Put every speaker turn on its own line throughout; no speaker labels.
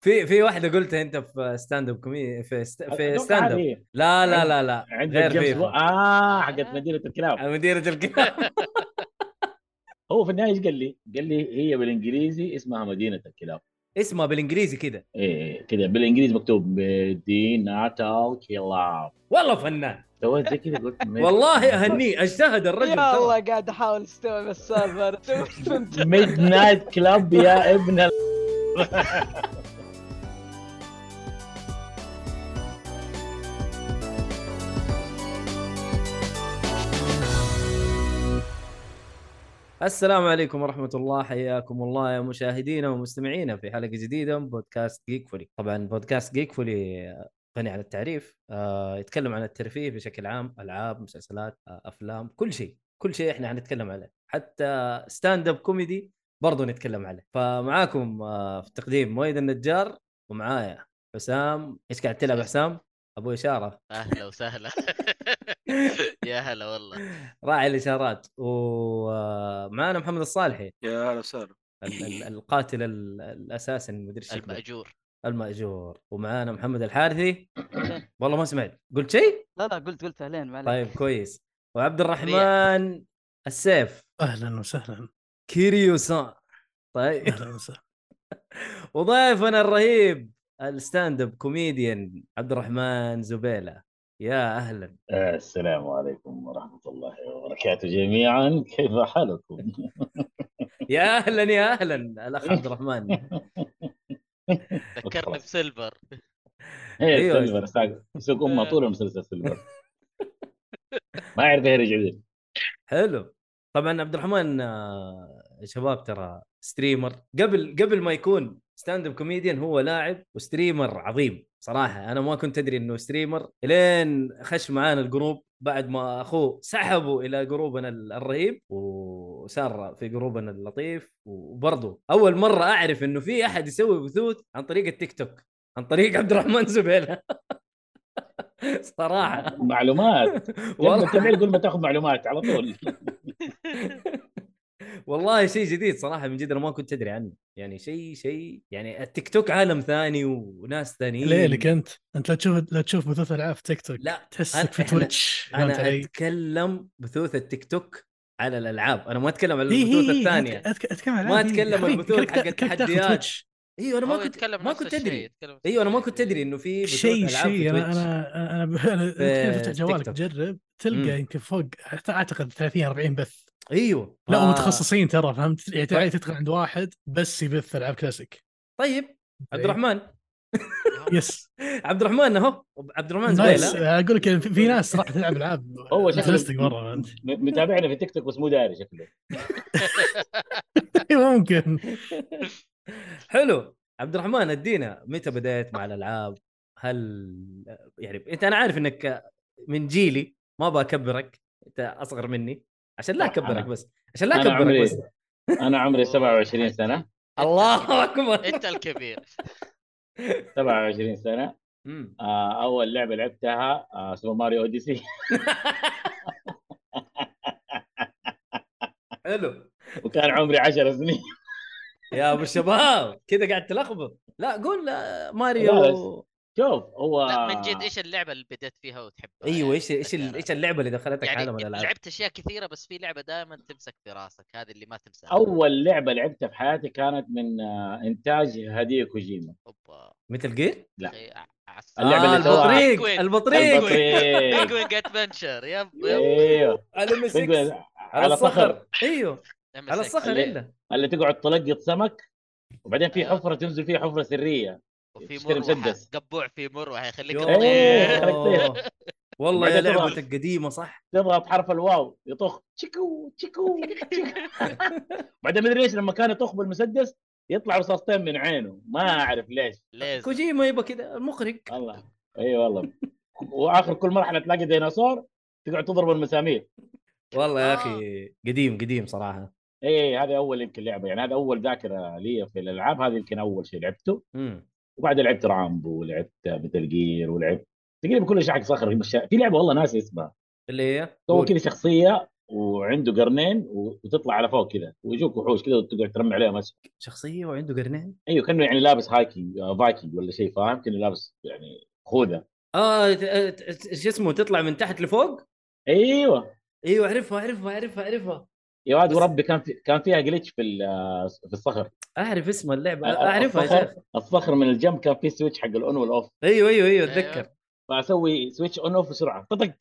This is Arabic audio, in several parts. في في واحده قلتها انت في ستاند اب كوميدي في ست... في
أتوقع
ستاند اب
هذه.
لا
أيوه.
لا لا لا
عندك
غير
جيمس أه، بو...
فيفا
اه حقت مدينه الكلاب
مديرة الكلاب
هو في النهايه ايش قال لي؟ قال لي هي بالانجليزي اسمها مدينه الكلاب
اسمها بالانجليزي كده
ايه كذا بالانجليزي مكتوب مدينه الكلاب
والله فنان
سويت زي كذا قلت مد-
والله اهنيه اجتهد الرجل
يا
ترى.
الله قاعد احاول استوعب السالفه أنا سويت أنت.
ميد نايت كلاب يا ابن ال...
السلام عليكم ورحمة الله حياكم الله يا مشاهدينا ومستمعينا في حلقة جديدة من بودكاست جيك فولي طبعا بودكاست جيك فولي آه، غني عن التعريف آه، يتكلم عن الترفيه بشكل عام ألعاب مسلسلات آه، أفلام كل شيء كل شيء احنا حنتكلم عليه حتى ستاند اب كوميدي برضه نتكلم عليه فمعاكم آه، في التقديم مويد النجار ومعايا حسام ايش قاعد تلعب يا حسام؟ ابو اشاره
اهلا وسهلا يا هلا والله
راعي الاشارات ومعانا محمد الصالحي
يا هلا وسهلا
ال- ال- القاتل ال- الاساسي المدير الشكلي
الماجور
الماجور ومعانا محمد الحارثي والله ما سمعت قلت شيء؟
لا لا قلت قلت اهلين ما عليك
طيب كويس وعبد الرحمن السيف
اهلا وسهلا
كيريو سان طيب
اهلا وسهلا
وضيفنا الرهيب الستاند اب كوميديان عبد الرحمن زبيله يا اهلا
السلام عليكم ورحمه الله وبركاته جميعا كيف حالكم؟
يا اهلا يا اهلا الاخ عبد الرحمن
ذكرني
خلاص.
بسيلفر
هي
أيوة.
سيلفر ساق سوق امه طول المسلسل سيلفر ما يعرف يرجع لي
حلو طبعا عبد الرحمن آه، يا شباب ترى ستريمر قبل قبل ما يكون ستاند اب كوميديان هو لاعب وستريمر عظيم صراحه انا ما كنت ادري انه ستريمر لين خش معانا الجروب بعد ما اخوه سحبه الى جروبنا ال- الرهيب وصار في جروبنا اللطيف وبرضه اول مره اعرف انه في احد يسوي بثوث عن طريق التيك توك عن طريق عبد الرحمن زبيله صراحه
آه. معلومات والله
والله
تبع كل ما تاخذ معلومات على طول
والله شيء جديد صراحه من جد انا ما كنت ادري عنه يعني شيء شيء يعني التيك توك عالم ثاني وناس ثانيين
ليلك انت انت لا تشوف لا تشوف بثوث العاب في تيك توك
إيه. لا
تحسك في
أنا- إحنا-
تويتش فهمت
انا
علي؟
اتكلم بثوث التيك توك على الالعاب انا ما اتكلم على
هي- هي-
البثوث
هي،
الثانيه
أتك- اتكلم عن
ما
العاب، هي.
أتكلم
خليك-
البثوث
خليك-
حق
خليك تاخذ
التحديات.
تويتش.
ايوه انا
هو
ما كنت
يتكلم
ما
نفس
كنت
الشيء،
ادري
يتكلم نفس
ايوه انا ما
الشيء.
كنت ادري انه في بثوث
شيء
ألعاب في
شيء انا
تويتش.
انا انا ب- أنا تخيل
في
تفتح جوالك
TikTok.
تجرب
مم.
تلقى يمكن فوق أعت- اعتقد 30 40 بث
ايوه
لا
ف-
ومتخصصين ترى فهمت يعني
طيب.
تعال تدخل عند واحد بس يبث العاب كلاسيك
طيب
إيه.
عبد الرحمن
يس
عبد الرحمن اهو عبد الرحمن
نايس
زبيله
اقول لك يعني في في ناس راح تلعب العاب
هو شكله-
فلسطين مره فهمت؟
م- متابعنا في تيك توك بس مو داري شكله
ممكن
حلو عبد الرحمن ادينا متى بديت مع الالعاب؟ هل يعني انت انا عارف انك من جيلي ما بكبرك انت اصغر مني عشان لا
لا،
اكبرك
أنا-
بس عشان لا
أنا
اكبرك
عمري-
بس
انا عمري 27 سنه
الله اكبر
انت الكبير
27 سنه
مم.
آه اول لعبه لعبتها آه سوبر ماريو اوديسي
حلو
وكان عمري 10 سنين
يا ابو الشباب كذا قاعد تلخبط لا قول آه، ماريو
لا، شوف هو
لا من جد ايش اللعبه اللي بدأت فيها وتحبها
ايوه
يعني
ايش ايش ال-
بالذات؟
ايش اللعبه اللي دخلتك
يعني
عالم الالعاب؟
لعبت اشياء كثيره بس في لعبه دائما تمسك في راسك هذه اللي ما تمسك
اول لعبه لعبتها في حياتي كانت من آه انتاج هديه كوجيما
اوبا
مثل جير؟
لا.
شيء ع- عس-
اللعبة
آه
اللي إيه. سواها
البطريق
بينجوين.
البطريق
البطريق
بينجوين ادفنشر يب يب
ايوه
على
بينجوين
M6. على
على صخر
الصخر ايوه على
M6.
الصخر
اللي-
الا
اللي تقعد تلقط سمك وبعدين في
أيوة.
حفره تنزل فيها حفره سريه
وفي
تشتري
مروحه
مسدس.
قبوع في مروحه يخليك
يوه.
إيه.
تطير.
خليك
والله يا
بعدين طبعاً.
لعبتك قديمه صح
تضغط حرف الواو يطخ تشيكو تشيكو تشيكو. بعدين مدري ليش لما كان يطخ بالمسدس يطلع رصاصتين من عينه ما اعرف ليش
ليزر.
كوجيما يبقى كذا المخرج
الله اي والله واخر كل مرحله تلاقي ديناصور تقعد تضرب المسامير
والله يا
آه.
اخي قديم قديم صراحه
اي هذه اول يمكن لعبه يعني هذا اول ذاكره لي في الالعاب هذا يمكن اول شيء لعبته
امم
وبعدين لعبت رامبو ولعبت متل جير ولعبت تقريبا كل شيء حق صخر في لعبه والله ناسي اسمها
اللي هي
سووا
قول.
كذا شخصيه وعنده قرنين و- وتطلع على فوق كذا ويجوك وحوش كذا وتقعد ترمي عليهم اسهم
شخصيه وعنده قرنين
ايوه كانه يعني لابس هايكينج آه، فايكنج ولا شيء فاهم كانه لابس يعني خوذه
اه ت- ت- ت- شو اسمه تطلع من تحت لفوق
ايوه
ايوه اعرفها اعرفها اعرفها اعرفها
يا واد
بس-
وربي كان في كان فيها جلتش في ال- آه، في الصخر
اعرف اسم اللعبه
أ- أ-
اعرفها يا
أتذكر.
شيخ.
الصخر من الجنب كان فيه سويتش حق الاون والاوف
ايوه ايوه ايوه
أيوة.
اتذكر
فاسوي سويتش اون اوف بسرعه طقطق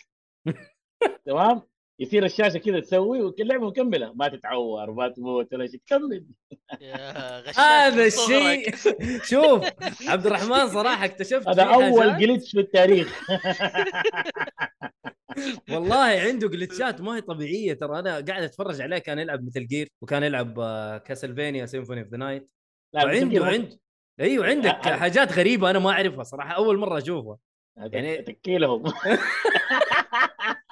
تمام يصير الشاشه كذا تسوي واللعبه مكمله ما تتعور ما تموت ولا شيء تكمل
يا غشاش
هذا
من صغرك.
الشيء شوف عبد الرحمن صراحه اكتشفت
هذا
فيه
اول
حاجات.
جلتش في التاريخ
والله عنده جلتشات ما هي طبيعيه ترى انا قاعد اتفرج عليه كان يلعب مثل جير وكان يلعب آه، كاسلفينيا سيمفوني اوف ذا نايت
لا،
وعنده
بس-
عنده ايوه عندك
ه- ه-
حاجات غريبه انا ما اعرفها صراحه اول مره اشوفها يعني-
يعني تكيلهم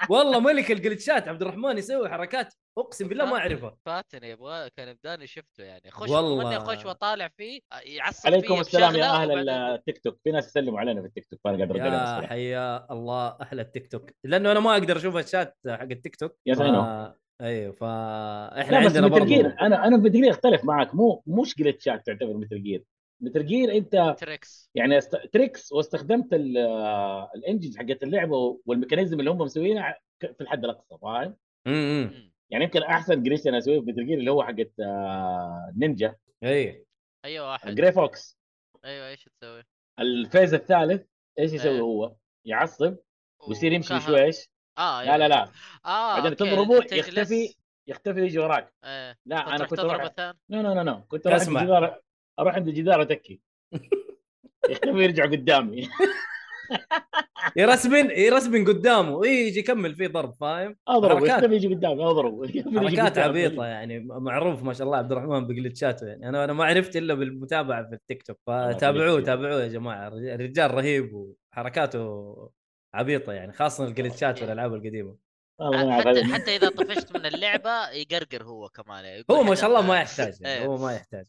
والله ملك الجلتشات عبد الرحمن يسوي حركات اقسم بالله
آه،
ما اعرفها
فاتني يبغى كان بداني شفته يعني خش
والله.
والله اخش واطالع فيه يعصب
عليكم
فيا
السلام يا
بشغلة
اهل
وبعدين-
التيك توك في ناس يسلموا علينا في التيك توك فانا قاعد ارد عليهم
يا
الصراحة.
حيا الله احلى التيك توك لانه انا ما اقدر اشوف الشات حق التيك توك
Yes, I
ف-
know.
ايوه فاحنا
لا بس
عندنا
مثل
برضه
جير انا انا في جير اختلف معك مو مش جلتشات تعتبر مثل جير مثل جير انت
تريكس
يعني است... تريكس واستخدمت ال- آه، الانجنز حقت اللعبه والميكانيزم اللي هم مسوينها ك- في الحد الاقصى فاهم؟
امم
مم.
يعني يمكن احسن جريش انا اسويه في مثل جير اللي هو حقت آه، نينجا
اي
ايوه واحد
جري فوكس
ايوه ايش تسوي؟
الفيز الثالث ايش يسوي
إيه.
هو؟ يعصب ويصير يمشي
وكهرب.
شويش
اه
لا لا لا
اه
بعدين
أوكي،
تضربه
تجلس.
يختفي يختفي ويجي وراك
إيه.
لا انا
تروح
كنت
تضرب
اروح
الثاني
لا لا لا لا كنت اروح عند
اسمع.
الجدار اروح عند الجدار اتكي يختفي ويرجع قدامي
يرسبن يرسبن قدامه إيه، يجي يكمل فيه ضرب فاهم
اضربه
حركات.
يختفي يجي قدامي اضربه يختفي يجي
حركات
قدامي.
عبيطه يعني معروف ما شاء الله عبد الرحمن بجلتشاته يعني انا انا ما عرفت الا بالمتابعه في التيك توك فتابعوه
بجلتشات.
تابعوه يا جماعه الرجال رهيب وحركاته عبيطه يعني خاصه الجلتشات والالعاب القديمه
الله ما يعرف
حتى
هذا.
حتى اذا طفشت من اللعبه يقرقر هو كمان يعني يقول
هو ما شاء الله ما
حتى-
يحتاج يعني
إيه.
هو ما يحتاج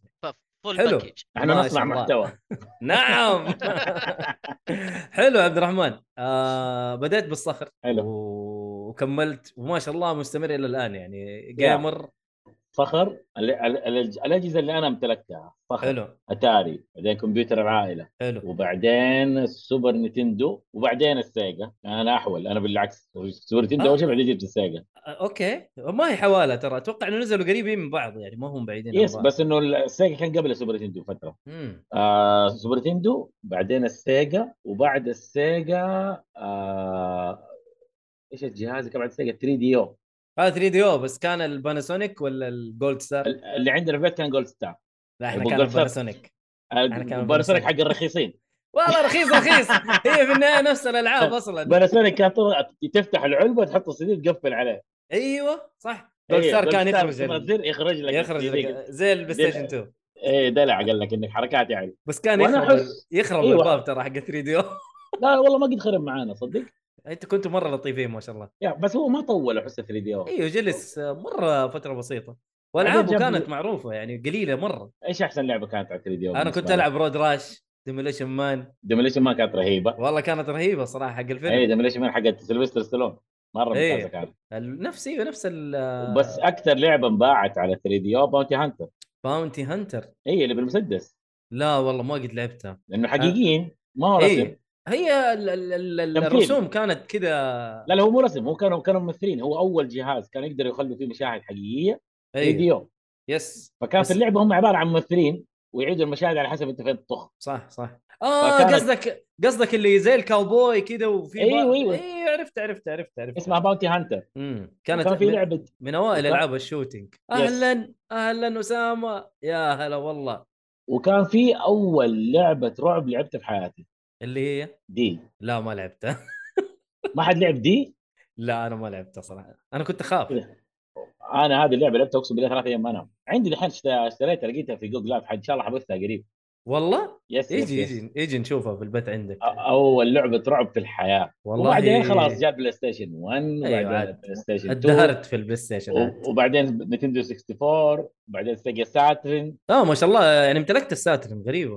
فول
حلو.
باكج
ما
احنا نصنع
شاء الله.
محتوى
نعم حلو عبد الرحمن آه بدأت بالصخر
حلو.
و- وكملت وما شاء الله مستمر الى الان يعني
يا.
جيمر
صخر ال- ال- ال- الاجهزه اللي انا امتلكتها صخر
حلو
اتاري بعدين كمبيوتر العائله
حلو
وبعدين السوبر نتندو وبعدين السيجا انا احول انا بالعكس السوبر نتندو
آه.
اول شيء بعدين جبت السيجا
آه، اوكي ما هي حواله ترى اتوقع انه نزلوا قريبين من بعض يعني ما هم بعيدين عن
يس
بعض.
بس انه السيجا كان قبل السوبر نتندو فتره
مم.
آه سوبر نتندو بعدين السيجا وبعد السيجا آه ايش الجهاز اللي كان بعد السيجا 3 دي او
هذا 3 دي او بس كان الباناسونيك ولا الجولد ستار؟
ال- اللي عندنا في البيت كان جولد ستار آه،
لا احنا
الجولد
كان
ستار.
الباناسونيك أنا كان
باناسونيك
Panasonic.
حق الرخيصين
والله رخيص رخيص هي في النهايه نفس الالعاب اصلا
باناسونيك كان طلع- تفتح العلبه تحط السي دي تقفل عليه إيه،
ايوه
طيب،
صح جولد ستار كان يخرج ال-
يخرج يخرج لك
يخرج
السي دي.
لك- زي البلاي ستيشن 2
ايه دلع قال لك انك حركات يعني
بس كان
وأنا
يخرب
أحس-
يخرب
أيوة.
الباب ترى حق 3 دي او
لا والله ما قد خرب معانا صدق
انت كنتوا مره لطيفين ما شاء الله
يا بس هو ما طول احس 3 دي او
ايوه جلس مره فتره بسيطه والعابه
بعدين جاب-
كانت معروفه يعني قليله مره
ايش احسن لعبه كانت على 3 دي او
انا كنت العب رود راش ديموليشن مان
ديموليشن ما كانت رهيبه
والله كانت رهيبه صراحه حق الفيلم
اي ديموليشن مان حقت سيلفستر ستالون مره
إيه.
ممتازه كانت
ال- نفس ايوه نفس ال
بس اكثر لعبه انباعت على 3 دي او باونتي هانتر
باونتي هانتر
هي اللي بالمسدس
لا والله ما قد لعبتها
لانه حقيقيين ما هو رسم
اي هي ال ال ال ال-
تمثيل.
الرسوم كانت كذا
لا لا هو مو رسم هو كانوا كانوا ممثلين هو اول جهاز كان يقدر يخلوا فيه مشاهد حقيقيه 3
اي
دي او
يس
فكان
إيه. بس-
في اللعبه هم عباره عن ممثلين ويعيدوا المشاهد على حسب انت فين تطخ
صح صح اه
فكانت-
قصدك قصدك اللي زي الكاوبوي كذا وفي بار-
أيوة، أيوة.
ايوه عرفت عرفت عرفت عرفت
اسمها باونتي هانتر
امم
كانت
كانت
كان في
من-
لعبه
من اوائل
وكان-
العاب الشوتينج اهلا اهلا اسامه يا هلا والله
وكان في اول لعبه رعب لعبتها في حياتي
اللي هي
دي
لا ما لعبتها
ما حد لعب دي
لا انا ما لعبتها صراحه انا كنت اخاف
انا هذه اللعبه لعبتها اقسم بالله ثلاث ايام ما انام عندي الحين اشت- اشتريتها لقيتها في جوجل اب ان شاء الله حبثها قريب
والله
يس يس-
يجي
يس.
يجي يجي نشوفها في البيت عندك
أ- اول لعبه رعب في الحياه
والله أيوة،
وبعدين خلاص جاء بلاي ستيشن 1 وبعدين
عاد.
بلاي ستيشن 2
ادهرت في البلاي ستيشن عاد.
و- وبعدين نتندو 64 بعدين سيجا ساترن
اه ما شاء الله يعني امتلكت الساترن غريبه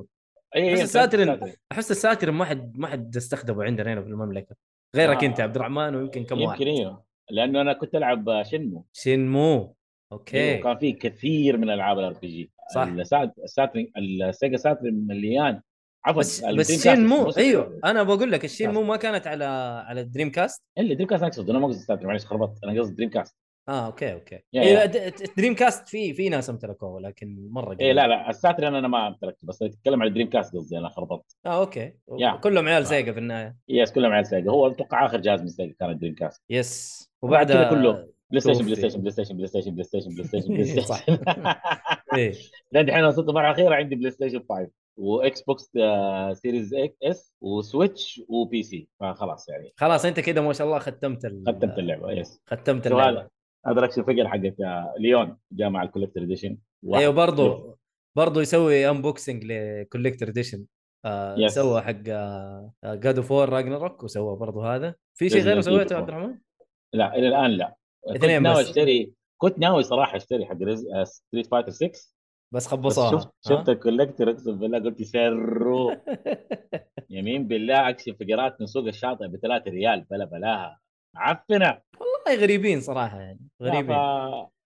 اي
بس
أي،
الساترن. احس الساترن ما حد ما حد استخدمه عندنا هنا في المملكه غيرك
آه.
انت عبد الرحمن ويمكن كم واحد
يمكن ايوه لانه انا كنت العب شنمو
شنمو اوكي
وكان في كثير من العاب الار بي جي
صح.
الساترن السيجا ساترن مليان عفوا
بس
ال
بس
Dreamcast.
شنمو
بص-
ايوه انا بقول لك
آه.
الشنمو ما كانت على على الدريم كاست
الا دريم كاست انا اقصد انا ما قصدي ساترن معلش خربطت انا قصدي دريم كاست
اه اوكي اوكي
يا-
إيه،
يا.
د- د- دريم كاست في في ناس امتلكوه لكن مره
اي إيه، لا لا الساترن انا ما امتلكته بس اتكلم عن دريم كاست قصدي انا خربطت إيه،
اه اوكي
يا. آه.
كلهم عيال
صح.
سيجا في النهايه
يس كلهم على السيجا هو اتوقع اخر جهاز من السيجا كان دريم كاست
يس
وبعد
وبعدها
كذا كله بلاي ستيشن بلاي
توفي.
ستيشن بلاي ستيشن بلاي ستيشن بلاي ستيشن بلاي ستيشن بلاي
صح.
ستيشن
ايه
لان الحين وصلت المرحله الاخيره عندي بلاي ستيشن 5 واكس بوكس آه، سيريز إك- اس وسويتش وبي سي فخلاص يعني
خلاص انت كده ما شاء الله ختمت ال...
ختمت اللعبه يس
ختمت
شو
اللعبه
هذا هذا الاكشن فيجر حقت آه، ليون جاء مع الكوليكتر اديشن
ايوه برضو برضو يسوي انبوكسنج لكوليكتر اديشن آه
Yes.
سوى حق آه، جاد اوف وور راجنروك وسوى برضو هذا في شيء
Resident
غيره
Evil
سويته
four.
عبد الرحمن؟
لا الى الان لا كنت
اثنين
ناوي
بس.
اشتري كنت ناوي صراحه اشتري حق آه، ستريت فايتر 6
بس
بس
خبصوها آه،
شفت شفت الكوليكتر اقسم بالله قلت سروا يمين بالله اكشن فقرات من سوق الشاطئ ب 3 ريال بلا بلاها عفنه
والله غريبين صراحه يعني غريبين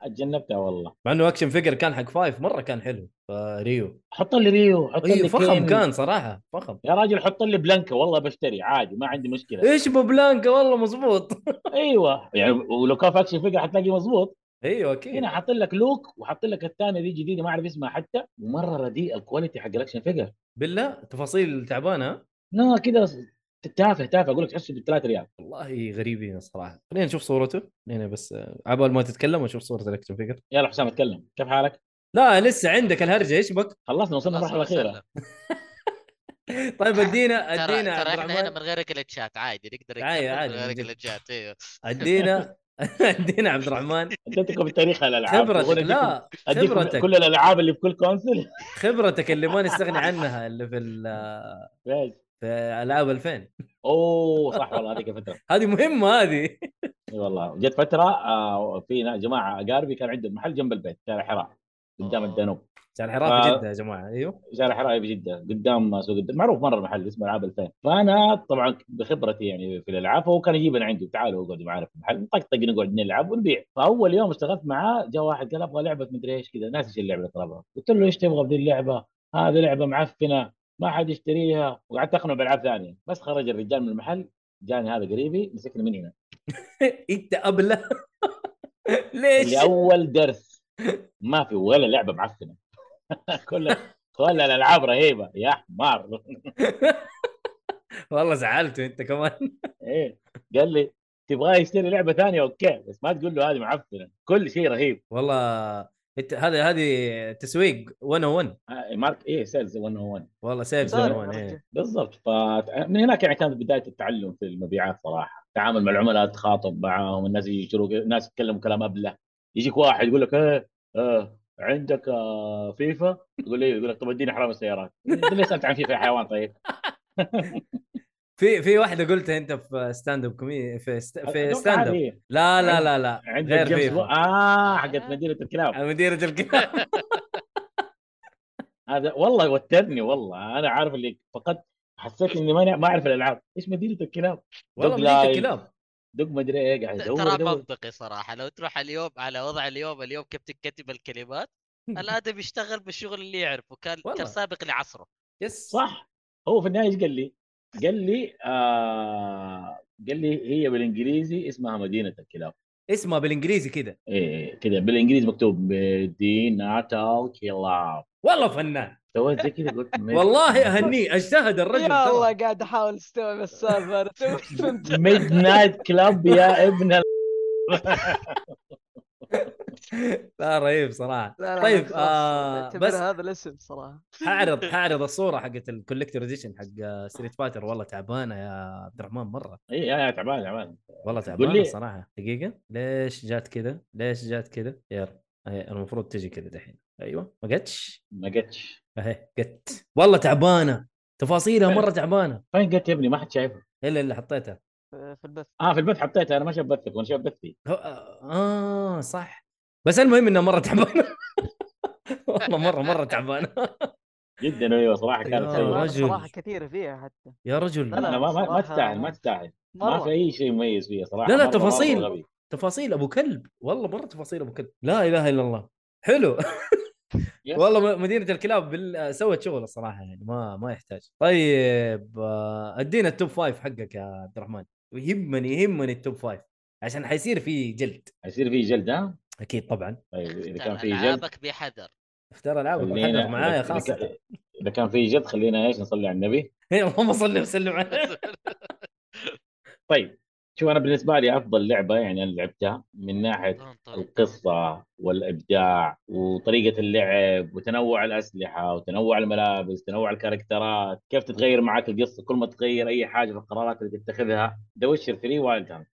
اتجنبتها والله
مع انه اكشن فيجر كان حق فايف مره كان حلو فريو
حط لي ريو حط
ايوه
لي
فخم
كين.
كان صراحه فخم
يا راجل حط لي بلانكا والله بشتري عادي ما عندي مشكله
ايش ببلانكا والله مزبوط
ايوه يعني ولو كان في اكشن فيجر حتلاقيه مظبوط
ايوه اكيد
هنا حاط لك لوك وحاط لك الثانيه دي جديده ما اعرف اسمها حتى ومره رديء الكواليتي حق الاكشن فيجر
بالله تفاصيل تعبانه ها؟
لا كده تافه تافه اقول لك تحسه ب 3 ريال
والله غريبين الصراحه خلينا نشوف صورته خلينا بس آه، عبال ما تتكلم اشوف صوره الاكشن فيجر
يلا حسام اتكلم كيف حالك؟
لا لسه عندك الهرجه ايش بك
خلصنا وصلنا
خلاص
المرحله الاخيره
وصلنا.
طيب ادينا
ترى
ادينا عبد
ترى احنا هنا
الرحمن
من غير جلتشات عادي نقدر
عادي،
نكمل
عادي،
من
من
غير
جد.
جلتشات ايوه
ادينا ادينا عبد الرحمن
اديتكم بتاريخ الالعاب
خبرتك
أقول أديكم-
لا
أديكم
خبرتك
كل الالعاب اللي في كل كونسل
خبرتك اللي ما نستغني عنها اللي في ال-
بس.
في العاب 2000
اوه صح والله هذيك الفتره
هذه مهمه هذه
اي والله جت فتره آه في نا- جماعه اقاربي كان عندهم محل جنب البيت شارع حراء قدام
أوه.
الدانوب
عشان حرافه
آه.
جدا يا جماعه ايوه
شارع حراء بجده قدام سوق الد- معروف مره المحل اسمه العاب 2000 فانا طبعا بخبرتي يعني في الالعاب فهو كان يجيبنا عنده تعالوا اقعدوا معنا في المحل نطقطق نقعد نلعب ونبيع فاول يوم اشتغلت معاه جاء واحد قال ابغى لعبه مدري ايش كذا ناسي ايش اللعبه اللي طلبها قلت له ايش تبغى بدي اللعبه هذه لعبه معفنه ما حد يشتريها وقعدت اقنعه بالعاب ثانيه بس خرج الرجال من المحل جاني هذا قريبي مسكني من هنا
انت ابله ليش؟
اللي اول درس ما في ولا لعبه معفنه كل كل الالعاب رهيبه يا حمار
والله زعلته انت كمان
ايه قال لي تبغاه يشتري لعبه ثانيه اوكي بس ما تقول له هذه معفنه كل شيء رهيب
والله انت هذا هذه تسويق 101
آه، مارك ايه سيلز 101
والله سيلز
صار.
101 إيه.
بالضبط فمن هناك يعني كانت بدايه التعلم في المبيعات صراحه التعامل مع العملاء تخاطب معاهم الناس يجي يشتروا الناس يتكلموا كلام ابله يجيك واحد يقول لك ايه آه عندك آه فيفا يقول لي يقول لك طب اديني حرام السيارات أنت ليه سالت عن فيفا يا حيوان طيب
في في واحده قلتها انت في ستاند اب كومي في ست... في
أتوقع
ستاند اب
هذه
لا
أيوه.
لا لا لا
عندك
غير
جيمس بو...
فيفا
اه حقت مدينه الكلاب
مديرة الكلاب
هذا والله وترني والله انا عارف اللي فقدت حسيت اني ما ما اعرف الالعاب ايش مدينه الكلاب
والله
Dog
مديرة
Life.
الكلاب
دق ما ادري ايه قاعد ادور
ترى
ادور
منطقي صراحه لو تروح اليوم على وضع اليوم اليوم كيف تكتب الكلمات الادم يشتغل بالشغل اللي يعرفه كان
والله.
كان سابق لعصره
يس
صح هو في النهايه ايش قال لي؟ قال لي آه قال لي هي بالانجليزي اسمها مدينه الكلاب
اسمها بالانجليزي كذا
إيه كذا بالانجليزي مكتوب مدينه الكلاب
والله فنان
سويت زي كذا قلت مد-
والله اهنيه اجتهد الرجل
يا الله
ترى.
قاعد احاول استوعب السالفه أنا توي فهمت.
ميد نايت كلاب يا ابن ال...
لا رهيب صراحه
لا، لا،
طيب،
خلاص،
آه،
اعتبر
بس-
هذا الاسم صراحه
حاعرض حاعرض الصوره حقت الكوليكتور اديشن حق ستريت فايتر والله تعبانه يا عبد الرحمن مره
إيه يا يا تعبان تعبان
والله
قول
تعبانه
لي.
صراحه دقيقه ليش جات كذا؟ ليش جات كذا؟ يا رب هي المفروض تجي كذا دحين ايوه ما جتش
ما قتش
اهي جت والله تعبانه تفاصيلها مره تعبانه
فين قت يا ابني ما حد شايفه
الا اللي حطيتها
في البث
اه في البث حطيتها انا ما شايف بثك وانا شايف بثي
هو- اه صح بس المهم انها مره تعبانه والله مره مره تعبانه
جدا ايوه صراحه
يا
كانت سيئه
رجل.
صراحه كثيره فيها حتى
يا
لا،
رجل
لا ما ما ما
صراحة-
تستاهل ما تستاهل ما
مره
في اي شيء مميز فيها صراحه
لا، لا،
مرة- مرة
تفاصيل.
غبي.
تفاصيل ابو كلب والله مره تفاصيل ابو كلب لا اله الا الله حلو
يس.
والله م- مدينه الكلاب بال... سوت شغل الصراحه يعني ما ما يحتاج طيب آه، ادينا التوب فايف حقك يا عبد الرحمن يهمني يهمني التوب فايف عشان حيصير في جلد
حيصير فيه جلد ها؟
اكيد طبعا
طيب اذا كان
اختار
فيه جلد
العابك بحذر
اختار العابك
خلينا-
وحذر معايا
إذا- إذا
خاصه
كان- اذا كان فيه جلد خلينا ايش نصلي على النبي
اللهم صل وسلم عليه
طيب شوف انا بالنسبه لي افضل لعبه يعني انا لعبتها من ناحيه
طن- طن-
القصه والابداع وطريقه اللعب وتنوع الاسلحه وتنوع الملابس تنوع الكاركترات كيف تتغير معاك القصه كل ما تغير اي حاجه في القرارات اللي تتخذها ذا ويتشر 3 وايلد هانت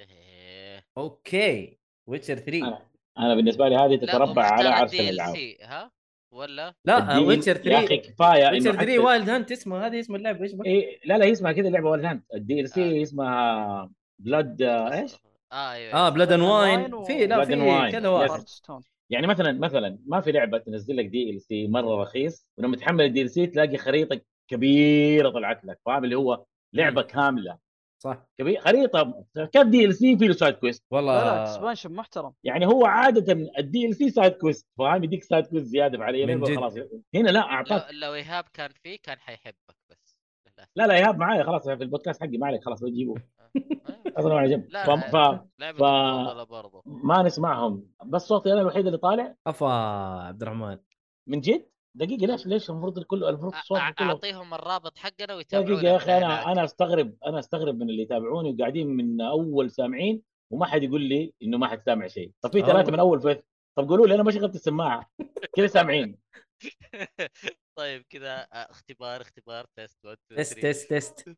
إيه.
اوكي ويتشر 3
انا بالنسبه لي هذه
لا،
تتربع
ومختار
على عرش
DLC
الالعاب
ها ولا
لا
الدين-
ويتشر
يا اخي
3
كفايه
ويتشر
انه
3
حتى
وايلد هانت اسمه هذه اسم اللعبه ايش بك؟
إيه لا لا هي اسمها كذا اللعبه وايلد هانت الدي ال
آه.
سي اسمها بلاد ايش؟
اه
إيه،
ايوه
اه بلاد اند
Wine
واين
و-
في لا
Blood and
في
آه، Wine.
كذا
Yes.
واحد
هارت ستون
يعني مثلا مثلا ما في لعبه تنزل لك دي ال سي مره رخيص ولما تحمل الدي ال سي تلاقي خريطه كبيره طلعت لك فاهم اللي هو لعبه كامله
صح
كبير خريطه كيف دي ال سي فيه سايد كويست
لا لا
والله
اكسبانشن محترم
يعني هو عاده الدي ال سي سايد كويست فاهم يديك سايد كويست زياده على
من جد. آه.
خلاص هنا لا اعطاك
لو, لو ايهاب كان فيه كان حيحبك بس للاسف
لا لا ايهاب معايا خلاص في البودكاست حقي ما عليك خلاص بجيبه
آه.
اصلا على جنب
لا،
ف-
لا.
ف-
لعبة
ف-
المفضلة برضو
ما نسمعهم بس صوتي انا الوحيد اللي طالع
افا عبد الرحمن
من جد دقيقه ليش ليش المفروض الكل المفروض
أع-
الصوت
أع-
كله
اعطيهم الرابط حقنا ويتابعونا
دقيقة يا أخي
من هناك.
أنا أنا أستغرب أنا أستغرب من اللي يتابعوني وقاعدين من أول سامعين وما حد يقول لي إنه ما حد سامع شيء، طب في
آه.
ثلاثة من أول فيس طب قولوا لي أنا ما شغلت السماعة كذا سامعين
طيب كذا آه، اختبار اختبار تيست 1 2
تست
3
تست تست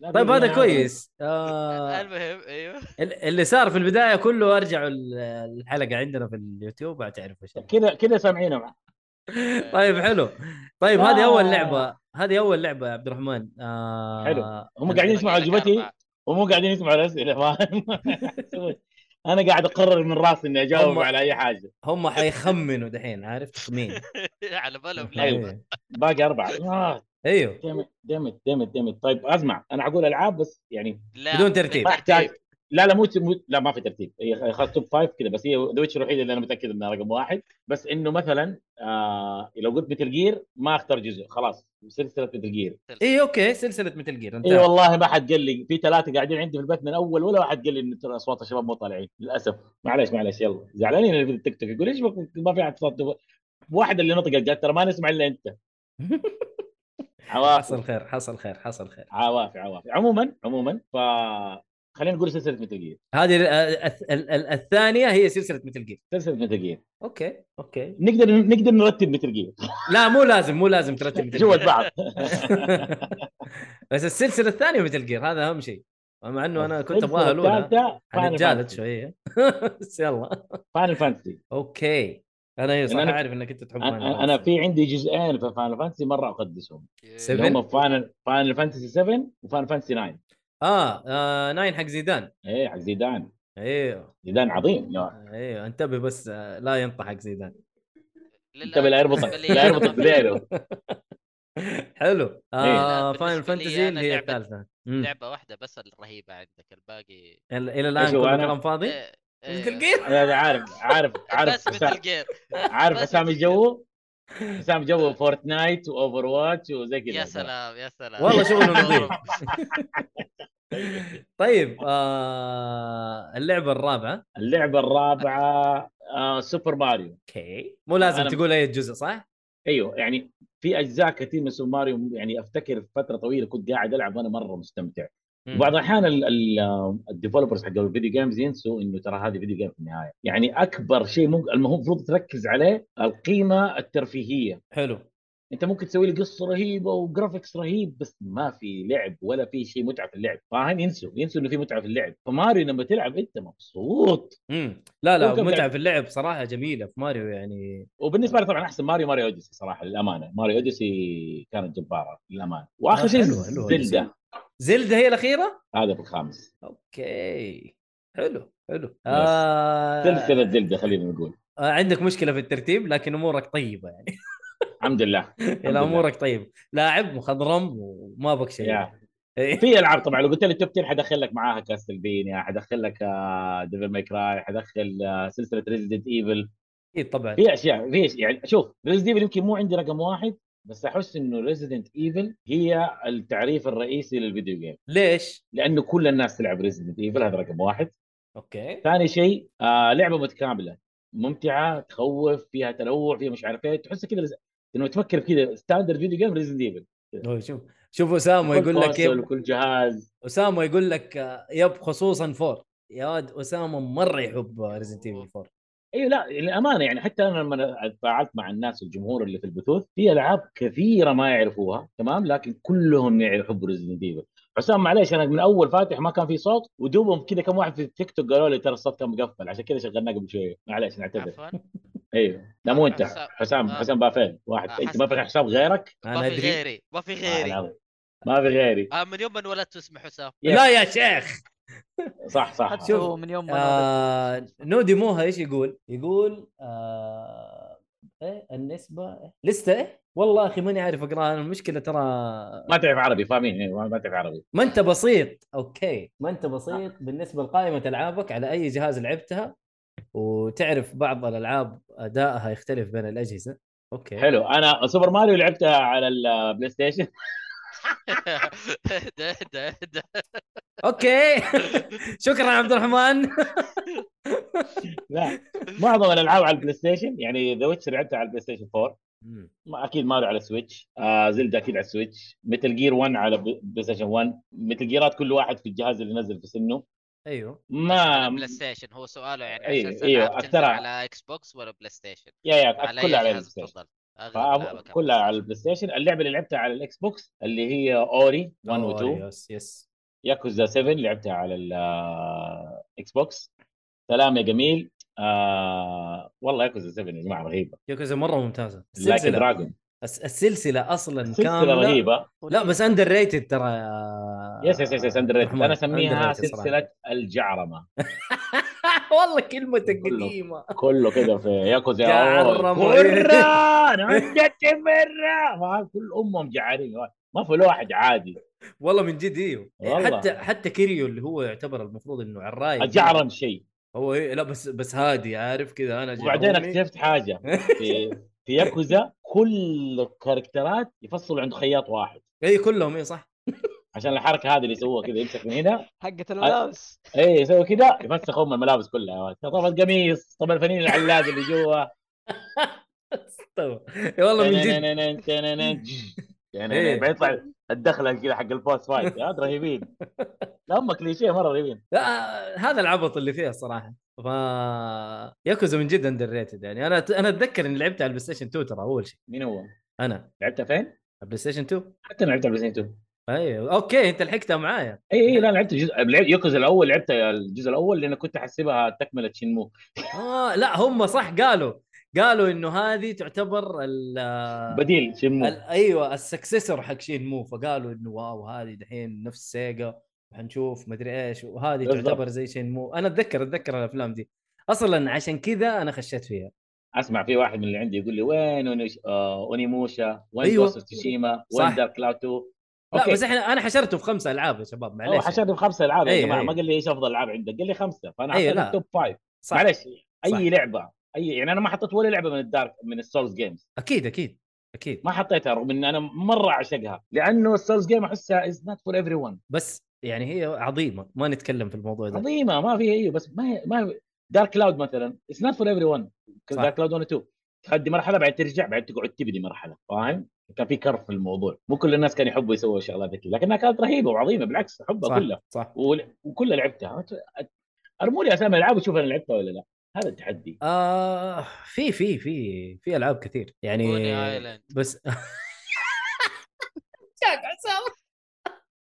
لا
طيب
دقيقة
هذا
أنا-
كويس آه،
المهم ايوه
ال- اللي صار في البدايه كله ارجعوا ال- الحلقه عندنا في اليوتيوب هتعرفوا ايش
كذا كذا سامعينهم
طيب حلو طيب هذه
آه.
اول لعبه هذه اول لعبه يا عبد الرمان آه،
حلو. هم قاعدين يسمعوا
باقي لك
عجبتي
أربعة.
ومو قاعدين يسمعوا الأسئلة فاهم أنا قاعد أقرر من راسي إني أجاوب
هم-
على أي حاجة
هم حيخمنوا دحين عارف تخمين
على بالهم لعبة
أيوه.
باقي أربعة آه
ايوه
دمت دمت دمت دمت طيب أسمع أنا أقول ألعاب بس يعني
لا،
بدون ترتيب.
ما احتاج
بالترتيب.
لا لا مو مو- لا ما في ترتيب هي خلاص توب فايف كذا بس هي ذا ويتش الوحيده اللي انا متاكد انها رقم واحد بس انه مثلا آه لو قلت مثل جير ما اختار جزء خلاص سلسله مثل جير
اي اوكي سلسله إيه، مثل جير
اي إيه والله ما حد قال لي في ثلاثه قاعدين عندي في البيت من اول ولا واحد قال لي ان ترى اصوات الشباب مو طالعين للاسف معلش معلش يلا زعلانين اللي في التيك توك يقول ايش بك- ما في احد صوت واحد اللي نطق قال ترى ما نسمع الا انت عوافي
حصل خير حصل خير حصل خير
عوافي عوافي عموما عموما ف خلينا نقول سلسله مثل جير
هذه ال- الث- ال- ال- الثانيه هي سلسله مثل جير
سلسله مثل جير
اوكي اوكي
نقدر نقدر نرتب مثل جير
لا مو لازم مو لازم ترتب مثل
جوة بعض
بس السلسله الثانيه مثل جير هذا اهم شيء مع انه انا كنت ابغاها الاولى حنتجالد شويه بس يلا
فاينل فانتسي
اوكي انا إيه، صح
أنا-
اعرف انك انت تحب Final
انا أنا
Fantasy.
في عندي جزئين في فاينل فانتسي مره اقدسهم
Seven.
اللي هم فاينل فاينل فانتسي 7 وفاينل فانتسي 9
اه, آه ناين حق زيدان
ايه حق زيدان
ايوه
زيدان عظيم يا
ايوه انتبه بس آه، لا ينطح حق زيدان
للآن
انتبه لا يربطك
بالنسبة لي
لا
أنا
يربطك
ما في-
بديله
حلو
إيه.
لا،
آه
بالنسبة
فاينل
لي
فانتزي
أنا
اللي هي
لعبة-
الثالثه مم.
لعبة واحدة بس الرهيبة عندك الباقي
الى إلى الان
إيش هو
كله
أيوه، أنا؟
كلام فاضي
إيه، إيه.
مثل جير
انا أنا عارف عارف
بس
عارف
مثل
حسام-
جير
عارف
بس
حسام
مثل
الجو حسام جو فورتنايت واوفر واتش وزي كذا
يا سلام يا سلام
والله شغله نظيف.
والله.
طيب آه اللعبه الرابعه
اللعبه الرابعه آه سوبر ماريو
اوكي مو لازم
أنا-
تقول اي جزء صح؟
ايوه يعني في اجزاء كثير من سوبر ماريو يعني افتكر في فتره طويله كنت قاعد العب وانا مره مستمتع
مم.
وبعض الاحيان ال- ال- الديفلوبرز حق الفيديو جيمز ينسوا انه ترى هذه فيديو جيم في النهايه يعني اكبر شيء ممكن المفروض تركز عليه القيمه الترفيهيه
حلو
انت ممكن تسوي لي قصه رهيبه وجرافيكس رهيب بس ما في لعب ولا في شيء متعه في اللعب فاهم ينسوا ينسوا انه في متعه في اللعب فماريو لما تلعب انت مبسوط
مم. لا لا
ممكن
متعه
لعب.
في اللعب صراحه جميله في ماريو يعني
وبالنسبه لي طبعا احسن ماريو ماريو اوديسي صراحه للامانه ماريو اوديسي كانت جباره للامانه واخر
آه،
شيء
حلوة- حلوة Odyssey.
زلده
زلده هي الاخيره؟
هذا في الخامس
اوكي حلو حلو آه...
سلسله زلده خلينا نقول
آه عندك مشكله في الترتيب لكن امورك طيبه يعني
الحمد لله
الى امورك طيب لاعب مخضرم وما بك شيء
يا
إيه.
في العاب طبعا لو قلت لي التوب 10 حدخل لك معاها كاستلفينيا حدخل لك آه، ديفل ماي كراي حدخل آه، سلسله ريزدنت ايفل
اكيد طبعا
في اشياء في أشياء. يعني شوف ريزدنت ايفل يمكن مو عندي رقم واحد بس احس انه ريزدنت ايفل هي التعريف الرئيسي للفيديو جيم
ليش؟
لانه كل الناس تلعب ريزدنت ايفل هذا رقم واحد
اوكي
ثاني شيء آه لعبه متكامله ممتعه تخوف فيها تنوع فيها مش عارف ايه تحس كذا رز- انه تفكر في كذا ستاندرد فيديو جيم ريزدنت ايفل
هو شوف شوف اسامه يقول لك
كل
يب...
كل جهاز
اسامه يقول لك آه، يب خصوصا فور يا ولد اسامه مره يحب ريزنت ايفل 4
ايوه لا للامانه يعني حتى انا لما تفاعلت مع الناس الجمهور اللي في البثوث في العاب كثيره ما يعرفوها تمام لكن كلهم يحبوا ريزدنت ايفل حسام معليش انا من اول فاتح ما كان في صوت ودوبهم كذا كم واحد في التيك توك قالوا لي ترى الصوت كان مقفل عشان كذا شغلناه قبل شويه معليش نعتذر
عفوا
ايوه لا مو انت
حسام.
حسام
آه.
حسام بافين واحد
آه،
انت
حسام.
ما فتح حساب غيرك
ما
انا
في
ادري
غيري ما في
آه،
غيري
العظيم. ما في غيري
آه من يوم ما انولدت اسمه حسام
لا يا شيخ
صح صح
شوف.
هو من يوم ما نولد.
آه نودي موها ايش يقول؟ يقول آه ايه النسبه لسته ايه؟ والله اخي ماني عارف اقراها أنا المشكله ترى
ما تعرف عربي فاهمين إيه، ما ما تعرف عربي
ما انت بسيط اوكي ما انت بسيط بالنسبه لقائمه العابك على اي جهاز لعبتها وتعرف بعض الالعاب ادائها يختلف بين الاجهزه اوكي
حلو انا سوبر ماريو لعبتها على البلاي ستيشن
ده ده ده
اوكي شكرا عبد الرحمن
لا معظم الالعاب على البلاي ستيشن يعني ذا ويتش لعبتها على البلاي ستيشن 4 ما اكيد ماريو على السويتش آه زلدا اكيد على السويتش متل جير 1 على بل- بلاي ستيشن 1 متل جيرات كل واحد في الجهاز اللي نزل في سنه
ايوه
ما
بلاي ستيشن هو سؤاله يعني
أيوه،
عشان
أيوه،
ألعاب تنزل
أكثرها.
على اكس بوكس ولا بلاي ستيشن
يا يا
على
كلها
اي
على
جهاز
البلاي ستيشن
تفضل
فأب-
أغلب ألعابك
كلها على البلاي ستيشن اللعبه اللي لعبتها على الاكس بوكس اللي هي اوري 1 و 2
يس يس
ياكوزا 7 لعبتها على الاكس بوكس سلام يا جميل آه والله ياكوزا 7 يا جماعه رهيبه
يوكوزا مره ممتازه
لايك
السلسله
دراجون
الس- السلسله اصلا
سلسله
كامله
رهيبه
لا بس اندر ريتد ترى
يس يس يس, يس اندر ريتد. انا اسميها
آه، underrated صراحة.
سلسله الجعرمه
والله كلمتك
كله.
قديمه
كله كده في ياكوزا
جعرمة.
قران عندك مره ما كل امهم جعارين ما في ولا واحد عادي
والله من جد ايوه
والله.
حتى حتى كيريو اللي هو يعتبر المفروض انه عراي
الجعرم شيء
هو إيه لا بس بس هادي عارف كذا انا
وبعدين
جعروني.
اكتشفت حاجه في في ياكوزا كل الكاركترات يفصلوا عند خياط واحد
اي إيه، كلهم اي صح
عشان الحركه هذه اللي يسووها كذا يمسك من هنا
حقة الملابس
ايه يسوي كذا يفسخ ام الملابس كلها طب القميص طب الفنين العلاج اللي جوا
طبعا. إي طيب. والله
إيه،
من جد
تنننن- تنننن- يعني جج.
إيه.
تنننن. بعدين يطلع الدخله كذا حق البوس فايت هذا رهيبين لا هم كليشيه مره رهيبين
لا هذا العبط اللي فيها الصراحه ف ياكوزا من جد اندر ريتد يعني انا انا اتذكر اني لعبت على البلاي ستيشن 2 ترى اول شيء
مين هو؟
انا
لعبتها فين؟
البلاي ستيشن 2
حتى انا لعبتها بلاي ستيشن 2
ايوه اوكي انت لحقتها معايا
اي اي إيه، لا لعبت الجزء لعبت يوكوزا الاول لعبت الجزء الاول لان كنت احسبها تكمله شنمو
اه لا هم صح قالوا قالوا انه هذه تعتبر ال
بديل شنمو
آه. ال- ايوه السكسسور حق شين مو فقالوا انه واو هذه دحين نفس سيجا حنشوف مدري ايش وهذه
بالضبط.
تعتبر زي شين مو انا اتذكر اتذكر الافلام دي اصلا عشان كذا انا خشيت فيها
اسمع في واحد من اللي عندي يقول لي وين أونيش... آه اونيموشا وين
أيوة.
أيوة. جوست تشيما
صح.
وين دارك كلاود 2
لا بس احنا انا حشرته في خمسه العاب يا شباب معليش يعني.
حشرني بخمسه العاب
أيوة،
يا جماعه
أيوة.
ما قال لي ايش افضل العاب عندك قال لي خمسه فانا
أيوة،
حطيت
لا.
التوب فايف
صح
معلش
صح.
اي لعبه اي يعني انا ما حطيت ولا لعبه من الدارك من السولز جيمز
اكيد اكيد اكيد
ما حطيتها رغم ان انا مره اعشقها لانه السولز جيم احسها از نوت فور ايفري ون
بس يعني هي عظيمه ما نتكلم في الموضوع ده
عظيمه ما فيها ايوه بس ما هي ما هي دارك كلاود مثلا اتس نوت فور ايفري ون
صح.
دارك كلاود 1 2 تخدي مرحله بعد ترجع بعد تقعد تبني مرحله فاهم؟ كان في كرف في الموضوع مو كل الناس كانوا يحبوا يسووا الشغلات ذي لكنها كانت رهيبه وعظيمه بالعكس احبها
صح
كلها
صح
ول- وكلها لعبتها ارموا لي اسامي العاب وشوف انا لعبتها ولا لا هذا التحدي
آه في في في في العاب كثير
بوني
يعني
ايلاند
بس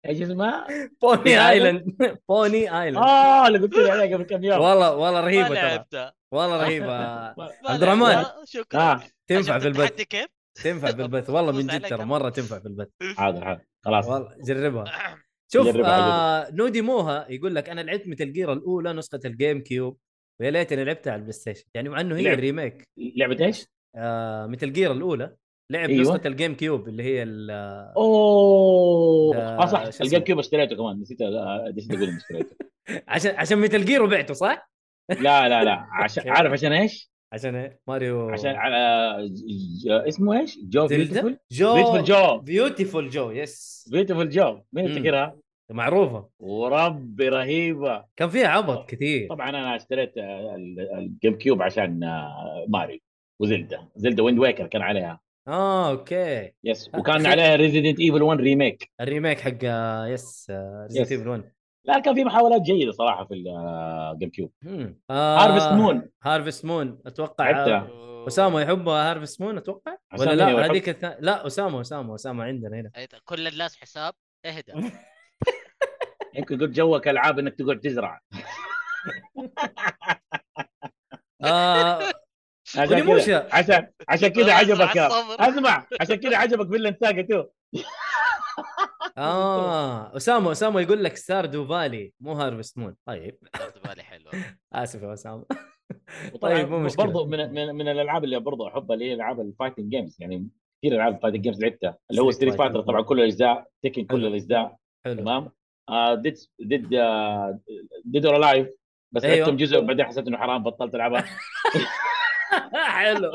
ايش اسمها؟
بوني ايلاند بوني ايلاند
اه اللي قلت لي عليها قبل كم يوم
والله والله رهيبه
آه. ما
ترى
لعبتها
والله رهيبه
ما
عبد الرحمن. آه،
لعبتها. شكرا
اه
تنفع
عشان
في البث
تتحدي كيف؟
تنفع في البث والله من جد
فوز عليك
ترى
أنا.
مره تنفع في البث
حاضر حاضر خلاص
والله جربها شوف
جربها،
آه نودي موها يقول لك انا لعبت متل جير الاولى نسخه الجيم كيوب ويا ليتني لعبتها على البلاي ستيشن يعني مع انه هي
لعب.
ريميك
لعبه ايش؟
آه متل جير الاولى لعب أيوة.
أيوة.
نسخه الجيم كيوب اللي هي ال-
اوه اه صح
آه. شو اسمه؟
الجيم كيوب اشتريته كمان نسيت آه، نسيت اقول إني اشتريته
عشان عشان ميتال جير وبعته صح؟
لا لا لا عشان عارف عشان ايش؟
عشان إيه؟ ماريو
عشان على ج- ج- اسمه ايش؟ جو بيوتيفول
زلدا جو
بيوتيفول جو
بيوتيفول جو يس
بيوتيفول جو مين
مم.
يفتكرها؟
معروفه
وربي رهيبه
كان فيها عبط كثير
طبعا انا اشتريت آه، ال- الجيم كيوب عشان آه، ماريو وزلدا زلدا ويند ويكر كان عليها
اه اوكي
يس
آه،
وكان
أخي.
عليها ريزيدنت ايفل 1 ريميك
الريميك حق آه، يس ريزنت
يس.
ايفل 1
لا كان في محاولات جيده صراحه في الجيم كيوب
آه،
هارفست مون
هارفست مون اتوقع
لعبتها.
آه، اسامه يحبها هارفست مون اتوقع ولا
حسام
لا
أيوة،
هذيك الثانيه لا اسامه اسامه اسامه عندنا هنا
أيضا كل الناس حساب اهدى
يمكن قلت جوك العاب انك تقعد تزرع
آه
عشان كذا
ونموشا
عشان عشان كذا عجبك يا-
الصبر.
اسمع عشان كذا عجبك فيلا ساقا تو
اه اسامه اسامه يقول لك ستار دو فالي مو هارفست مون طيب
برضو بالي حلوه
اسف يا اسامه
وطبعاً
طيب، مو مشكلة.
برضو من من, من الالعاب اللي برضو احبها اللي هي العاب الفايتنج جيمز يعني كثير العاب الفايتنج جيمز لعبتها اللي هو
Street
ستريت فايتر
Fighter.
طبعا كل الاجزاء تكن كل
حلو.
الاجزاء
حلو
تمام آه، ديد ديد آه، ديد اور لايف بس
أيوة.
لعبتهم جزء وبعدين حسيت انه حرام بطلت العبها
حلو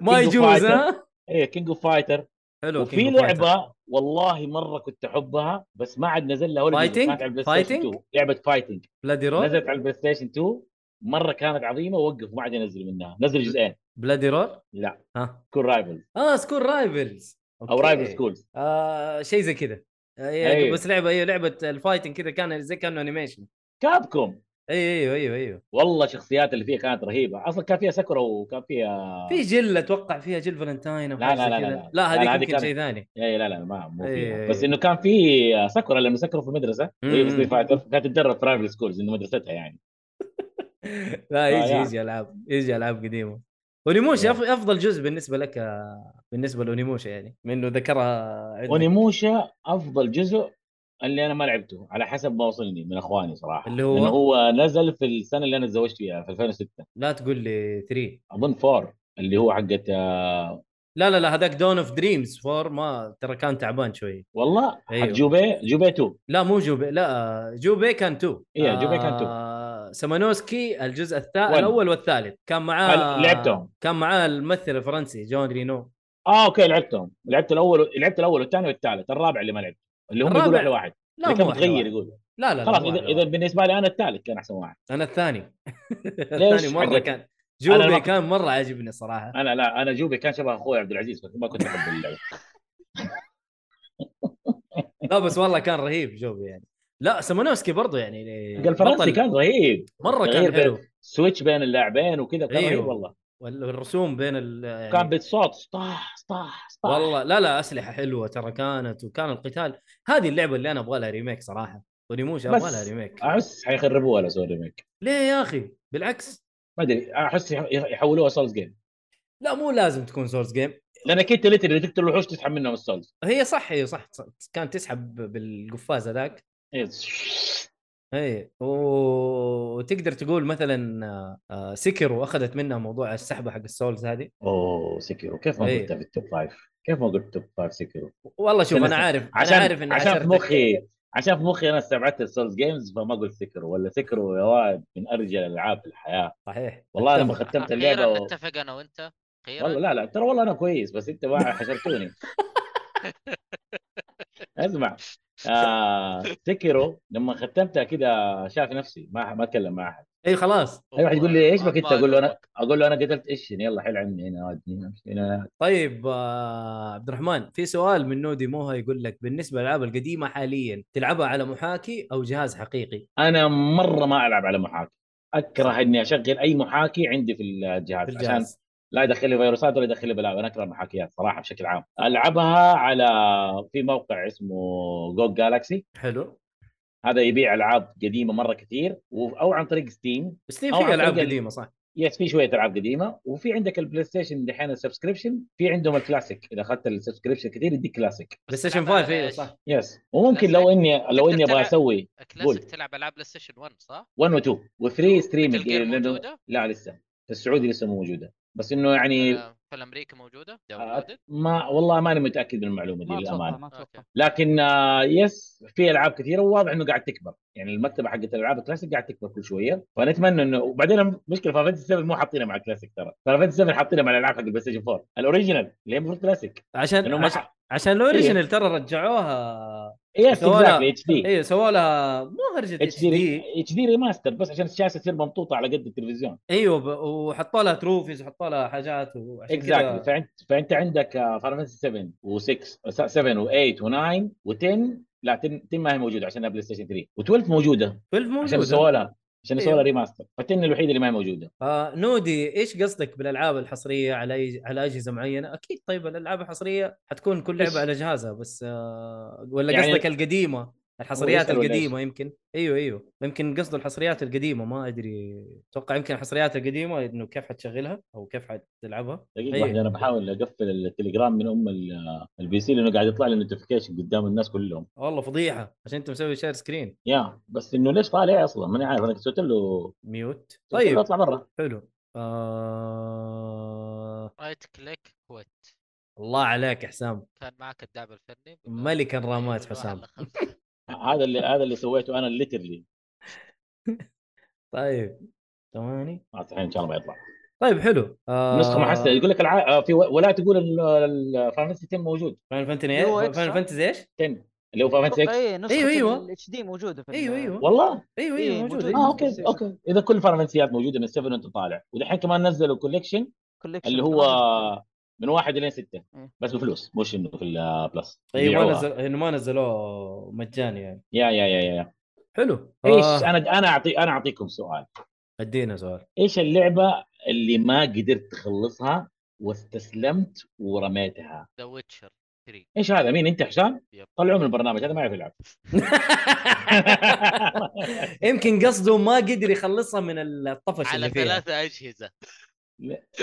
ما
King of
يجوز
Fighter.
ها
ايه كينج اوف فايتر
حلو
وفي
King of Fighter.
لعبه والله مره كنت احبها بس ما عاد نزل لها ولا جزء.
Fighting؟
كانت على البلاي ستيشن
Fighting؟
2 لعبه فايتنج
بلادي رول
نزلت على البلاي ستيشن 2 مره كانت عظيمه ووقف ما عاد ينزل منها نزل جزئين
بلادي رول
لا
ها
سكول رايفل
اه سكول رايفلز
او رايفل سكول
آه شيء زي كذا أيوة.
أيوة.
بس لعبه ايوه لعبه الفايتنج كذا كان زي كانه انيميشن
كابكم
ايوه ايوه ايوه ايوه
والله الشخصيات اللي فيها كانت رهيبه اصلا كان فيها ساكورا وكان فيها
في جل اتوقع فيها جل فالنتاين أو
آه. لا،
حاجة زي
لا، لا، لا،
كذا.
لا.
لا
لا،
هذيك
هذه
يمكن
كانت-
شيء ثاني
اي لا لا ما مو
إيه.
فيها بس انه كان في ساكورا لما سكروا في إيه، مدرسه وهي
مم.
بتصير فايتر كانت تتدرب في رايفل سكولز انه مدرستها يعني
لا يجي
يعني.
يجي العاب يجي العاب قديمه اونيموشا أف- افضل جزء بالنسبه لك آه، بالنسبه لاونيموشا يعني منه ذكرها عندك.
اونيموشا افضل جزء اللي انا ما لعبته على حسب ما وصلني من اخواني صراحه
اللي هو؟
لانه هو نزل في السنه اللي انا تزوجت فيها في 2006
لا تقول لي 3
اظن 4 اللي هو حقت آه،
لا لا لا هذاك دون اوف دريمز فور ما ترى كان تعبان شوي
والله حق
أيوه.
جوبي جوبي 2
لا مو جوبي لا جوبي كان تو
إيه، جوبي كان تو.
تو آه، سمانوسكي الجزء الثالث
ون.
الاول والثالث كان معاه
هل- لعبتهم؟
كان معاه الممثل الفرنسي جون رينو
اه اوكي لعبتهم لعبت الاول لعبت الاول والثاني والثالث الرابع اللي ما لعبته اللي هم
الرابع؟
يقولوا احلى واحد
لا
اللي كان
مو أحلى
متغير
واحد.
يقول
لا لا لا
خلاص
مو
اذا
أحلى
اذا
واحد.
بالنسبه لي انا الثالث كان احسن واحد
انا الثاني الثاني مره
حقك؟
كان جوبي
ما-
كان مره عاجبني صراحه
انا لا انا جوبي كان شبه اخوي عبد العزيز ما كنت احب اللعب
لا بس والله كان رهيب جوبي يعني لا سمانوسكي برضه يعني
الفرنسي
بطل.
كان رهيب
مره
غير
كان
بين-
حلو
سويتش بين اللاعبين وكذا كان
أيوه.
رهيب والله
والرسوم بين ال يعني
كان بالصوت طاح طاح طاح
والله لا لا اسلحه حلوه ترى كانت وكان القتال هذه اللعبه اللي انا ابغى لها ريميك صراحه ونيموشا
بس-
ابغى لها ريميك
احس حيخربوها لو سووا ريميك
ليه يا اخي بالعكس
ما ادري احس يح- يحولوها سولز جيم
لا مو لازم تكون سورس جيم
لانك انت ليتر تقتل الوحوش تسحب منهم السولز
هي صح هي صح صح. كانت تسحب بالقفاز هذاك
إيه.
اي و- وتقدر تقول مثلا آه، آه، سكرو اخذت منها موضوع السحبه حق السولز هذه
اوه سيكيرو كيف ما
إيه.
قلتها في التوب فايف كيف ما قلت توب فايف سيكيرو
والله شوف انا
عشان-
عارف
عشان
انا عارف ان
عشان في
عشرتك-
مخي عشان في مخي انا استبعدت السولز جيمز فما قلت سيكرو ولا سيكرو يا واد من ارجل العاب الحياه
صحيح
والله لما
أتفق.
ختمت اللعبه
اخيرا
و...
نتفق انا وانت اخيرا
والله لا لا ترى والله انا كويس بس انت ما حشرتوني اسمع آه سكرو لما ختمتها كذا شاف نفسي ما ما اتكلم مع احد
اي خلاص
اي واحد يقول لي ايش
ما-
بك انت
ما
اقول له انا
ألومك.
اقول له انا قتلت ايش يلا حل عني هنا ودني هنا، امشي هنا
طيب آه، عبد الرحمن في سؤال من نودي موها يقول لك بالنسبه للالعاب القديمه حاليا تلعبها على محاكي او جهاز حقيقي
انا مره ما العب على محاكي اكره اني اشغل اي محاكي عندي في الجهاز,
في
عشان
الجهاز
لا يدخل لي فيروسات ولا يدخل لي بلاوي انا اكره المحاكيات صراحه بشكل عام العبها على في موقع اسمه جو جالكسي
حلو
هذا يبيع العاب قديمه مره كثير و- او عن طريق ستيم
ستيم
أو
فيه
عن
العاب
طريق ال-
قديمه صح
يس في شويه العاب قديمه وفي عندك البلاي ستيشن دحين السبسكريبشن في عندهم الكلاسيك اذا اخذت السبسكريبشن كثير يديك كلاسيك
بلاي ستيشن 5
إيه،
ايوه صح
يس وممكن لو اني لو اني ابغى اسوي قول.
كلاسيك تلعب العاب بلاي ستيشن 1 صح؟
1 و2 و3
متل
ستريمنج
جير موجوده؟
لا لسه في السعودي لسه مو موجوده بس انه يعني
آه، في الامريكي موجوده
آه،
داونلودد
ما والله ماني متاكد من المعلومه دي
ما اتوقع
للامانه
ما اتوقع
أوكي.
لكن آه، يس في العاب كثيره وواضح انه قاعد تكبر يعني المكتبه حقت الالعاب الكلاسيك قاعد تكبر كل شويه فنتمنى انه وبعدين المشكله فاينل 7 مو حاطينها مع الكلاسيك ترى فاينل 7 حاطينها مع الالعاب حق البلاي ستيشن 4 الاوريجينال اللي هي المفروض كلاسيك
عشان
لانه ما إيه.
عش...
ح-
عشان الاوريجنال ترى رجعوها
يس
سووا لها-
اكزاكتلي اتش دي
ايوه سووا لها مو هرجه
اتش
اتش دي
دي اتش دي ريماستر بس عشان الشاشه تصير ممطوطه على قد التلفزيون
ايوه ب... وحطوا لها تروفيز وحطوا لها حاجات وعشان
اكزاكتلي
كذا
فانت فانت عندك آه، فاينل 7 و6 7 و8 و9 و10 لا 10 10 ما هي موجوده عشان بلاي ستيشن 3 و12 موجوده
12
عشان سووا
موجوده
لها عشان
أيوه.
سووا لها ريماستر ف10 الوحيده اللي ما هي موجوده
آه نودي ايش قصدك بالالعاب الحصريه على أي- على اجهزه معينه؟ اكيد طيب الالعاب الحصريه حتكون كل
بس-
لعبه على جهازها بس آه ولا
يعني-
قصدك القديمه الحصريات
يسأل ولا إيش؟
القديمه يمكن ايوه ايوه يمكن قصده الحصريات القديمه ما ادري اتوقع يمكن الحصريات القديمه انه كيف حتشغلها او كيف حتلعبها
دقيقة
أيوه.
واحدة أنا بحاول أقفل التليجرام من أم ال- البي سي لأنه قاعد يطلع لي نوتيفيكيشن قدام الناس كلهم
والله فضيحه عشان انت مسوي شير سكرين
يا بس إنه ليش طالع أصلا ماني عارف أنا سويت له
ميوت
سويت له
طيب
أطلع برا
حلو آه...
رايت كليك كويت
الله عليك يا حسام
كان معك الدعم الفني
ملك الرامات
من واحد
حسام
لخمسة.
هذا اللي هذا اللي سويته أنا ليترلي
طيب ثواني
الحين إن شاء الله ما يطلع
طيب حلو آه...
نسخة محسنة يقول لك الع... آه، في و- ولا تقول الفانتسي 10 موجود
فاين
اللي
فانتزي
هو إكس،
فاين
صح؟
فانتزي ايش؟
10 اللي هو فانتسي 6
اي نسخه
أيوة، أيوة.
الاتش دي موجوده في إيه، ال-
ايوه ايوه
والله آه،
ايوه ايوه
إيه،
موجود
موجود.
أيوه.
اه اوكي اوكي اذا كل الفارماسيات موجوده من 7 وانت طالع ودحين كمان نزلوا كوليكشن
collection
اللي
كمان.
هو من واحد الين سته
إيه.
بس بفلوس مش انه في البلس
طيب ما
يبيعوها.
نزل انه ما نزلوه مجاني يعني
يا يا يا يا- يا
حلو
ايش
آه،
انا انا اعطي انا اعطيكم سؤال
ادينا سؤال
ايش اللعبه اللي ما قدرت تخلصها واستسلمت ورميتها
ذا ويتشر 3
ايش هذا مين انت حسام
يب.
طلعوا من البرنامج هذا ما يعرف يلعب
يمكن قصده ما قدر يخلصها من الطفش
على
اللي فيها
ثلاثة أجهزة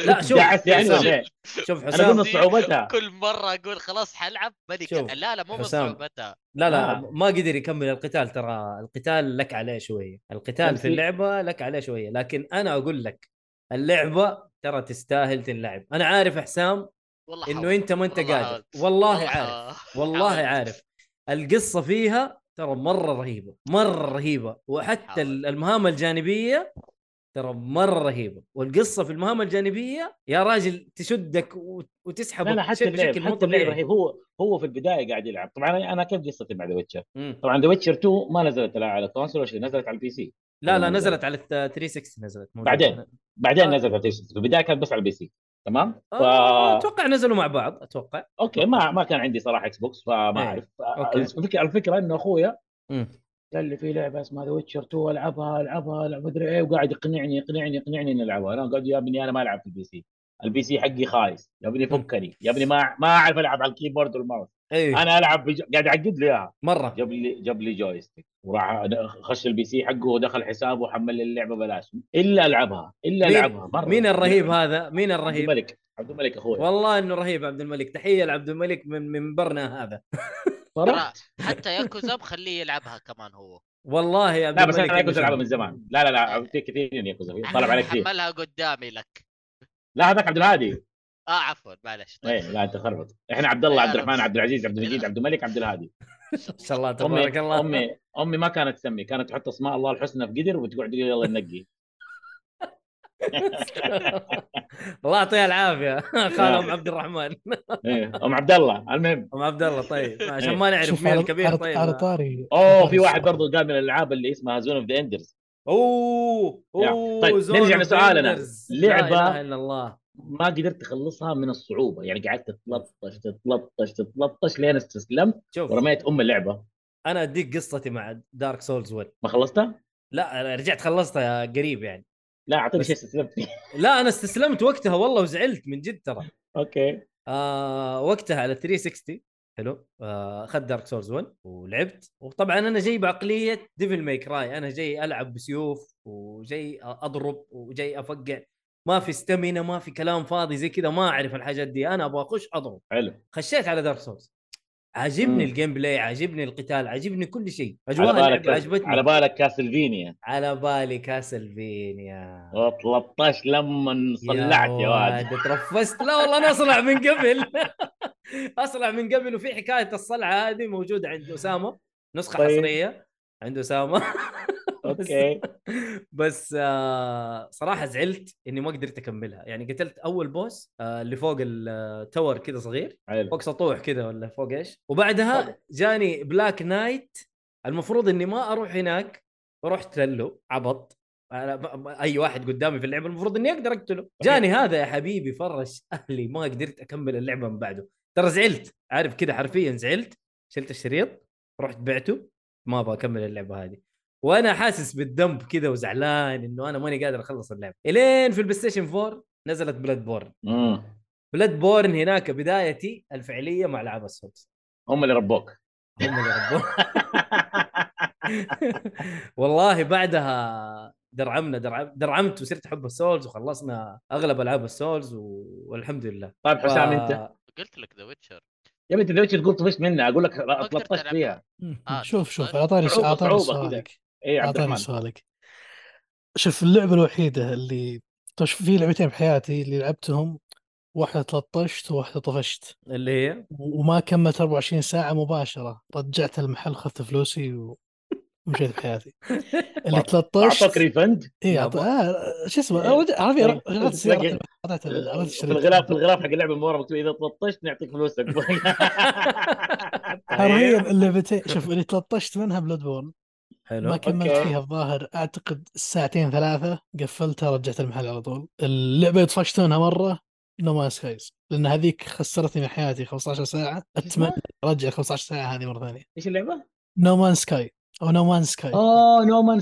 لا شوف
دعست يعني ولا
حسام
إيه؟
شوف
انا قلنا
حسام
صعوبتها
كل مرة أقول خلاص حلعب ملك
شوف،
لا لا مو من
حسام.
صعوبتها
لا لا
آه.
ما قدر يكمل القتال ترى القتال لك عليه شويه القتال
تمثيل.
في اللعبه لك عليه شويه لكن انا اقول لك اللعبه ترى تستاهل تنلعب انا عارف يا حسام
والله
انه
حاولت.
انت ما انت
والله
قادر
حاولت.
والله عارف
حاولت.
والله
حاولت.
عارف القصه فيها ترى مره رهيبه مره رهيبه وحتى
حاول.
ال- المهام الجانبيه ترى مره رهيبه والقصه في المهام الجانبيه يا راجل تشدك وت- وتسحبك
لا لا حتى
بشكل-
اللعب
بشكل مو
حتى اللعب
طبيعي.
رهيب هو هو في البدايه قاعد يلعب طبعا أنا- انا كيف قصتي مع ذا ويتشر؟
مم.
طبعا ذا ويتشر 2 ما نزلت لا على كونسول ولا شيء نزلت على البي سي
لا لا نزلت على الت- 360 نزلت موجودة.
بعدين. بعدين
آه.
نزلت على البلاي ستيشن. في البدايه كانت بس على البي سي تمام؟ ف...
آه، اتوقع نزلوا مع بعض اتوقع
اوكي ما ما كان عندي صراحه اكس بوكس فما
إيه.
اعرف
أوكي.
الفكره الفكره انه اخويا
مم.
قال لي في لعبه اسمها ذا ويتشر 2 العبها العبها العب مدري ايه وقاعد يقنعني يقنعني يقنعني اني العبها انا قاعد يا ابني انا ما العب في البي سي البي سي حقي خايس يا ابني فكني يا ابني ما ما اعرف العب على الكيبورد والماوس
ايوه
انا العب بج... قاعد اعقد لي اياها
مره
جاب لي جاب لي جويستيك وراح خش البي سي حقه ودخل حسابه وحمل لي اللعبه بلاش الا العبها الا
مين-
العبها مره
مين الرهيب هذا مين
عبد
الرهيب
الملك عبد الملك اخوي
والله انه رهيب عبد الملك تحيه لعبد الملك من منبرنا هذا
صراحه
حتى ياكوزا بخليه يلعبها كمان هو
والله يا عبد
لا بس
الملك
انا كنت
يمشي.
العبها من زمان لا لا لا في كثير يا كوزا طلب عليك كثير
حملها قدامي لك
لا هذاك عبد الهادي
اه عفوا معلش
ايه لا انت خربت احنا عبد الله
لا،
عبد الرحمن
بس-
عبد العزيز عبد المجيد عبد الملك عبد الهادي
ان شاء الله
امي
تبارك الله
امي امي ما كانت تسمي كانت تحط اسماء الله الحسنى في قدر وتقعد تقول يلا ننقي
الله يعطيها العافيه خال ام عبد الرحمن
إيه، ام عبد الله المهم
ام عبد الله طيب عشان
إيه.
ما نعرف
شوف
مين
على-
الكبير
على-
طيب
على طاري
اوه في
طاري
واحد
الصراحة.
برضه قال من الالعاب اللي اسمها زون اوف ذا اندرز
اوه
يا.
اوه
طيب،
زون
نرجع
أوف
لسؤالنا.
بيندرز.
لعبة-
لا اله الا الله
ما قدرت اخلصها من الصعوبه يعني قعدت تتلطش تتلطش تتلطش لين استسلمت
شوف
ورميت ام اللعبه
انا اديك قصتي مع دارك سولز 1
ما خلصتها؟
لا أنا رجعت خلصتها قريب يعني
لا اعطيني
بس-
شيء استسلمت فيه
لا انا استسلمت وقتها والله وزعلت من جد ترى
اوكي
آه وقتها على 360 حلو آه، اخذت دارك سورز 1 ولعبت وطبعا انا جاي بعقليه ديفل ماي كراي انا جاي العب بسيوف وجاي اضرب وجاي افقع ما في استمينة ما في كلام فاضي زي كذا ما اعرف الحاجات دي انا ابغى اخش اضرب
حلو
خشيت على دارك سورز عاجبني
مم.
الجيم بلاي عاجبني القتال عاجبني كل شيء اجواء
على بالك
اللعبه
كاس...
عجبتني
على بالك كاسلفينيا
على بالي كاسلفينيا
13 لما صلعت يا واد
ترفست لا والله انا اصلع من قبل اصلع من قبل وفي حكايه الصلعه هذه موجوده عند اسامه نسخه
طيب.
حصريه عند اسامه
اوكي
بس آه صراحه زعلت اني ما قدرت اكملها يعني قتلت اول بوس آه اللي فوق التور كذا صغير
حلو
فوق سطوح كذا ولا فوق ايش وبعدها جاني بلاك نايت المفروض اني ما اروح هناك ورحت له عبط أنا ب- ب- اي واحد قدامي في اللعبه المفروض اني اقدر اقتله جاني هذا يا حبيبي فرش اهلي ما قدرت اكمل اللعبه من بعده ترى زعلت عارف كذا حرفيا زعلت شلت الشريط رحت بعته ما ابغى اكمل اللعبه هذه وانا حاسس بالذنب كذا وزعلان انه انا ماني قادر اخلص اللعبه الين في البلاي ستيشن 4 نزلت بلاد بورن
مم.
بلاد بورن هناك بدايتي الفعليه مع العاب السولز
هم اللي ربوك
هم اللي ربونا والله بعدها درعمنا درعم درعمت وصرت احب السولز وخلصنا اغلب العاب السولز و... والحمد لله
طيب
ف-
حسام انت
قلت لك ذا ويتشر
يا ابني انت ليش تقول طفشت منها اقول لك
أقدر
13 فيها
آه،
شوف شوف
تفضل.
اعطاني
صعوبة-
اعطاني
صعوبة كذا.
سؤالك
اي عبد
اعطاني
الرحمن
سؤالك شوف اللعبه الوحيده اللي طيب شوف في لعبتين بحياتي اللي لعبتهم واحده تلطشت وواحده طفشت
اللي هي
و- وما كملت 24 ساعه مباشره رجعت المحل خذت فلوسي ومشيت بحياتي اللي
اعطوك
تلطشت
ريفند
اي
يا
عط-
أبو.
آه، شو اسمه
إيه.
أول- عرفي
إيه.
رحت السيارة
تلاقي-
عرفت ال- عرفت
في
الشريط.
الغلاف في الغلاف حق اللعبه من ورا مكتوب اذا تلطشت نعطيك فلوسك طيب.
حرفيا اللعبتين شوف اللي تلطشت منها بلاد بورن
حلو
ما كملت
أوكي.
فيها الظاهر اعتقد ساعتين ثلاثه قفلتها رجعت المحل على طول اللعبه اللي طفشت منها مره نو مان سكايز لان هذيك خسرتني من حياتي 15 ساعه اتمنى ارجع 15 ساعه هذه مره ثانيه
ايش اللعبه؟
نو مان سكاي او نو مان سكاي
اوه نو مان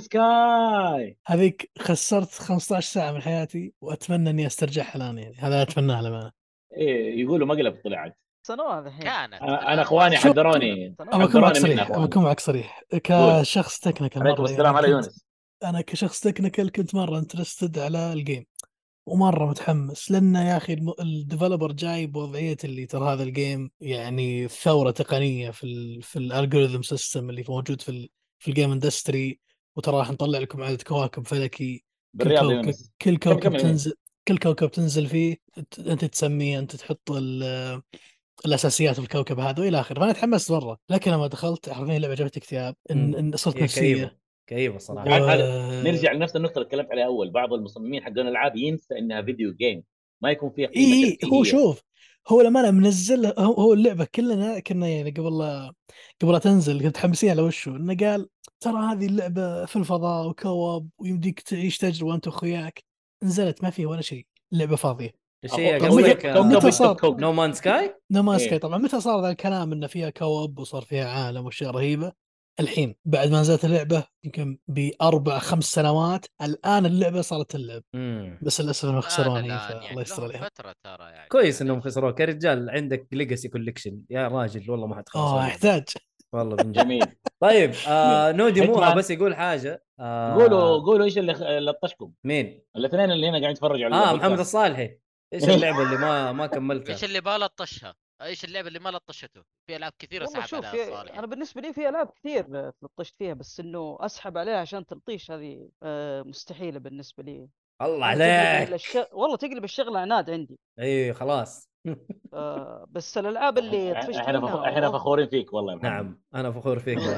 سكاي
هذيك خسرت 15 ساعه من حياتي واتمنى اني استرجعها الان يعني هذا اتمناه للامانه
إيه، يقولوا مقلب طلعت آه،
سنوات الحين
كانت
أنا- انا اخواني
شو-
حذروني
ابى
سنوات
اكون معك
حذروني منها
صريح
أخوان.
ابى اكون معك صريح
قول.
كشخص تكنيكال
عليكم
مرة
السلام
يعني
على
كنت-
يونس
انا كشخص تكنيكال كنت مره انترستد على الجيم ومره متحمس لان يا اخي الم- الديفلوبر جاي بوضعيه اللي ترى هذا الجيم يعني ثوره تقنيه في ال في الالجوريثم سيستم اللي موجود في ال في الجيم اندستري وترى راح نطلع لكم عدد كواكب فلكي كل
بالرياض
كوكب
يونس
كل كوكب
كمل.
تنزل كل كوكب تنزل فيه أنت- انت تسميه انت تحط ال- الاساسيات في الكوكب هذا والى اخره فانا تحمست مره لكن لما دخلت حرفيا اللعبه جابت اكتئاب
مم.
ان, إن صرت
هي
نفسيه
كئيبه كئيبه
و-
صراحه
عاد- نرجع لنفس النقطه اللي تكلمت عليها اول بعض المصممين حق الالعاب ينسى انها فيديو جيم ما يكون فيها قيمه
اي إي، إيه،
ترفيهية.
هو شوف هو لما انا منزل هو, هو اللعبه كلنا كنا يعني قبل لا قبل لا تنزل كنت حمسين على وشه انه قال ترى هذه اللعبه في الفضاء وكواب ويمديك تعيش تجربه انت واخوياك نزلت ما فيها ولا شيء اللعبه فاضيه
الشيء
أقول لك
قصدك
كوكب
متى صار؟
يكتب كوكب.
نو مان سكاي
نو مان
إيه.
سكاي طبعا متى صار ذا الكلام انه فيها كواب وصار فيها عالم واشياء رهيبه الحين بعد ما نزلت اللعبه يمكن باربع خمس سنوات الان اللعبه صارت تلعب بس للاسف انهم خسروها هي
الآن يعني
فالله يستر
لهم
عليهم
فتره ترى يعني
كويس انهم
معليش.
خسروك يا رجال عندك ليجاسي كوليكشن يا راجل والله ما حد خلص
اه
عليك.
يحتاج
والله من جد
جميل
طيب آه نودي موها
حكمان.
بس يقول حاجه آه
قولوا قولوا ايش اللي اللي لطشكم
مين
الاثنين اللي هنا قاعد يتفرجوا على
اه
البودكاست.
محمد الصالحي ايش اللعبه اللي ما ما كملتها
ايش اللي ما لطشها؟ ايش اللعبه اللي ما لطشته؟ في العاب كثيره
والله
سحب
شوف
عليها
في-
الصالح
انا بالنسبه لي في العاب كثير تلطشت فيها بس انه اسحب عليها عشان تلطيش هذه آه، مستحيله بالنسبه لي يعني
الله
تقلب
عليك
الش- والله تقلب الشغله عناد عندي
اي خلاص
آه، بس الالعاب اللي طفشت
احنا فخ-
منها
احنا
والله-
فخورين فيك والله يا محمد.
نعم انا فخور فيك يا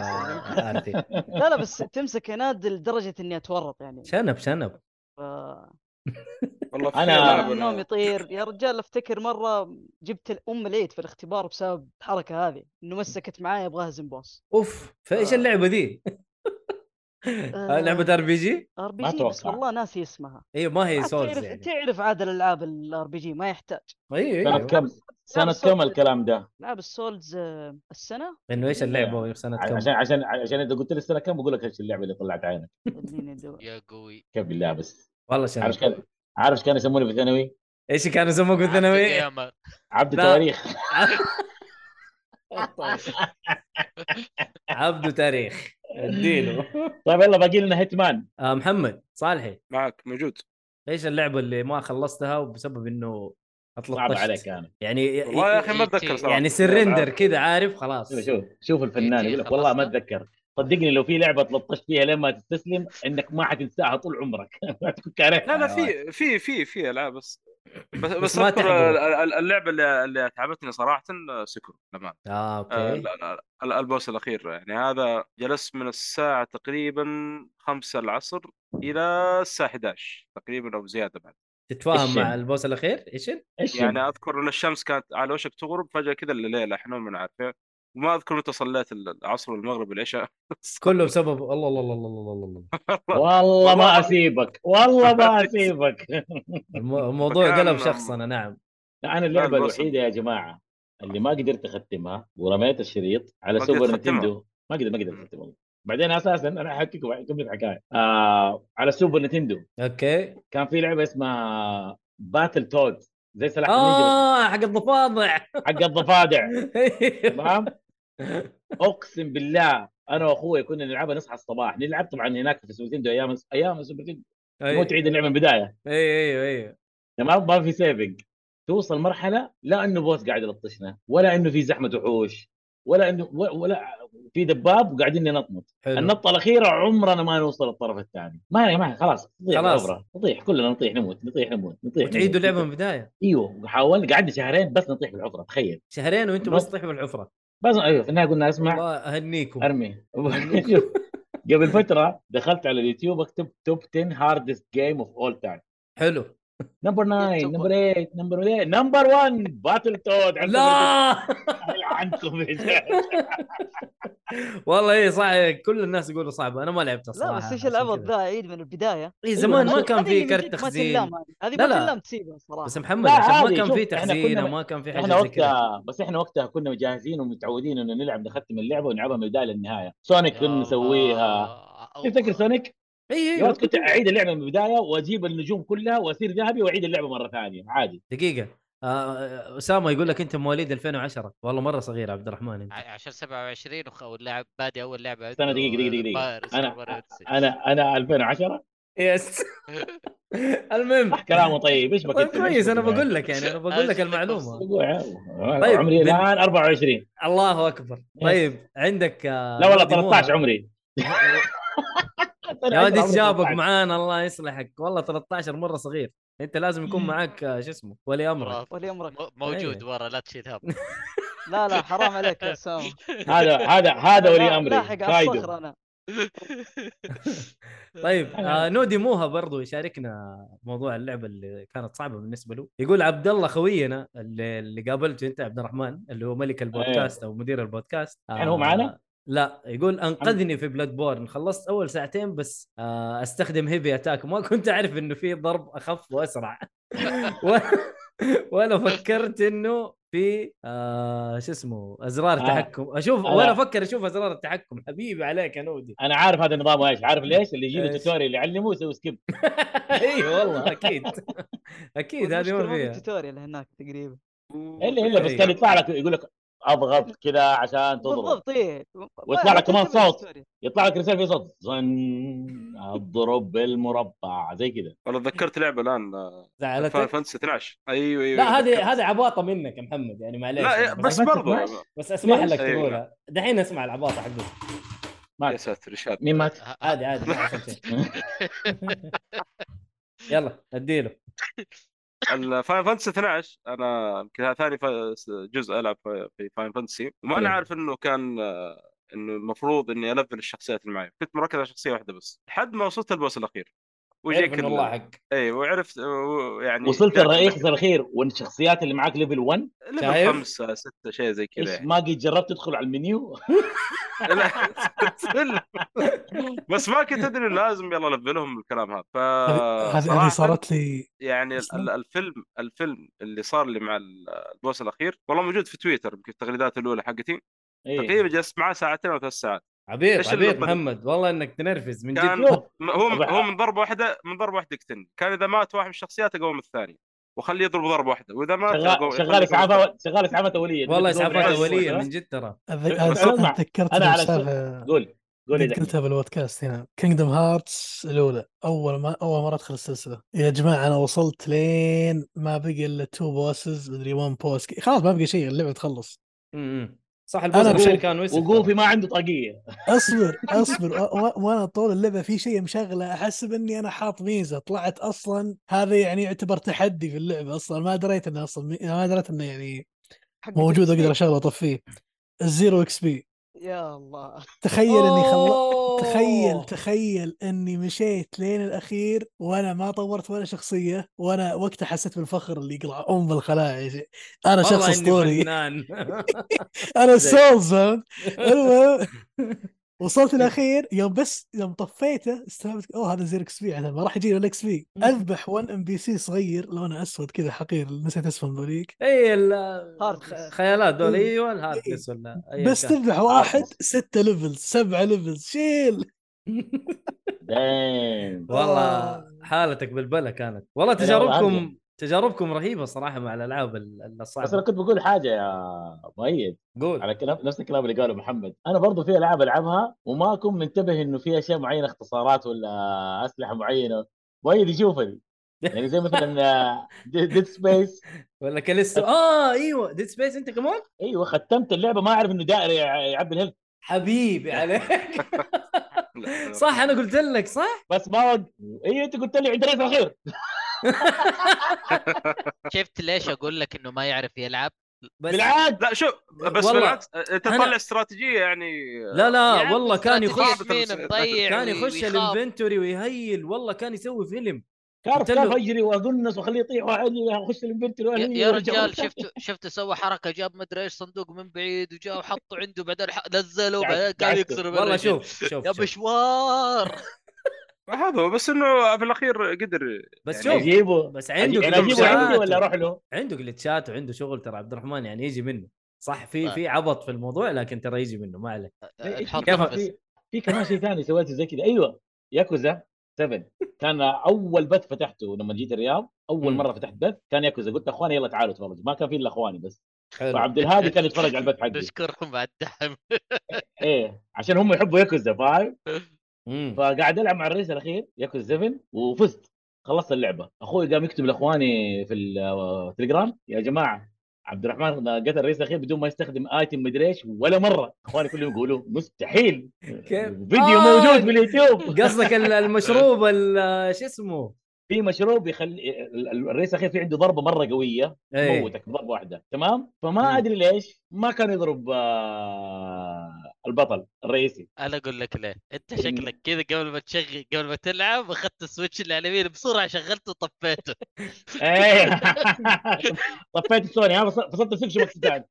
عارفي
لا لا بس تمسك عناد لدرجه اني اتورط يعني
شنب شنب
ف-
والله في
أنا-
ألعاب
النوم
أنا-
يطير يا رجال افتكر مره جبت الام العيد في الاختبار بسبب الحركه هذه انه مسكت معايا ابغى اهزم بوس
اوف فايش
آه.
اللعبه ذي؟ آه، لعبه ار بي جي؟
ار بي
ما
جي بس
أتوقع.
والله ناسي اسمها
اي ما هي
عاد
سولز
آه، تعرف
يعني
تعرف عاد الالعاب الار بي جي ما يحتاج
اي
سنه
اي
كم سنه كم الكلام ده
العاب السولز آه، السنه
انه ايش اللعبه وسنه كم؟
إيه. عشان عشان عشان اذا قلت لي السنه كم بقول لك ايش اللعبه اللي طلعت عينك
خليني ادور
يا قوي
كيف بالله بس
والله
عارف إيش
شنب
كان عارف إيش كانوا يسموني في الثانوي
ايش كان يسموك بالثانوي؟
عبد
عبد
لا.
التواريخ
عبده تاريخ اديله
طيب يلا باقي لنا هيتمان
آه محمد صالحي
معك موجود
ايش اللعبه اللي ما خلصتها وبسبب انه
صعب
اطلطشت
عليك انا
يعني
والله آه. يا اخي ما
إي تي.
اتذكر صراحه
يعني سرندر كذا عارف خلاص
شوف شوف, شوف الفنان يقول لك والله ما اتذكر صدقني لو في لعبه تلطشت فيها لين ما تستسلم انك ما حتنساها طول عمرك تكون كاره
لا لا في في في في العاب بس بس, بس
آه، ما
اذكر
تحضر.
ال- ال- اللعبه اللي, اللي تعبتني صراحه سكر للامانه
اه
آه،
اوكي
ال- ال- ال- البوس الاخير يعني هذا جلست من الساعه تقريبا 5 العصر الى الساعه 11 تقريبا او زياده بعد
تتفاهم مع
إيشن.
البوس الاخير ايش
ايش
يعني اذكر ان الشمس كانت على وشك تغرب فجاه كذا الليل احنا ما نعرف وما اذكر متى صليت العصر والمغرب والعشاء
كله بسبب الله الله الله الله الله الله
والله ما اسيبك والله ما اسيبك
الم- الموضوع
فكان-
قلب شخصنا نعم
لا انا اللعبه
البوس.
الوحيده يا جماعه اللي ما قدرت اختمها ورميت الشريط على
ما قدرت
سوبر
تختمها.
نتندو ما قدرت ما قدرت اختمها بعدين اساسا انا احكيك اكمل الحكايه آه على سوبر نتندو
اوكي
كان في لعبه اسمها باتل تود زي سلاح النينجا
اه حق الضفادع
بس حق الضفادع تمام اقسم بالله انا واخوي كنا نلعبها نصحى الصباح نلعب طبعا هناك في سوبر نتندو ايام ايام سوبر نتندو مو تعيد اللعبه من البدايه
ايوه ايوه
تمام ما في سيفنج توصل مرحله لا انه بوس قاعد يلطشنا ولا انه في زحمه وحوش ولا انه و- ولا في دباب وقاعدين ننطمط
حلو
النطه الاخيره عمرنا ما نوصل الطرف الثاني ما ما خلاص تطيح
خلاص.
خلاص نطيح كلنا نطيح نموت نطيح نموت نطيح
وتعيدوا
نموت.
اللعبه من البدايه
ايوه حاولنا قعدنا شهرين بس نطيح بالعطره تخيل
شهرين وانتم بس تطيحوا بالحفره
بس ايوه في النهايه قلنا اسمع
الله اهنيكم
ارمي شوف، قبل فتره دخلت على اليوتيوب اكتب توب 10 هاردست جيم اوف اول تايم
حلو
نمبر 9
توب
نمبر 8 نمبر 8 نمبر 1 باتل تود
لا
عنكم
والله ايه صح كل الناس يقولوا صعبه انا ما لعبتها
لا
الصراحه
بس ايش
عشان
العبط
كذا.
ذا عيد من البدايه
إيه زمان ما
هذه-
كان
هذه
في
من
كرت
جد ما
تخزين
تنلام هذه هذه
لا،
ما
لا.
تنلام تسيبها صراحه
بس محمد
طيب. لا،
عشان ما
عادي،
كان
شوف،
في
إحنا
تخزين
كنا-
أو ما كان في حاجه
احنا
زي كذا
وقتها بس احنا وقتها كنا جاهزين ومتعودين انه نلعب نختم اللعبه ونلعبها من البدايه للنهايه سونيك كنا نسويها إيه، تفتكر سونيك؟
اي
يا
اي
ولد كنت اعيد اللعبه من البدايه واجيب النجوم كلها واصير ذهبي واعيد اللعبه مره ثانيه عادي
دقيقه آه، اسامه يقول لك انت مواليد 2010 والله مره صغير عبد الرحمن انت
عشان 27 وخ- واللاعب بادي اول لعبه
استنى
عنده
دقيقة- دقيقة- دقيقة.
باير اسمه باير
انا
أوديسي.
انا انا 2010
يس المهم
كلامه طيب ايش بك
طيب
أنت؟
كويس انا
مشغول
بقول لك يعني انا بقول لك
أجل
المعلومه طيب،
طيب عمري
من-
الان 24
الله اكبر طيب عندك
لا والله 13 عمري
يا ولد ايش جابك معانا الله يصلحك والله 13 مره صغير انت لازم يكون معاك آه، شو اسمه ولي امرك
خرافي.
ولي امرك
مو- موجود
إيه.
أيوة.
ورا لا تشيل هم
لا لا حرام عليك يا اسامه
هذا هذا هذا
لا،
ولي امري
لاحق على
كايدو
الصخره انا
طيب آه نودي موها برضو يشاركنا موضوع اللعبه اللي كانت صعبه بالنسبه له يقول عبد الله خوينا اللي, اللي قابلته انت عبد الرحمن اللي هو ملك البودكاست او مدير البودكاست آه
يعني إيه. هو معانا؟
لا يقول انقذني في بلاد بورن خلصت اول ساعتين بس آه استخدم هيفي اتاك ما كنت اعرف انه في ضرب اخف واسرع و... ولا فكرت انه في آه شو اسمه ازرار
آه.
تحكم اشوف
أنا-
ولا افكر اشوف ازرار التحكم حبيبي عليك يا نودي
انا عارف هذا النظام ايش عارف ليش اللي يجي له
إيش؟
توتوريال يعلمه يسوي سكيب
اي والله اكيد اكيد هذه ما
والمشكلة مو في
فيها
التوتوريال هناك تقريبا
الا الا بس كان يطلع لك يقول لك اضغط كذا عشان تضرب
بالضبط ايه
ويطلع لك كمان
ما تعتمد
صوت.
التوتوريال.
يطلع لك رساله في صوت زن اضرب بالمربع زي كذا
والله تذكرت لعبه الان فاينل
زعلتك
آه، فانتسي 12 ايوه ايوه
لا
تذكرت.
هذه هذه عباطه منك يا محمد يعني معليش
لا يا-
يعني
بس
بس
برضو
ماشي.
بس اسمح
ليش؟
لك
أيوة.
تقولها دحين اسمع العباطه حقتك
يا
مات
ساتر ايش هذا
مين مات؟
عادي عادي ما حصل شيء يلا اديله
فاين فانتسي 12 انا يمكن هذا ثاني فا- جزء العب في- في فاين فانتسي وما انا
حلو.
عارف انه كان آه، انه المفروض اني الفل الشخصيات اللي معي كنت مركز على شخصيه واحده بس لحد ما وصلت البوس الاخير
عرف
ويجيك
إنه
ال-
الله حق
اي وعرفت و- يعني
وصلت
جاك-
الرئيس الاخير والشخصيات اللي معاك ليفل 1
ليفل
شايف؟
خمسة ستة شيء زي كذا
ايش
يعني
ما قد جربت تدخل على المنيو
لا، تسلم. بس ما كنت ادري إنه لازم يلا لفلهم الكلام هذا
آه،
هذه-
ف
هذه
صراحة-
صارت لي
يعني ال- ال-
أصلاً؟
الفيلم الفيلم اللي صار لي مع ال- البوس الاخير والله موجود في تويتر يمكن التغريدات الاولى حقتي
إيه.
تقريبا جلست معاه ساعتين او ثلاث ساعات
عبيط
إيش
عبيط
اللي-
محمد والله انك تنرفز من
كان-
جد
شوف
م- هو
طبعاً.
هو من ضربه واحده من ضربه واحده يقتلني كان اذا مات واحد من الشخصيات اقوم الثاني واخليه يضرب ضربه واحده واذا مات
شغال
أقوم-
شغال
أخليه يقوم الثاني.
اسعافات شغال اسعافات اوليه
والله
تقول
اسعافات
بالعكس.
اوليه من جد ترى
أتذ-
بس
أت-
اسمع،
اتذكرت
أنا على
الاستاذ
قول قول
قد
إذا
قلتها بالبودكاست هنا كينجدم هارتس الاولى اول ما اول مره ادخل السلسله يا جماعه انا وصلت لين ما بقي الا تو بوسز مدري 1 بوس خلاص ما بقي شيء اللعبه تخلص
امم صح البوس الأخير كان وسخ
وقوفي
ترى.
ما عنده طاقيه
اصبر اصبر و- و- وانا طول اللعبه في شيء مشغله احسب اني انا حاط ميزه طلعت اصلا هذا يعني يعتبر تحدي في اللعبه اصلا ما دريت انه اصلا مي- ما دريت انه يعني
حق
موجود
جبت
اقدر
فيه.
اشغله واطفيه الزيرو اكس بي
يا الله
تخيل اني خلصت
أوه.
تخيل تخيل اني مشيت لين الاخير وانا ما طورت ولا شخصيه وانا وقتها حسيت بالفخر اللي يقلع ام الخلايا يا شيخ. انا
والله
شخص
إني
اسطوري
فنان
انا
زي.
سولز فهمت المهم وصلت الاخير يوم بس يوم طفيته استوعبت اوه هذا زير اكس بي يعني ما راح يجيني الا اكس بي اذبح 1 ام بي سي صغير لونه اسود كذا حقير نسيت اسمه ذوليك
اي ال-
هاردنس.
خيالات دول
إيه.
ايوه الهاردنس ولا أيا
بس
أيوة، كان.
تذبح واحد ستة ليفلز سبعة ليفلز شيل
دايم
والله
آه.
حالتك بالبلا كانت والله
أنا إيه، والله
تجاربكم تجاربكم رهيبه صراحه مع الالعاب ال-
بس انا
الصعبه
كنت بقول حاجه يا مؤيد
قول
على كلام نفس الكلام اللي قاله محمد انا برضو في العاب العبها وما اكون منتبه انه في اشياء معينه اختصارات ولا اسلحه معينه مؤيد يشوفني يعني زي مثلا ديد سبيس
ولا كاليستو اه ايوه ديد سبيس انت كمان
ايوه ختمت اللعبه ما اعرف انه دائري يعبي الهيلث
حبيبي عليك صح انا قلت لك صح
بس ما وقت ايوه انت قلت لي عند رئيس الاخير
شفت ليش اقول لك انه ما يعرف يلعب؟
بس
بالعكس
لا شوف بس
والله.
بالعكس انت
أنا-
تطلع استراتيجيه يعني
لا
يا
لا
عم
آه، والله كان
استراتيجية
يخش
يخاف
مين
بترس-
مضيع
كان
وي-
يخش
يعني ويخاف.
الانفنتوري ويهيل والله كان يسوي فيلم
كارف
قلت له-
كارف اجري واقنص واخليه يطيح واعلي اخش الانفنتوري
يا- يا رجال شفت شفت سوى حركه جاب مدري ايش صندوق من بعيد وجاء وحطه عنده بعدين ح- نزله بعدين قاعد
دعسته.
يكسر
والله
بالرجل.
شوف شوف,
يا
شوف.
مشوار
هذا هو، بس انه في الاخير قدر
بس
يعني
شوف
اجيبه
بس عنده
يعني اجيبه عندي
جلتشات
ولا اروح له؟
عنده جلتشات وعنده شغل ترى عبد الرحمن يعني يجي منه صح في
طيب.
في عبط في الموضوع لكن ترى يجي منه ما عليه
نحط
كيف-
بس
في في كمان شيء ثاني سويته زي كذا ايوه ياكوزا 7 كان اول بث فتحته لما جيت الرياض اول
مم.
مره فتحت بث كان ياكوزا قلت اخواني يلا تعالوا تفرجوا ما كان في الا اخواني بس
حلو
فعبد الهادي كان يتفرج على البث حقي
نشكرهم على إيه. الدعم
ايه عشان هم يحبوا ياكوزا فاهم
مم.
فقاعد العب مع الرئيس الاخير ياكوزا 7 وفزت خلصت اللعبه اخوي قام يكتب لاخواني في التليجرام يا جماعه عبد الرحمن قتل الرئيس الاخير بدون ما يستخدم ايتم مدري ايش ولا مره اخواني كلهم يقولوا مستحيل
كيف؟
فيديو
آه،
موجود في اليوتيوب
قصدك ال- المشروب ال- شو اسمه؟
في مشروب يخلي ال- ال- الرئيس الاخير في عنده ضربه مره قويه
إيه.
تموتك بضربه واحده تمام فما
مم.
ادري ليش ما كان يضرب آه، البطل الرئيسي
انا اقول لك ليه انت
إن-
شكلك كذا قبل ما تشغل قبل ما تلعب اخذت السويتش اللي على اليمين بسرعه شغلته وطفيته
إيه. طفيت السوني ها فص- فصلت السلك شبكه ثاني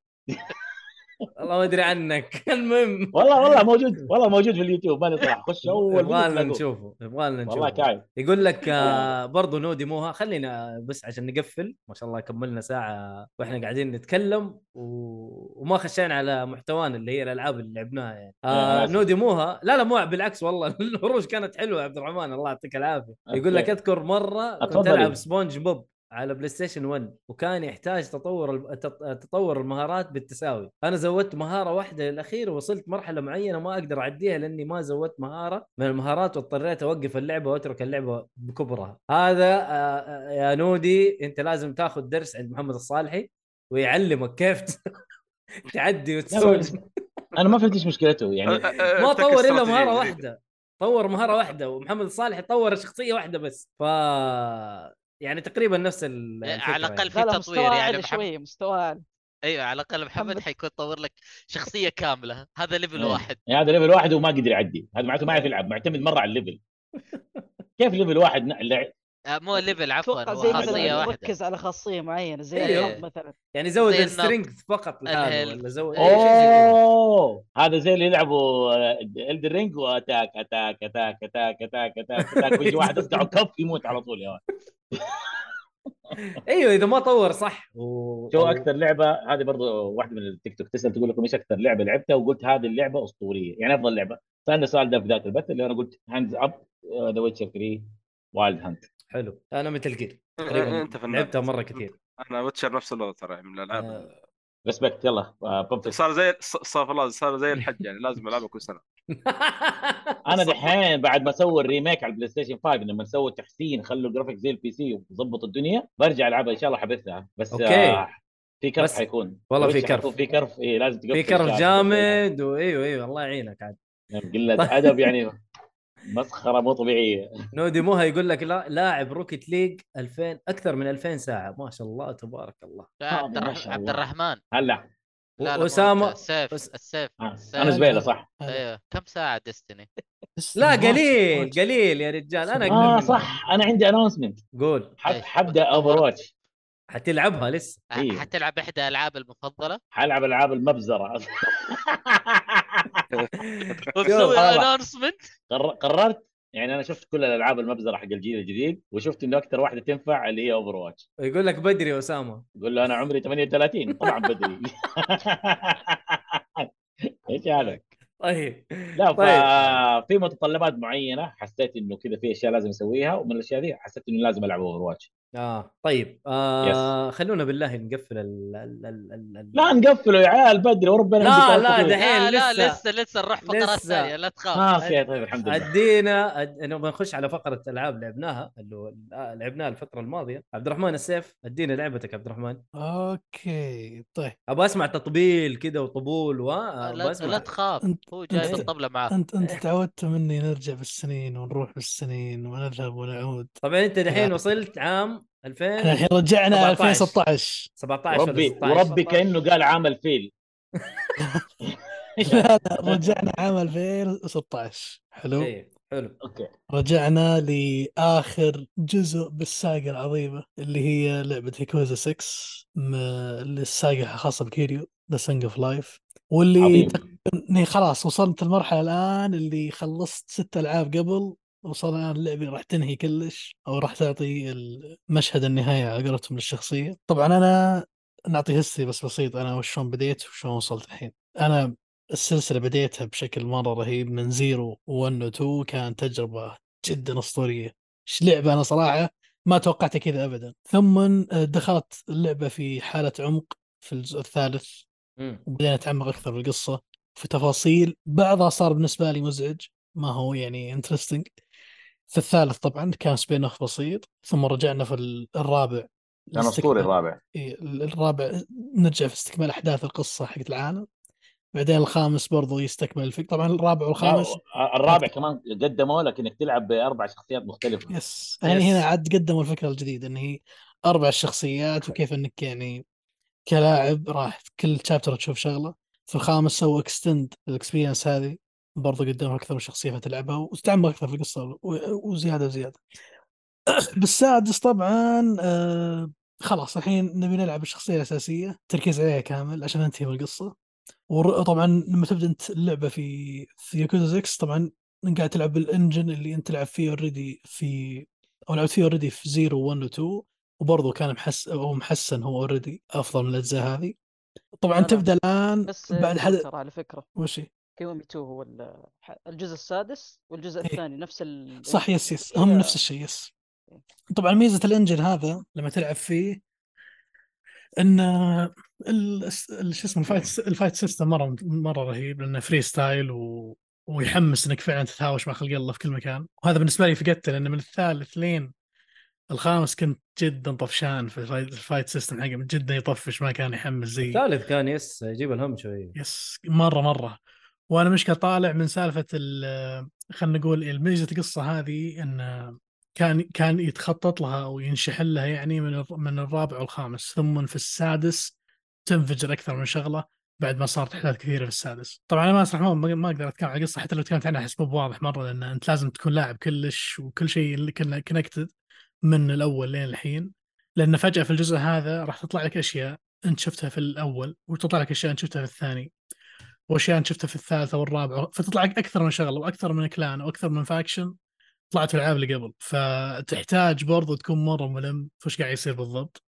والله ما ادري عنك المهم
والله والله موجود والله موجود في اليوتيوب ماني صراحه خش اول فيديو
يبغالنا
تلاقوه.
نشوفه يبغالنا نشوفه
والله كايف
يقول لك آه، برضو نو ديموها خلينا بس عشان نقفل ما شاء الله كملنا ساعه واحنا قاعدين نتكلم و... وما خشينا على محتوانا اللي هي الالعاب اللي لعبناها يعني
يا
آه
ناس.
نو ديموها لا لا مو بالعكس والله الهروج كانت حلوه يا عبد الرحمن الله يعطيك العافيه يقول لك
أوكي.
اذكر مره كنت
أتفضل.
العب سبونج بوب على بلاي ستيشن 1 وكان يحتاج تطور الب- تط- تطور المهارات بالتساوي انا زودت مهاره واحده للاخير ووصلت مرحله معينه ما اقدر اعديها لاني ما زودت مهاره من المهارات واضطريت اوقف اللعبه واترك اللعبه بكبرها هذا آه، آه، يا نودي انت لازم تاخذ درس عند محمد الصالحي ويعلمك كيف ت- تعدي وتسوي
انا ما فهمت ايش مشكلته يعني
آه،
ما طور الا مهاره واحده طور مهاره واحده ومحمد الصالح طور شخصيه واحده بس ف يعني تقريبا نفس ال- الفكره
على الاقل في
لا لا
تطوير
مستوى
يعني
اعلى
محمد
شويه مستوى اعلى
ايوه على الاقل محمد
محمد.
حيكون طور لك شخصيه كامله هذا ليفل
إيه.
واحد
يعني هذا ليفل واحد وما قدر يعدي هذا معناته ما يعرف يلعب معتمد مره على الليفل كيف ليفل واحد ن- لع-
آه، مو ليفل عفوا
اتوقع
هو
إيه. زي
ما
خاصيه
مثلا
واحده
ركز على خاصيه معينه زي
أيوه.
الحظ مثلا
يعني زود
زي النط.
السترينث فقط لحاله
الهيلث.
ولا زود أي شيء زي كذا.
اوه هذا زي اللي يلعبوا آه، الد رينج واتاك اتاك اتاك اتاك اتاك اتاك اتاك ويجي واحد يصقعه كف يموت على طول يا ولد.
ايوه اذا ما طور صح و...
شو اكثر لعبه هذه برضو واحده من التيك توك تسال تقول لكم ايش اكثر لعبه لعبتها وقلت هذه اللعبه اسطوريه يعني افضل لعبه سالنا السؤال ده في ذاك البث اللي انا قلت آه، هاندز اب ذا ويتشر 3 وايلد هانت
حلو انا مثل جير تقريبا
انت فنان
لعبتها مره كثير
انا ويتشر نفس اللغه ترى يعني من الالعاب
آه، طيب.
ريسبكت يلا آه، بمسك.
صار زي ص- صار خلاص صار زي الحج يعني لازم العبها كل سنه
انا دحين بعد ما سووا الريميك على البلاي ستيشن 5 لما سووا تحسين خلوا الجرافيك زي البي سي وظبطوا الدنيا برجع العبها ان شاء الله حبثها بس
أوكي.
آه في كرف
بس-
حيكون
والله في
وش
كرف.
حيكون في كرف اي لازم
في
تقفل شاشة.
كرف جامد وايوه ايوه الله يعينك عاد
يعني قله ادب يعني مسخره مو طبيعيه
نودي موها يقول لك لا لاعب روكيت ليج 2000 اكثر من 2000 ساعه ما شاء الله تبارك الله
لا
آه،
عبد
ما
الرح-
شاء
عبد
الله.
الرحمن
هلا
و-
لا لا مو
أسامة-
أنت، السيف
أس-
السيف
آه،
سهل.
انا زبيله صح
ايوه كم ساعه ديستني
أيوة. لا قليل قليل يا رجال انا اقدر
اه
منك.
صح انا عندي اناونسمنت
قول
إيش؟
حبدا اوفر واتش
حتلعبها لسه
إيه.
حتلعب احدى العاب المفضله
حلعب العاب المبزره
ومسوي
خلاص.
انونسمنت
قر- قررت يعني انا شفت كل الالعاب المبزره حق الجيل الجديد وشفت انه اكثر واحده تنفع اللي هي اوفر واتش
يقول لك بدري يا اسامه
قول له انا عمري 38 طبعا بدري ايش هذا؟
طيب
لا
طيب
ففي متطلبات معينه حسيت انه كذا في اشياء لازم اسويها ومن الاشياء دي حسيت انه لازم العب اوفر واتش
اه طيب آه خلونا بالله نقفل ال ال ال ال ال-
لا نقفله يا عيال بدري وربنا
لا،
عندي
لا،
كار طويل.
دحين
لا لا
لسه.
لسه لسه نروح
لسه.
فقرات ثانيه لا تخاف
اه اوكي طيب الحمد لله
ادينا أد... نبغى نخش على فقره العاب لعبناها اللي هو- آه، لعبناها الفتره الماضيه عبد الرحمن السيف ادينا لعبتك عبد الرحمن
اوكي طيب
ابغى اسمع تطبيل كده وطبول و آه،
آه،
لا,
أبغى
لا
اسمع
تخاف
أنت-
هو جايب
أنت-
الطبله معاه
انت انت تعودت مني نرجع بالسنين ونروح بالسنين ونذهب ونعود
طبعا انت دحين
لا.
وصلت عام
احنا
2017
الحين رجعنا
17.
2016
ولا
وربي
16
وربي كانه قال عام الفيل
لا لا رجعنا عام 2016 حلو
إيه، حلو
اوكي
رجعنا لآخر جزء بالساقة العظيمة اللي هي لعبة هيكوزا 6 م- اللي الساقة خاصة بكيريو ذا سنج اوف لايف واللي
عظيم
تق- اني خلاص وصلت المرحلة الآن اللي خلصت ست ألعاب قبل وصل الآن اللعبة راح تنهي كلش أو راح تعطي المشهد النهاية على قولتهم للشخصية طبعا أنا نعطي هسي بس بسيط أنا وشون بديت وشون وصلت الحين أنا السلسلة بديتها بشكل مرة رهيب من زيرو 1 و 2 كانت تجربة جدا اسطوريه ايش لعبه انا صراحه ما توقعتها كذا ابدا ثم دخلت اللعبه في حاله عمق في الجزء الثالث
مم.
وبدينا نتعمق اكثر في القصه في تفاصيل بعضها صار بالنسبه لي مزعج ما هو يعني انترستنج في الثالث طبعا كان سبين اوف بسيط ثم رجعنا في ال- الرابع
كان اسطوري الرابع
إيه، الرابع نرجع في استكمال احداث القصه حقت العالم بعدين الخامس برضو يستكمل الفكره طبعا الرابع والخامس
لا، آه، الرابع كمان قدموا لك انك تلعب باربع شخصيات مختلفه
يس يعني
يس.
هنا عاد قدموا الفكره الجديده ان هي اربع شخصيات وكيف انك يعني كلاعب راح كل شابتر تشوف شغله في الخامس سووا اكستند الاكسبيرينس هذه برضه قدموا اكثر من شخصيه فتلعبها وتتعمق اكثر في القصه و- وزياده وزياده بالسادس طبعا آه خلاص الحين نبي نلعب الشخصيه الاساسيه تركيز عليها كامل عشان ننتهي من القصه وطبعا لما تبدا انت اللعبه في في ياكوزا 6 طبعا انت قاعد تلعب بالانجن اللي انت لعب فيه اوريدي في او لعبت فيه اوريدي في 0 1 و 2 وبرضه كان محس او محسن هو اوريدي افضل من الاجزاء هذه طبعا
لا، لا.
تبدا الان
بس
بعد
بعد
حد
ترى على فكره
وش هي؟
كيومي 2 هو ال- ح- الجزء السادس والجزء
إيه.
الثاني نفس ال
صح
ال-
يس يس
هي-
هم نفس الشيء يس طبعا ميزه الانجن هذا لما تلعب فيه ان ال- الس- ال- شو اسمه الفايت الفايت سيستم مره مره رهيب لانه فري ستايل و... ويحمس انك فعلا تتهاوش مع خلق الله في كل مكان وهذا بالنسبه لي فقدته لان من الثالث لين الخامس كنت جدا طفشان في الفايت- الفايت سيستم حقه جدا يطفش ما كان يحمس زي
الثالث كان يس يجيب الهم شويه
يس مره مره وانا مشكله طالع من سالفه ال- خلينا نقول الميزه القصه هذه ان كان كان يتخطط لها او ينشحن لها يعني من الر- من الرابع والخامس ثم في السادس تنفجر اكثر من شغله بعد ما صارت احداث كثيره في السادس طبعا انا ما اسرح ما- ما اقدر اتكلم عن القصه حتى لو تكلمت عنها احس مو بواضح مره لان انت لازم تكون لاعب كلش وكل شيء اللي كنا كونكتد من الاول لين الحين لان فجاه في الجزء هذا راح تطلع لك اشياء انت شفتها في الاول وتطلع لك اشياء انت شفتها في الثاني واشياء انت شفتها في الثالثه والرابعه فتطلع لك اكثر من شغله واكثر من كلان واكثر من فاكشن طلعت في الالعاب اللي قبل فتحتاج برضو تكون مره ملم في وش قاعد يصير بالضبط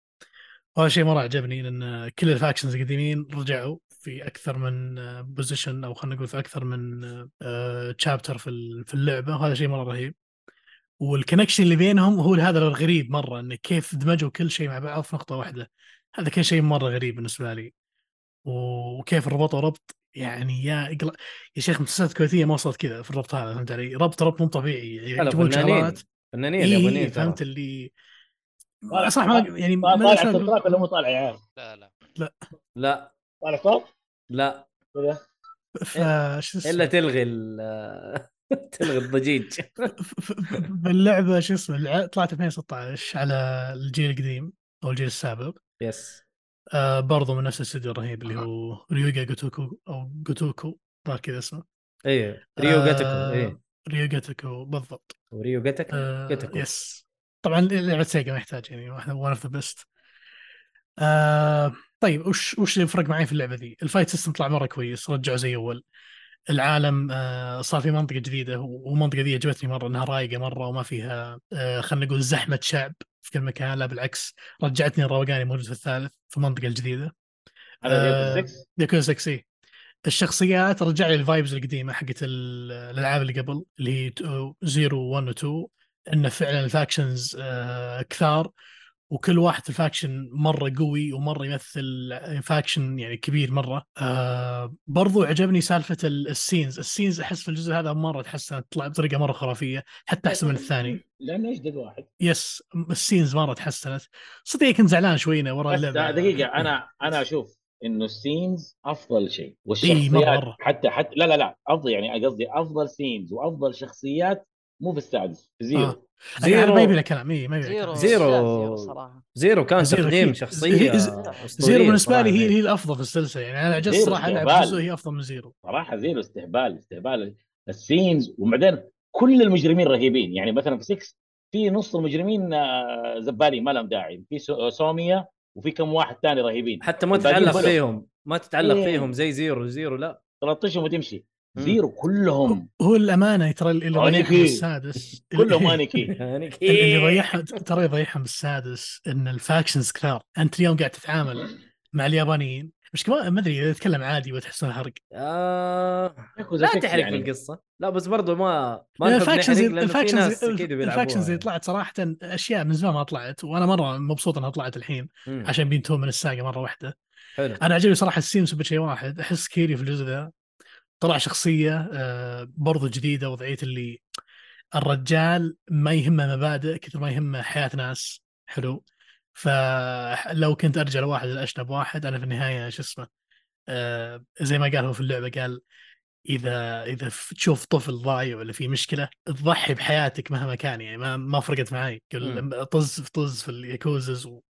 وهذا شيء مره عجبني لان كل الفاكشنز القديمين رجعوا في اكثر من بوزيشن او خلينا نقول في اكثر من تشابتر في ال- في اللعبه وهذا شيء مره رهيب والكونكشن اللي بينهم هو هذا الغريب مره انه كيف دمجوا كل شيء مع بعض في نقطه واحده هذا كان شيء مره غريب بالنسبه لي وكيف ربطوا ربط يعني يا اقرا يا شيخ المسلسلات الكويتيه ما وصلت كذا في الربط هذا فهمت علي؟ ربط ربط مو طبيعي يعني
هلا
يجيبون
فنانين
شغلات
فنانين
إيه
يابانيين
إيه
ترى.
فهمت اللي
طالع-
صح ما يعني ما
طالع
لها شغل-
التراك ولا مو طالع يا عيال؟
لا لا
لا
طالع صوت؟
لا
كذا
فشو اسمه
الا تلغي ال- تلغي الضجيج
ف- ف- باللعبه شو اسمه الع- طلعت 2016 على الجيل القديم او الجيل السابق
يس
آه برضو من نفس الاستوديو الرهيب اللي هو ريوغا جوتوكو او جوتوكو ظهر كذا اسمه
ايه
آه،
ريو جاتكو ايه
ريو جاتكو بالضبط
وريو جاتكو
آه،
جاتكو
يس طبعا لعبه سيجا ما يحتاج يعني واحده ون اوف ذا بيست طيب وش وش اللي فرق معي في اللعبه ذي؟ الفايت سيستم طلع مره كويس رجعوا زي اول العالم آه، صار في منطقه جديده والمنطقه ذي عجبتني مره انها رايقه مره وما فيها آه، خلينا نقول زحمه شعب في كل مكان لا بالعكس رجعتني الروقان اللي موجود في الثالث في المنطقه الجديده
هذا
آه،
Yakuza 6
يكون سكسي الشخصيات رجع لي الفايبز القديمه حقت ال- الالعاب اللي قبل اللي هي 0 1 و 2 انه فعلا الفاكشنز آه، كثار وكل واحد في الفاكشن مره قوي ومره يمثل فاكشن يعني كبير مره آه برضو عجبني سالفه ال- السينز السينز احس في الجزء هذا مره تحسنت طلع بطريقه مره خرافيه حتى احسن من الثاني
لانه يجدد واحد
يس السينز مره تحسنت صدق كنت زعلان شوينا ورا
بس
اللعبه
دقيقه انا انا اشوف انه السينز افضل شيء
إيه، مرة-
والشخصيات
مرة.
حتى حتى لا لا لا افضل يعني قصدي افضل سينز وافضل شخصيات مو في السادس في زيرو
آه. زيرو ما يبي له
زيرو
كلام إيه ما يبي
زيرو
له كلام
زيرو.
لا، زيرو صراحه
زيرو كان
زيرو
تقديم
أكيد.
شخصيه
ز-
أسطورية
زيرو بالنسبه لي
صراحة.
هي هي الافضل في السلسله يعني انا جالس
زيرو
صراحه العب
جبال.
جزء هي افضل من زيرو
صراحه زيرو استهبال استهبال السينز وبعدين كل المجرمين رهيبين يعني مثلا في 6 في نص المجرمين آه، زبالين ما لهم داعي في سو- آه، سوميا وفي كم واحد ثاني رهيبين
حتى ما
الباقيين
تتعلق
بلو.
فيهم ما تتعلق
إيه.
فيهم زي زيرو زيرو لا
13 وتمشي
مم.
زيرو كلهم
هو الامانه ترى اللي
أنيكي.
ضيعهم السادس
كلهم انيكي
يعني
اللي اللي
إيه.
ضيعها ترى يضيعهم السادس ان الفاكشنز كثار انت اليوم قاعد تتعامل مع اليابانيين مش كمان ما ادري اذا اتكلم عادي وتحسون حرق
آه...
ياكوزا
لا
ستة
تحرق
يعني.
في القصه لا بس برضو ما ما نحب
الفاكشنز
نحرق لانه في ناس
الفاكشنز
اكيد
الفاكشنز اللي
بيلعبوها
طلعت صراحه اشياء من زمان ما طلعت وانا مره مبسوط انها طلعت الحين
مم.
عشان بينتهون من الساقه مره واحده
حلو
انا عجبني صراحه السيمس بشيء واحد احس كيري في الجزء ذا طلع شخصيه آه، برضو جديده وضعيه اللي الرجال ما يهمه مبادئ كثر ما يهمه حياه ناس حلو فلو كنت ارجع لواحد الاشنب واحد انا في النهايه شو اسمه آه، زي ما قال هو في اللعبه قال اذا اذا ف- تشوف طفل ضايع ولا في مشكله تضحي بحياتك مهما كان يعني ما ما فرقت معي
مم.
قل طز في طز في الياكوزز و...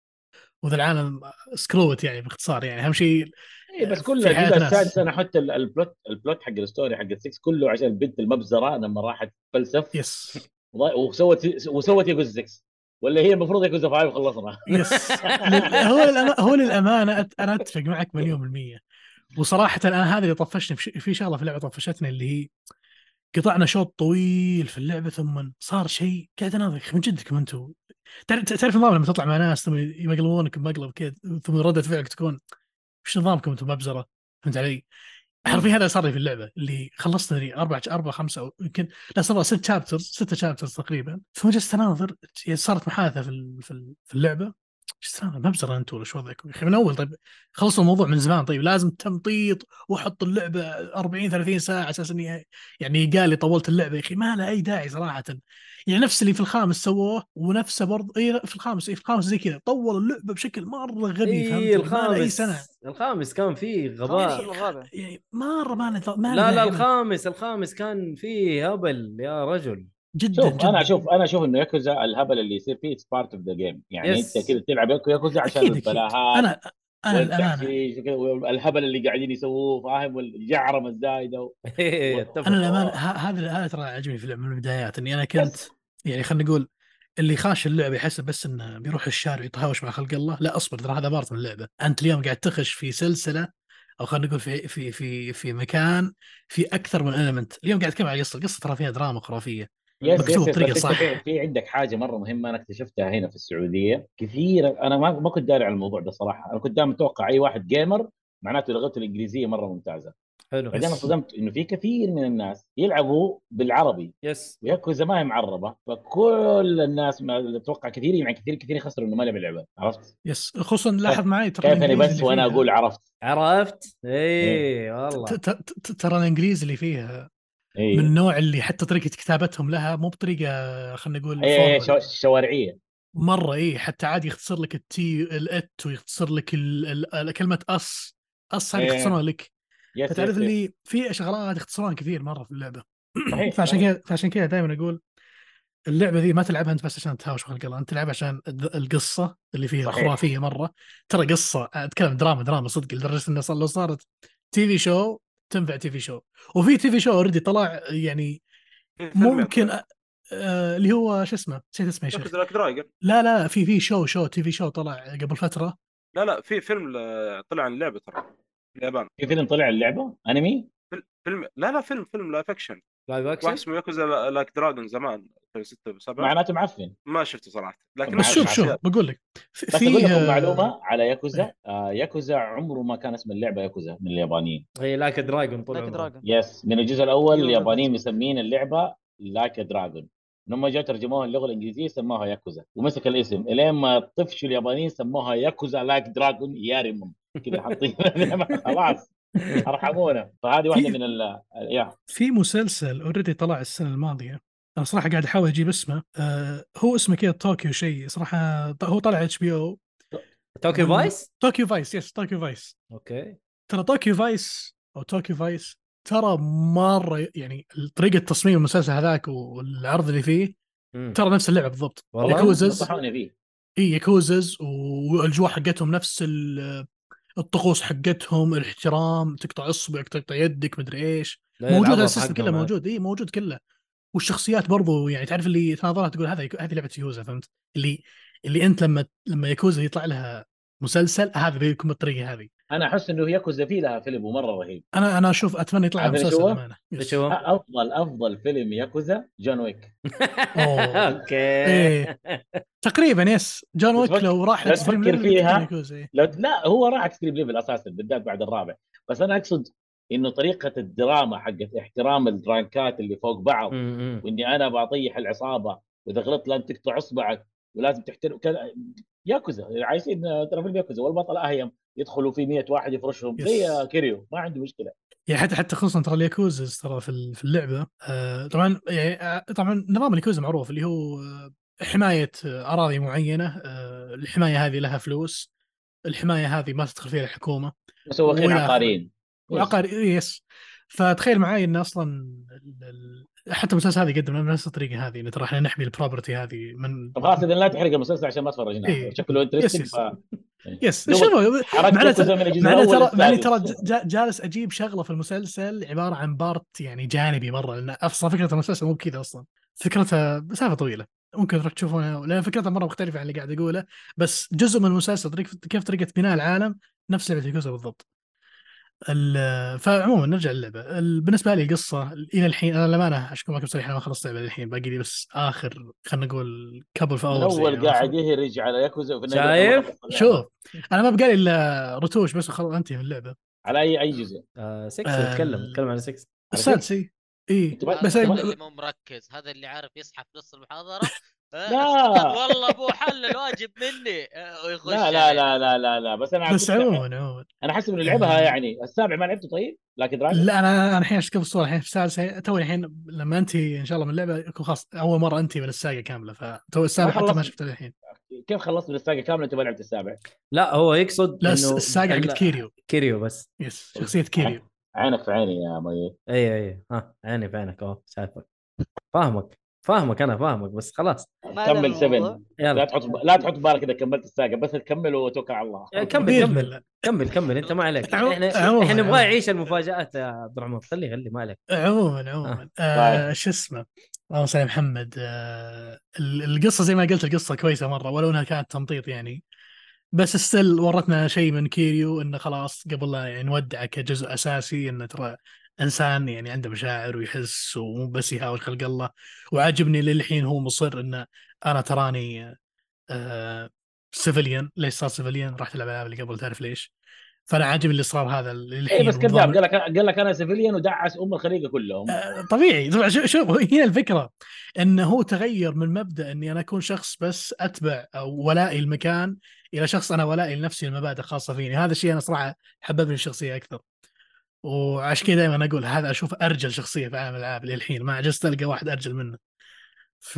وذا العالم سكروت يعني باختصار يعني اهم شيء
اي إيه، بس كل
في حياة
الجزء
ناس.
السادس انا حتى ال- البلوت البلوت حق الستوري حق 6 كله عشان البنت المبزره لما راحت تفلسف
يس
وضا- وسوت وسوت ياكوزا 6 ولا هي المفروض ياكوزا 5 وخلصنا
يس لل- هو للأما... هو للامانه أت- انا اتفق معك مليون بالمية وصراحه انا هذا اللي طفشني في, ش... في شغله في اللعبه طفشتني اللي هي قطعنا شوط طويل في اللعبه ثم صار شيء قاعد اناظر يا أخي من جدكم انتم تعرف تعرف النظام لما تطلع مع ناس ثم يمقلبونك بمقلب كذا ثم رده فعلك تكون وش نظامكم انتم مبزره فهمت علي؟ حرفيا هذا صار لي في اللعبه اللي خلصت لي اربع اربع خمسه او يمكن لا صار ست شابترز ستة شابترز تقريبا ثم جلست اناظر يعني صارت محادثه في ال- في ال- في اللعبه جلست اناظر مبزره انتم ولا شو وضعكم يا اخي من اول طيب خلصوا الموضوع من زمان طيب لازم تمطيط واحط اللعبه 40 30 ساعه على اساس اني يعني قال لي طولت اللعبه يا اخي ما لها اي داعي صراحه يعني نفس اللي في الخامس سووه ونفسه برضه اي في الخامس اي في الخامس زي كذا طول اللعبه بشكل مره غبي فهمت
إيه
ما لها اي سنه
الخامس الخامس كان فيه غباء
الخامس ولا الرابع؟
يعني مره ما له ما له
لا لا
داعي.
الخامس الخامس كان فيه هبل يا رجل
جدا
شوف
جدا
انا اشوف انا اشوف انه ياكوزا الهبل اللي يصير فيه اتس بارت اوف ذا جيم يعني
Yes.
انت كذا تلعب ياكو- ياكوزا عشان
اكيد اكيد
البلاهات
انا انا الامانه
والتحشيش وكذا والهبل اللي قاعدين يسووه فاهم والجعرمه الزايده و...
اتفق
انا الامانه ه- هذا هذا ترى عجبني في اللعبه من البدايات اني انا كنت
بس.
يعني خلينا نقول اللي خاش اللعبه يحسب بس انه بيروح الشارع يتهاوش مع خلق الله لا اصبر ترى هذا بارت من اللعبه انت اليوم قاعد تخش في سلسله او خلينا نقول في في في في مكان في اكثر من المنت اليوم قاعد اتكلم عن القصه القصه ترى فيها دراما خرافيه
يس يس
مكتوب
يس
بطريقة
بس
صح.
انت في, في عندك حاجه مره مهمه انا اكتشفتها هنا في السعوديه كثير انا ما ما كنت داري عن الموضوع ده صراحه انا كنت دائما اتوقع اي واحد جيمر معناته لغته الانجليزيه مره ممتازه
حلو
بعدين انصدمت انه في كثير من الناس يلعبوا بالعربي
يس
وياكوزا ما هي معربه فكل الناس ما اتوقع كثير يعني كثير كثير يخسروا انه ما لعب اللعبه عرفت؟
يس خصوصا لاحظ معي ترى
طيب، كيف اني
الإنجليزي
بس
اللي
وانا
فيها-
اقول عرفت
عرفت؟ اي والله
إيه. ت- ت- ت- ترى الانجليزي اللي فيها
اي
من النوع اللي حتى طريقه كتابتهم لها مو بطريقه خلينا نقول
اي اي
formal.
إيه، شو- شوارعيه
مره اي حتى عادي يختصر لك التي الات ويختصر لك ال- ال- ال- كلمه اس اس هذه
إيه.
يختصرونها لك
يس
فتعرف
يس- يس.
اللي في شغلات يختصرونها كثير مره في اللعبه
صحيح،
فعشان
صحيح.
كذا فعشان كذا دائما اقول اللعبه ذي ما تلعبها انت بس عشان تهاوش خلق الله انت تلعبها عشان الد- القصه اللي فيها
صحيح.
خرافيه مره ترى قصه اتكلم دراما دراما صدق لدرجه انها صار لو صارت تي في شو تنفع تي في شو وفي تي في شو اوريدي طلع يعني
في فيلم
ممكن
يعطيك.
أ- آه، اللي هو شو اسمه نسيت اسمه يا شيخ
تاخذ لك درايجن
لا لا في في شو شو تي في شو طلع قبل فتره
لا لا في فيلم ل- طلع عن اللعبه ترى في اليابان
في فيلم طلع اللعبه انمي
فيل- فيلم لا لا فيلم فيلم لايف اكشن
لايف
واحد
اكشن
اسمه ياكوزا لايك دراجون زمان 2006 و7
معناته معفن
ما شفته صراحه لكن
بس
بس
أعرف
شوف
عشان-
شوف
أشياء.
بقول لك في
بس اقول لكم
آه،
معلومه على ياكوزا آه ياكوزا عمره ما كان اسم اللعبه ياكوزا من اليابانيين
اي لاك دراجون طول
لايك
عمره
دراجون
يس من الجزء الاول
أيوة،
اليابانيين
بالضبط.
مسمين اللعبه لايك دراجون لما جاء ترجموها اللغه الانجليزيه سموها ياكوزا ومسك الاسم الين ما طفشوا اليابانيين سموها ياكوزا لايك دراجون يارمهم كذا حاطين خلاص ارحمونا فهذه واحده
في-
من ال يا
في مسلسل اوريدي طلع السنه الماضيه انا صراحه قاعد احاول اجيب اسمه آه هو اسمه كذا طوكيو شيء صراحه ط- هو طلع اتش بي او
توكيو
وال-
فايس؟
طوكيو فايس يس طوكيو فايس
اوكي
ترى طوكيو فايس او طوكيو فايس ترى مره يعني طريقه تصميم المسلسل هذاك والعرض اللي فيه
مم.
ترى نفس اللعبه بالضبط
والله؟
ياكوزز.
نصحوني فيه
اي ياكوزز والاجواء حقتهم نفس ال- الطقوس حقتهم الاحترام تقطع اصبعك تقطع يدك مدري ايش
إيه،
لا،
موجود
العضل
على السيستم
حقهم
كله
هذا.
موجود اي موجود كله والشخصيات برضو يعني تعرف اللي تناظرها تقول هذا هذه لعبه يوزا فهمت اللي اللي انت لما لما ياكوزا يطلع لها مسلسل هذا بيكون بالطريقه هذه
انا احس انه ياكوزا فيه لها فيلم ومره رهيب
انا انا اشوف اتمنى يطلع لها
عارف إيش
مسلسل
هو؟
امانه يس.
ايش هو؟
افضل افضل فيلم ياكوزا جون ويك
أوه.
اوكي
ايه تقريبا يس جون
بس
ويك
فك-
لو راح
لا
extreme
تفكر
level بتكون
فيها.
ياكوزا، إيه.
لو لا هو راح اكستريم ليفل اساسا بالذات بعد الرابع بس انا اقصد انه طريقه الدراما حقت احترام الرانكات اللي فوق بعض
مم، مم.
واني انا بطيح العصابه واذا غلطت لازم تقطع اصبعك ولازم تحترم كذا ياكوزا عايشين آه، ترى في ياكوزا والبطل اهيم يدخلوا في 100 واحد يفرشهم
يس.
زي كيريو ما عنده مشكله
يعني حتى حتى خصوصا ترى الياكوزز ترى في ال- في اللعبه آه، طبعا يعني آه، طبعا نظام الياكوزا معروف اللي هو آه، حمايه آه، اراضي معينه آه، الحمايه هذه لها فلوس الحمايه هذه ما تدخل فيها الحكومه
مسوقين
وإلى آخره.
عقاريين
وعقار يس فتخيل معاي ان اصلا ال- ال- حتى المسلسل هذا يقدم لنا بنفس الطريقه هذه ان ترى احنا نحمي البروبرتي هذه من
طب خلاص اذا لا تحرق المسلسل عشان ما تفرجنا
إيه.
شكله انترستنج
يس.
ف...
يس
دوبك
شنو
حركت
معناته-
ياكوزا من الجزء
مع اني
الاول
ترى مع اني ترى
للسادس.
جا- جالس اجيب شغله في المسلسل عباره عن بارت يعني جانبي مره لان اصلا فكره المسلسل مو بكذا اصلا فكرتها مسافه طويله ممكن تروح تشوفونها لان فكرتها مره مختلفه عن اللي قاعد اقوله بس جزء من المسلسل طريقة كيف طريقه بناء العالم نفس لعبه ياكوزا بالضبط ال- فعموما نرجع للعبه ال- بالنسبه لي القصه الى الحين انا للامانه اشكو معكم صريح انا ما خلصت اللعبه الحين باقي لي بس اخر خلينا نقول كابل في
الاول قاعد يهرج على ياكوزا وفي
شايف؟
النهاية يقول الله
يعني. شوف انا ما بقالي الا رتوش بس وخلاص انتهي من اللعبه
على اي اي جزء
آه، 6
آه،
اتكلم اتكلم على 6
السادس اي اي
أنت ما-
إيه. بس
أنت
هذا
ما-
اللي مو مركز هذا اللي عارف يصحى في نص المحاضره آه،
لا.
والله ابو حل الواجب مني آه، ويخش
لا لا لا لا لا لا بس انا
بس
كنت-
عموما عموما
انا حسب انه لعبها يعني السابع ما لعبته طيب لكن راجع
لا انا انا الحين اشوف الصوره الحين في السادسه توي الحين لما انتهي ان شاء الله من اللعبه يكون خلاص اول مره انتهي من الساقه كامله فتو السابع حتى ما
خلصت.
شفته الحين
كيف خلصت من الساقه كامله انت ما لعبت السابع؟
لا هو يقصد
لا
إنه-
الساقه
يعني
لا،
حقت كيريو
كيريو بس
يس شخصيه كيريو
عينك في عيني يا مي
اي اي إيه، ها عيني في عينك اهو شايفك فاهمك فاهمك انا فاهمك بس خلاص
ما
كمل
علينا من الموضوع.
7 لا
يلا
تحط لا تحط بالك اذا كملت الساقه بس كمل وتوكل على الله
يا كمل
بإذن
كمل
الله.
كمل كمل انت ما عليك
عمو-
احنا
عموماً،
احنا نبغى
عموماً.
يعيش المفاجات يا عبد الرحمن خليه خليه ما عليك
عموما
طيب.
عموما آه، شو اسمه اللهم صل على محمد آه، ال- القصه زي ما قلت القصه كويسه مره ولو انها كانت تمطيط يعني بس ستيل ورتنا شيء من كيريو انه خلاص قبل لا يعني نودعه كجزء اساسي انه ترى انسان يعني عنده مشاعر ويحس ومو بس يهاوش خلق الله وعاجبني للحين هو مصر انه انا تراني آه سيفيليان ليش صار سيفيليان راح تلعب الالعاب اللي قبل تعرف ليش فانا عاجب اللي صار هذا اللي
اي
الحين
إيه، بس كذاب
والضابط-
قال لك قال لك انا سيفيليان ودعس ام الخليقه كلهم
آه، طبيعي طبعا شو- شوف هنا الفكره انه هو تغير من مبدا اني انا اكون شخص بس اتبع او ولائي المكان الى شخص انا ولائي لنفسي المبادئ خاصه فيني هذا الشيء انا صراحه حببني الشخصيه اكثر وعشان كذا دائما أنا اقول هذا اشوف ارجل شخصيه في عالم الالعاب للحين ما عجزت القى واحد ارجل منه ف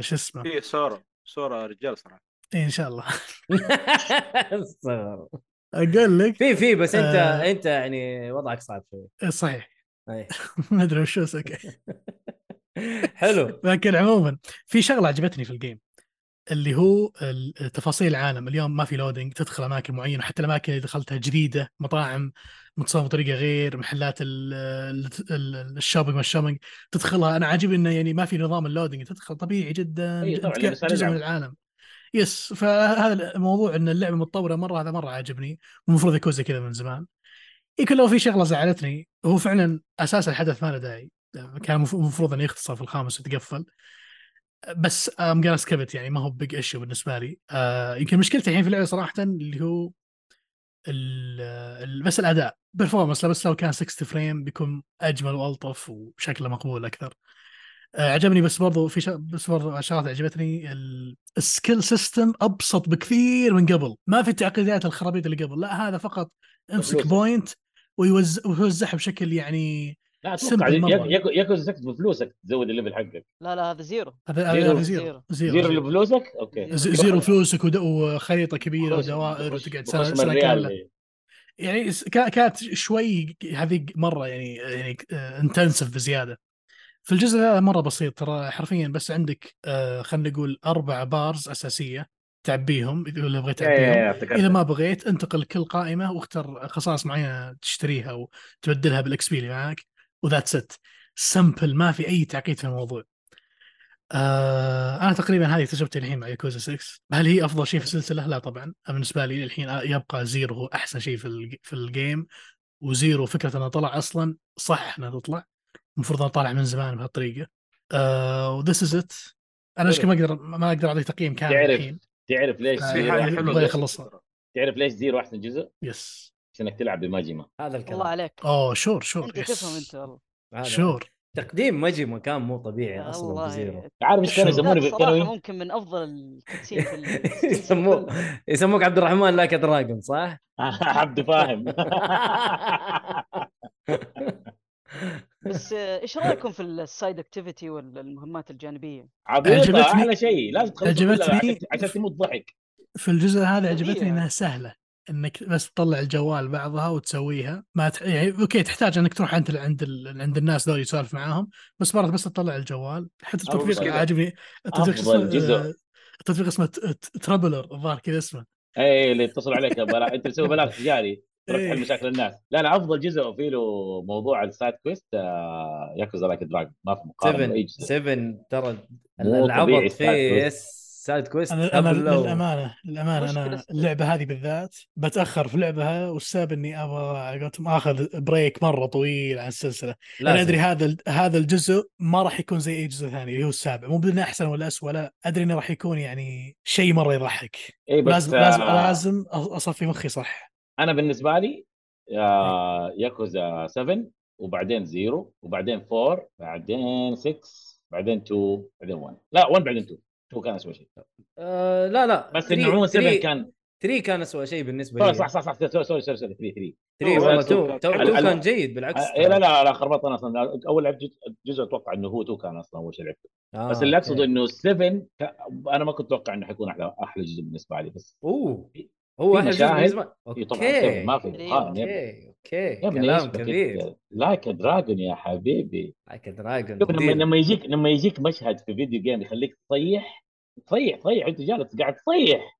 شو اسمه
في سورا سورا رجال صراحه
إيه ان شاء الله
استغفر.
اقول لك
في في بس انت
آه.
انت يعني وضعك صعب شوي
صحيح
أي.
ما ادري وش اوكي
حلو
لكن عموما في شغله عجبتني في الجيم اللي هو ال- تفاصيل العالم اليوم ما في لودنج تدخل اماكن معينه حتى الاماكن اللي دخلتها جديده مطاعم متصممه بطريقه غير محلات ال- ال- ال- الشوبينج والشوبينج تدخلها انا عاجبني انه يعني ما في نظام اللودنج تدخل طبيعي جدا
إي طبعاً،
أنت
لبس على
جزء من
اللعبة.
العالم يس فهذا الموضوع ان اللعبه متطوره مره هذا مره عاجبني المفروض يكون زي كذا من زمان يمكن لو في شغله زعلتني هو فعلا اساس الحدث ما له داعي كان المف- المفروض انه يختصر في الخامس ويتقفل بس ام جانا سكبت يعني ما هو بيج ايشيو بالنسبه لي آه، يمكن مشكلتي الحين في اللعبه صراحه اللي هو ال- ال- بس الاداء بيرفورمانس بس لو كان 60 فريم بيكون اجمل والطف وشكله مقبول اكثر آه، عجبني بس برضو في شا... بس برضو شغلات عجبتني ال- السكيل سيستم ابسط بكثير من قبل ما في التعقيدات الخرابيط اللي قبل لا هذا فقط امسك
فلوسك.
بوينت ويوز- ويوزعها بشكل يعني
لا اتوقع
simple مرة.
ياكو ياكو سكت بفلوسك تزود الليفل حقك
لا لا هذا زيرو
هذا
زيرو.
هذا زيرو
زيرو اللي بفلوسك اوكي
ز- زيرو فلوسك ود- وخريطه كبيره
خش-
ودوائر
بخش-
وتقعد
بخش
سنه
من
سنه كامله
الريال.
يعني س- كا- كانت شوي هذه مره يعني يعني انتنسف بزياده في الجزء هذا مره بسيط ترى حرفيا بس عندك آه، خلينا نقول اربع بارز اساسيه تعبيهم اذا لو بغيت
يا- يا-
تعبيهم
يا، افتكرت.
اذا ما بغيت انتقل كل قائمه واختار خصائص معينه تشتريها وتبدلها بالاكس بي اللي معاك وذات ست سمبل ما في اي تعقيد في الموضوع آه انا تقريبا هذه تجربتي الحين مع ياكوزا 6 هل هي افضل شيء في السلسله لا طبعا بالنسبه لي الحين يبقى زيرو هو احسن شيء في الج- في الجيم وزيرو فكره انه طلع اصلا صح انه تطلع المفروض انه طالع من زمان بهالطريقه آه وذس از ات انا ايش ما اقدر ما اقدر اعطيك تقييم كامل
تعرف.
الحين
تعرف ليش
بس
آه،
في
زيرو
حاجه
يعني
أحسن
حلوه
يبغى
جزء؟
يخلصها.
تعرف ليش زيرو احسن جزء؟
يس
عشانك تلعب بماجيما
هذا
الله
الكلام
عليك
اوه شور شور
انت
يس.
تفهم انت والله
هذا.
شور
تقديم ماجيما كان مو طبيعي اصلا بزيرو
آه، والله
عارف ايش كانوا
شو؟
يسموني
لا، صراحه
بالثانوي؟
ممكن من افضل الكتسين في
يسموه-
السلسله
يسموك عبد الرحمن لاك دراجون صح؟
عبد فاهم
بس آه، ايش رايكم في السايد اكتيفيتي والمهمات الجانبيه؟
عبيطه
عجبتني-
احلى شيء لازم تخلص
عجبتني-
عشان تموت ضحك
في الجزء هذا
طبيعي.
عجبتني انها سهله انك بس تطلع الجوال بعضها وتسويها ما تح... يعني اوكي تحتاج انك تروح عند ال... عند ال... عند الناس ذول تسولف معاهم بس مرات بس تطلع الجوال حتى
أو بس
التطبيق
كذا.
عاجبني التطبيق
أفضل
اسمه
جزء.
آه، التطبيق اسمه ت- ت- ترابلر الظاهر كذا اسمه
اي إيه، اللي يتصل عليك بلا... انت مسوي بلاغ تجاري تروح
إيه.
تحل مشاكل الناس لا لا افضل جزء في له موضوع السايد كويست آه، ياكوزا لايك دراجون ما في مقارنه باي
7
جزء
7 ترى
مو طبيعي
العبط
السايد
فيه
كويست.
يس سايد كويست
انا انا
هبل لو.
للامانه للامانه انا
مشكلة.
اللعبه هذه بالذات بتاخر في لعبها والسبب اني ابغى على قولتهم اخذ بريك مره طويل عن السلسله
لازم.
انا ادري هذا ال- هذا الجزء ما راح يكون زي اي جزء ثاني اللي هو السابع مو بدنا احسن ولا اسوء لا ادري انه راح يكون يعني شيء مره يضحك
اي بس
لازم
آه،
لازم لازم أ- اصفي مخي صح
انا بالنسبه لي
إيه.
آه، ياكوزا 7 وبعدين 0 وبعدين 4 بعدين 6 بعدين 2 بعدين 1 لا 1 بعدين 2 2 كان اسوء شيء
آه لا لا
بس
3
انه عموما 7
3
كان
3 كان اسوء شيء بالنسبه لي
صح صح صح صح سوري سوري سوري 3 3
3
هو
والله
أسوأ
2
كان.
2
ال-
كان جيد بالعكس
إيه لا لا لا خربطت انا اصلا اول لعبت جزء- جزء اتوقع انه هو 2 كان اصلا اول شيء لعبته
آه
بس اللي
أوكي.
اقصده انه 7 ك- انا ما كنت اتوقع انه حيكون احلى احلى جزء بالنسبه لي بس
اوه هو
في
احلى جزء
مشاهد.
بالنسبه
إيه طبعا سبن ما في مقارنه يا ابني.
اوكي اوكي
يا ابني
كلام
إيش بكيت
كبير
كده؟ لايك دراجون يا حبيبي
لايك دراجون
شوف لما لما يجيك لما يجيك مشهد في فيديو جيم يخليك تصيح تصيح تصيح انت جالس قاعد تصيح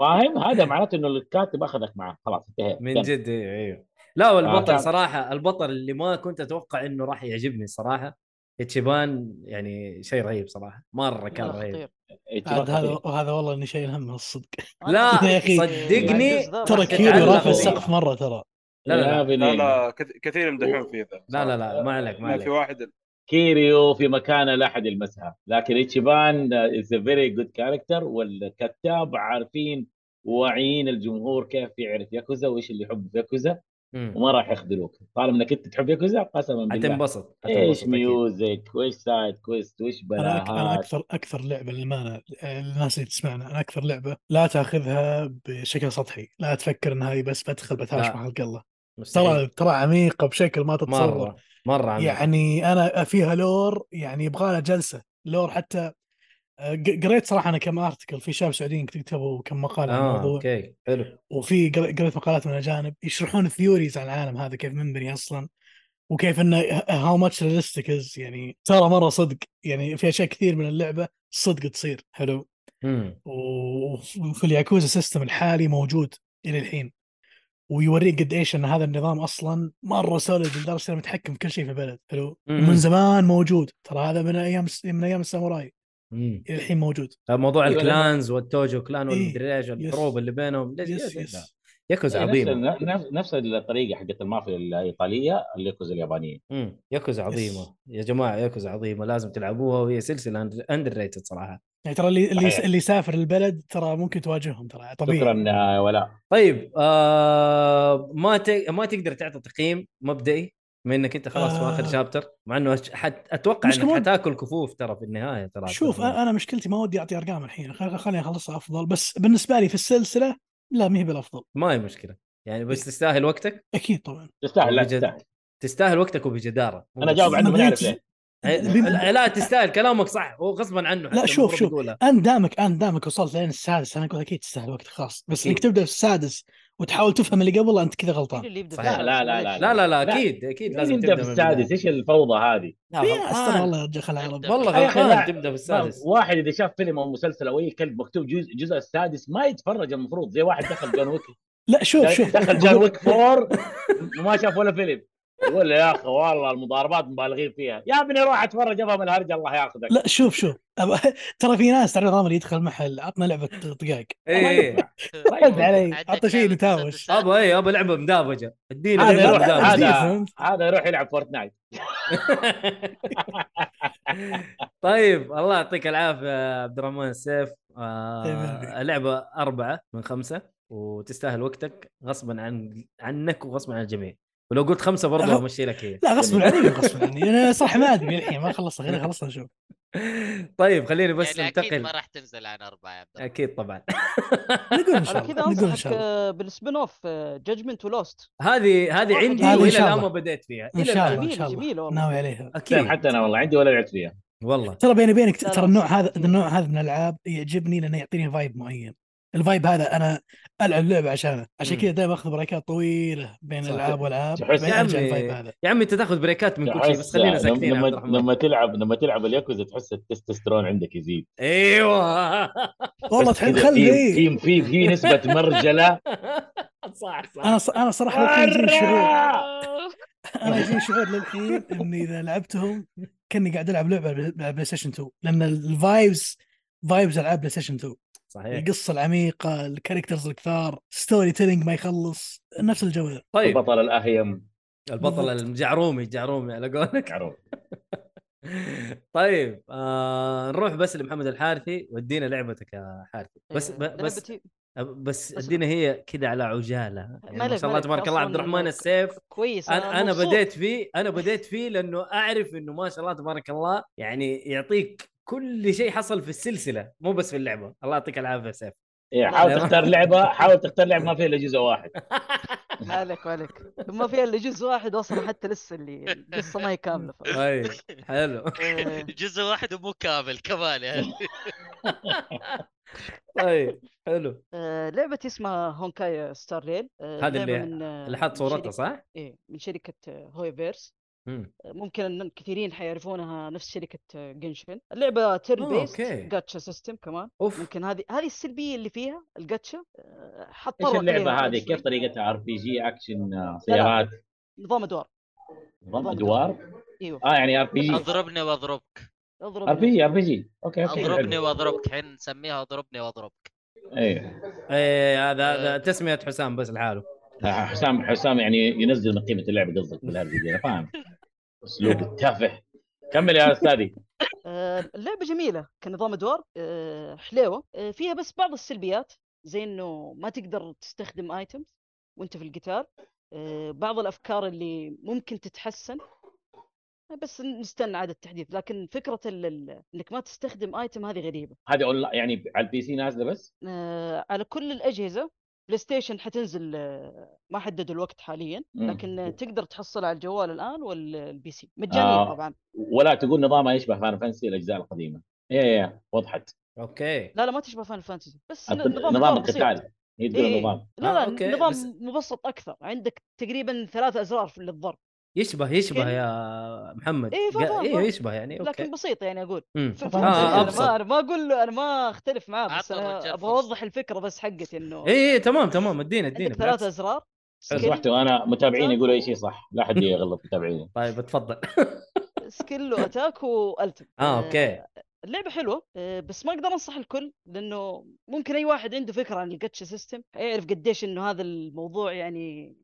فاهم هذا معناته انه الكاتب اخذك معاه خلاص انتهينا
من
تم.
جد ايوه ايوه لا والبطل
آه،
آه
كان-
صراحه البطل اللي ما كنت اتوقع انه راح يعجبني صراحه اتشيبان يعني شيء رهيب صراحه مره كان
لا،
رهيب
خطير
اتفاق
عاد هذا
خطير.
هذا والله اني شايل هم الصدق
أنا
لا،
أحس-
يا أخي،
صدقني،
الجزء ذا
ترى
بس-
كيري
تعلق
رافع
فيه.
السقف مره ترى
لا، لا،
يا
لا.
لا
بنين.
لا كث- كثير يمدحون فيه ذا
لا لا لا ما عليك ما
ما في
عليك
واحد
كيريو في مكانه لا احد يلمسها لكن ايتشيبان از ا فيري جود كاركتر والكتاب عارفين واعيين الجمهور كيف يعرف ياكوزا وايش اللي يحب في ياكوزا
مم.
وما راح يخذلوك طالما انك انت تحب ياكوزا قسما بالله
حتنبسط حتنبسط
ايش
أكيد.
ميوزك وايش سايد كويست وايش
انا أك- أنا
بلاهات
اكثر اكثر لعبه للامانه الناس اللي تسمعنا انا اكثر لعبه لا تاخذها بشكل سطحي، لا تفكر ان هذه بس بدخل بتهاوش
لا.
مع حلق الله، ترى
مستحيل
ترى عميقه بشكل ما تتصور
مره مره عميق.
يعني انا فيها لور يعني يبغى لها جلسه لور حتى آه، ق- قريت صراحه انا كم ارتكل في شباب سعوديين كتبوا كم مقال عن
اه
الموضوع
اوكي حلو
وفي قر- قريت مقالات من اجانب يشرحون ثيوريز عن العالم هذا كيف منبني اصلا وكيف انه هاو ماتش ريلستيك يعني ترى مره صدق يعني في اشياء كثير من اللعبه صدق تصير حلو
مم.
وفي الياكوزا سيستم الحالي موجود الى الحين ويوريك قد ايش ان هذا النظام اصلا مره سوليد لدرجه انه متحكم في كل شيء في البلد حلو
مم.
ومن زمان موجود ترى هذا من ايام من ايام الساموراي
مم.
الى الحين موجود
آه، موضوع
أيوة، لما-
الكلانز والتوجو كلان
إيه،
والمدري ايش الحروب اللي بينهم ليش- ليش-
يس يس
ياكوزا
إيه، نفس-
عظيمه
نفس نفس الطريقه حقت المافيا الايطاليه الياكوزا اليابانيه
مم. ياكوزا
يس.
عظيمه يا جماعه ياكوزا عظيمه لازم تلعبوها وهي سلسله اندر ريتد صراحه
يعني ترى اللي اللي,
صحيح.
اللي يسافر البلد ترى ممكن تواجههم ترى طبيعي
شكرا آه، ولاء
طيب آه ما ت... ما تقدر تعطي تقييم مبدئي بما انك انت خلاص في اخر
آه.
شابتر مع انه أش- حت... اتوقع
مش
انك
كمان-
حتاكل كفوف ترى في النهايه ترى
شوف أنا- انا مشكلتي ما ودي اعطي ارقام الحين خل- خليني اخلصها افضل بس بالنسبه لي في السلسله لا ما هي بالافضل
ما هي مشكله يعني بس تستاهل وقتك
اكيد طبعا
تستاهل لا
بجد.
تستاهل
تستاهل وقتك وبجداره
انا جاوب
عن-
عنه ما نعرف
مدريد-
ليه
لا- لا, لا تستاهل كلامك صح هو غصبا عنه
لا،
حتى
شوف-
المفروض
شوف.
يقولها.
انت دامك انت دامك وصلت لين السادس انا اقول اكيد تستاهل وقت خاص بس انك
أكيد.
تبدا في السادس وتحاول تفهم اللي قبل انت كذا
مين
غلطان
اللي يبدا
صحيح.
لا،
في
لا، لا،
لا لا لا
لا.
اكيد اكيد
لازم
لازم
نبدا
من
في
البداية.
السادس ايش الفوضى هذه؟
لا
في ناس
غلطان
ترى والله يا رجال العرب
والله
يا أخي
غلطان
لا.
تبدا بالسادس
ما- واحد اذا شاف فيلم او مسلسل او اي كلب مكتوب جزء الجزء السادس ما يتفرج المفروض زي واحد دخل جون ويك
لا
يعني
شوف شوف
دخل جون
بقول-
ويك فور وما شاف ولا فيلم يقول له يا اخي والله المضاربات مبالغين فيها يا ابني روح اتفرج افهم الهرجه الله ياخذك
لا شوف شوف أب- ترى في ناس تعرف نظام اللي يدخل محل عطنا لعبه دقائق
ما
اي
ينفع.
رد علي
عندك
عطى شيء
لعبة
نتهاوش
مسدسات.
ابا اي ابا لعبه مدابجه اديني
هذا
لعبة
هذا يروح
لا، لا،
مدابجة.
لا.
هذا
فهمت.
هذا يروح يلعب فورتنايت
طيب الله يعطيك العافيه يا عبد الرحمن السيف
طيب،
آه
أبي.
اللعبه أربعة من خمسة وتستاهل وقتك غصبا عن عنك وغصبا عن الجميع ولو قلت خمسة برضه
أهو.
بمشي لك هي
لا غصب
يعني.
عني غصب عني انا صراحه ما ادري الحين ما خلصت خليني خلصنا نشوف
طيب خليني بس
يعني اكيد ما
ننتقل
راح تنزل عن اربعه يا عبد الرحمن.
اكيد طبعا
نقول ان شاء
انا كذا
الله نقول ان
انصحك
شاء الله
آه، بالسبين اوف جادجمنت ولوست
هذه هذه
والله
عندي
هذه إن
والى
شاء
الان ما
الله.
بديت فيها
ان
الى
شاء
الان
الله ان شاء الله نعم.
جميلة والله.
ناوي عليها
سيم،
اكيد
حتى انا والله عندي ولا لعبت فيها
والله
ترى بيني وبينك
لا، لا،
ترى النوع
خمسة
هذا
كتير.
النوع هذا من الالعاب يعجبني لانه يعطيني فايب معين الفايب هذا انا العب لعبه عشانه عشان
مم.
كذا دائما اخذ بريكات طويله بين
صح.
الالعاب والالعاب
تحس- يعني
بعدين
يا
ارجع
عمي.
الفايب هذا
يا عمي انت تاخذ بريكات من كل شيء بس
تحس-
خلينا ساكتين يا
يعني، لما
عبد الرحمن
لما تلعب لما تلعب الياكوزا تحس التستوستيرون عندك يزيد
ايوه
والله
بس
تحب
كذا
خلي
في
إيه.
في في في نسبه مرجله
صح صح
انا ص- انا صراحه للحين يجيني شعور
آه،
مرة!
انا يجيني شعور للحين اني اذا لعبتهم كاني قاعد العب لعبه على بلاي ستيشن 2 لان الفايبز فايبز العاب بلاي ستيشن 2
إيه.
صحيح
القصه العميقه الكاركترز الكثار ستوري تيلينج ما يخلص نفس الجو ذا
طيب
البطل الاهيم
البطل
بالضبط.
الجعرومي الجعرومي على قولك
معروف
طيب آه نروح بس لمحمد الحارثي ودينا لعبتك يا حارثي بس
إيه،
ب- بس
لعبتي
بس
بس-
ادينا هي كذا على عجاله يعني ما
ملك-
شاء الله
ملك،
تبارك الله عبد
أصلاً
الرحمن السيف
كويس
انا انا
مبسوط.
بديت فيه انا بديت فيه لانه اعرف انه ما شاء الله تبارك الله يعني يعطيك كل شيء حصل في السلسله مو بس في اللعبه الله يعطيك العافيه يا سيف
إيه،
لا،
حاول
لا.
تختار لعبه حاول تختار لعبه ما فيها الا جزء واحد
ما عليك ما عليك ما فيها الا جزء واحد اصلا حتى لسه اللي القصه ما هي كامله ف...
طيب حلو
إيه،
جزء واحد ومو كامل كمان يعني
طيب حلو
آه، لعبتي اسمها هونكاي ستار ريل
هذه اللي-
آه،
اللي حط صورتها
صح؟
صح؟
ايه من شركه آه، هوي بيرس
مم.
ممكن ان كثيرين حيعرفونها نفس شركه آه، جنشن اللعبه تيرن
آه،
بيست
أوكي.
جاتشا سيستم كمان
اوف
ممكن هذه هذه السلبيه اللي فيها الجاتشا آه،
ايش
حتطرق
اللعبه
ليها بعد
هذه
شوي.
كيف طريقتها ار بي جي اكشن آه، سيارات
نظام ادوار
نظام
نظام
ادوار
ايوه
اه يعني ار بي جي
اضربني واضربك
اضرب
ار بي جي ار بي جي اوكي اوكي
اضربني
حلو
واضربك حين نسميها اضربني واضربك
ايه
ايه هذا
آه.
هذا تسميه حسام بس لحاله
آه، حسام حسام يعني ينزل من قيمه اللعبه قصدك بالهرجه دي، انا فاهم اسلوب التافه كمل يا استاذي
آه، اللعبة جميلة كنظام أدوار آه، حليوة آه، فيها بس بعض السلبيات زي انه ما تقدر تستخدم ايتمز وانت في القتال آه، بعض الافكار اللي ممكن تتحسن بس نستنى عاد التحديث لكن فكره ال- ال- انك ما تستخدم ايتم هذه غريبه
هذه اون يعني على البي سي نازله بس
آه، على كل الاجهزه بلاي ستيشن حتنزل آه، ما حددوا الوقت حاليا
مم.
لكن آه، تقدر تحصل على الجوال الان والبي سي مجانيه
آه.
طبعا
ولا تقول نظامها يشبه فان فانسي الاجزاء القديمه ايه ايه وضحت
اوكي
لا لا ما تشبه فان فانتسي بس ن-
القت-
نظام
نظام
نظام بسيط.
القتال هي تقول
إيه.
نظام
لا
آه،
لا
أوكي،
نظام
بس-
مبسط اكثر عندك تقريبا ثلاث ازرار في للضرب
يشبه يشبه
يعني-
يا محمد
إيه، فاهم،
قا-
فاهم،
ايوه
فاهم.
يشبه يعني اوكي
لكن بسيط يعني اقول
مم.
ف-
طبعاً
فهمت
آه،
يعني؟ انا
أبسط.
ما انا ما اقول له انا ما اختلف معاه بس
أعطى
انا
الرجال
ابغى
فرصة.
اوضح الفكره بس حقتي انه
اي اي تمام تمام ادينا ادينا
عندك ثلاث
إيه، بالعكس.
ازرار
حلو.
سكيل
صحته انا إيه، متابعين يقولوا اي شيء صح لا حد يغلط متابعيني
طيب اتفضل
آه، سكيل واتاك والتم
اه اوكي
اللعبه حلوه آه، بس ما اقدر انصح الكل لانه ممكن اي واحد عنده فكره عن الجاتشا سيستم يعرف قديش انه هذا الموضوع يعني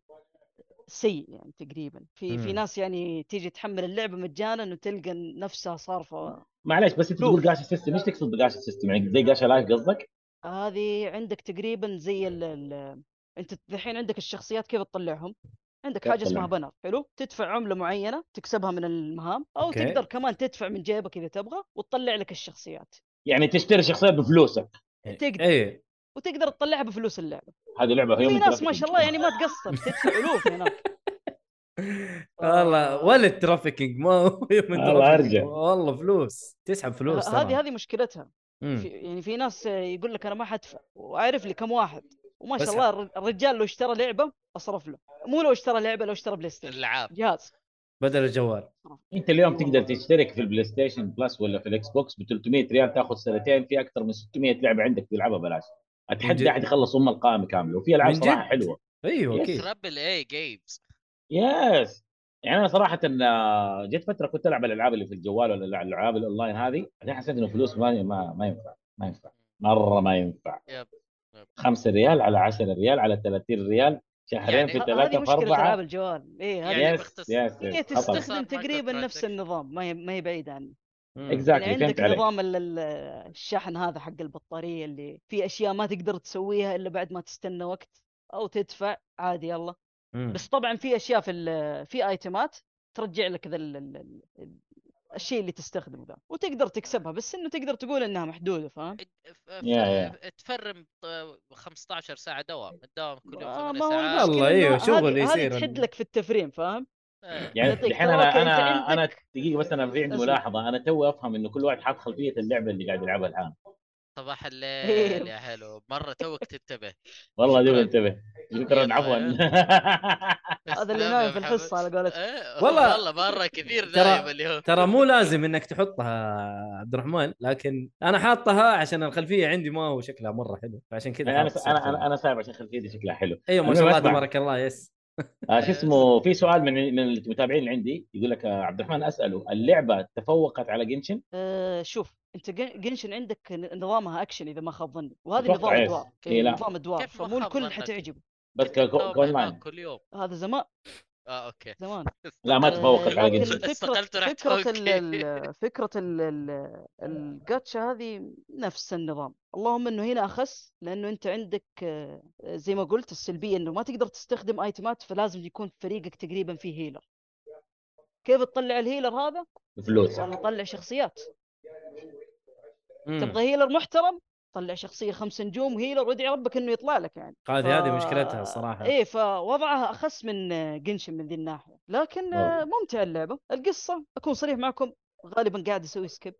سيء يعني تقريبا في في
مم.
ناس يعني تيجي تحمل اللعبه مجانا وتلقى نفسها صارفه
معليش بس انت
لوف.
تقول جاشا سيستم ايش تقصد بجاشا سيستم يعني زي جاشا لايف قصدك؟
هذه عندك تقريبا زي ال ال انت الحين عندك الشخصيات كيف تطلعهم عندك
كيف
حاجه اسمها
تطلعهم؟
بنر حلو تدفع عمله معينه تكسبها من المهام او
أوكي.
تقدر كمان تدفع من جيبك اذا تبغى وتطلع لك الشخصيات
يعني تشتري شخصيه بفلوسك
تقدر.
اي
وتقدر تطلعها بفلوس اللعبه
هذه لعبه
في
يوم
إيه، ناس ما شاء الله يعني ما تقصر تدفع الوف هناك آه.
والله ولا الترافيكينج ما هو من
والله
ترافيكينج.
أرجع.
والله فلوس تسحب فلوس
ه- هذه
ترى.
هذه مشكلتها
مم.
في يعني في ناس يقول لك انا ما حدفع واعرف لي كم واحد وما شاء
بس
الله الر- الرجال لو اشترى لعبه اصرف له مو لو اشترى لعبه لو اشترى بلاي ستيشن
الالعاب
جهاز
بدل الجوال
انت اليوم تقدر تشترك في البلاي ستيشن بلس ولا في الاكس بوكس ب 300 ريال تاخذ سنتين في اكثر من 600 لعبه عندك تلعبها بلاش
من جد؟
اتحدى احد يخلص ام القائمه كامله وفي العاب
من
صراحه
جد؟
حلوه
ايوه
يس.
اكيد
تربل اي جيمز
يس يعني انا صراحه آه، جت فتره كنت العب الالعاب اللي في الجوال ولا الالعاب الاونلاين هذه بعدين حسيت انه فلوس ما ما, ما ينفع ما ينفع مره ما ينفع
يب. يب.
5 ريال على 10 ريال على 30 ريال شهرين
يعني
في
ه-
ه- هذه
ثلاثه في
مشكله العاب
اربعه
الجوال اي هذه
يعني
يس
باختص-
يس
هي
يس
تستخدم-
خطر
إيه، تستخدم
مايكرو
تقريبا نفس
ترانزاكشن.
النظام ما هي ما هي بعيده عنه
مم.
اكزاكتلي
يعني عندك
فهمت عليك
نظام ال- ال- الشحن هذا حق البطاريه اللي في اشياء ما تقدر تسويها الا بعد ما تستنى وقت او تدفع عادي يلا
مم.
بس طبعا في اشياء في ال- في ايتمات ترجع لك ذا ال- ال- ال- ال- الشيء اللي تستخدمه ذا وتقدر تكسبها بس انه تقدر تقول انها محدوده فاهم
ف- ف-
يا-
تفرم ط- 15 ساعة دوام الدوام كل يوم
آه،
8
ما هو
ساعات
والله
المشكلة إنه
أيوه،
هذه-
شغل
هذه
يصير
تحد
ال-
لك في التفريم فاهم
إيه.
يعني
يعطيك
الحين
طاقة، أنت
انا انا انا
عندك-
دقيقه بس انا في عندي
أسمع.
ملاحظه انا تو افهم انه كل واحد حاط خلفيه اللعبه اللي قاعد يلعبها الان
صباح الليل يا حلو مرة توك تنتبه
والله دوب
شكراً.
انتبه شكرا
يلا.
عفوا
هذا اللي
تسلم
نايم
يا
في
محمد.
الحصة على قولتك.
إيه،
والله-
والله مرة كثير
ترى-
نايم اليوم
ترى مو لازم انك تحطها عبد الرحمن لكن انا حاطها عشان الخلفيه عندي ما هو شكلها مره حلو فعشان كذا
انا
حاطط
انا انا
صورتها.
انا سايب عشان خلفيتي شكلها حلو
ايوه ما
المهم
شاء الله
اسمع.
تبارك الله يس
آه، شو اسمه في سؤال من من المتابعين اللي عندي يقول لك آه، عبد الرحمن اساله اللعبه تفوقت على جنشن
آه، شوف انت جن- جنشن عندك ن- نظامها اكشن اذا ما خاب ظني وهذا
أتوقع
نظام
يس.
ادوار
إيه،
إيه،
لا.
نظام ادوار
كيف ما
فمو
خاب
الكل
ظنك؟
حتعجبه
بس ك- ك-
دوام
كون
هناك
لاين
كل يوم
هذا زمان
اه اوكي
زمان
لا ما
آه،
تفوقت على
لكن
جنشن
فكرة
استقلت ورحت
فكرة ال
أوكي.
ال- فكرة ال ال الجاتشا هذه نفس النظام اللهم انه هنا اخس لانه انت عندك آه، زي ما قلت السلبية انه ما تقدر تستخدم ايتمات فلازم يكون فريقك تقريبا فيه هيلر كيف تطلع الهيلر هذا؟
فلوسك
والله طلع شخصيات
مم.
تبغى هيلر محترم طلع شخصية خمس نجوم هيلر وادعي ربك انه يطلع لك يعني
هذه هذه مشكلتها
فا-
الصراحه
ايه فوضعها اخس من جنشن من ذي الناحيه لكن آه، ممتعه اللعبه القصه اكون صريح معكم غالبا قاعد اسوي سكيب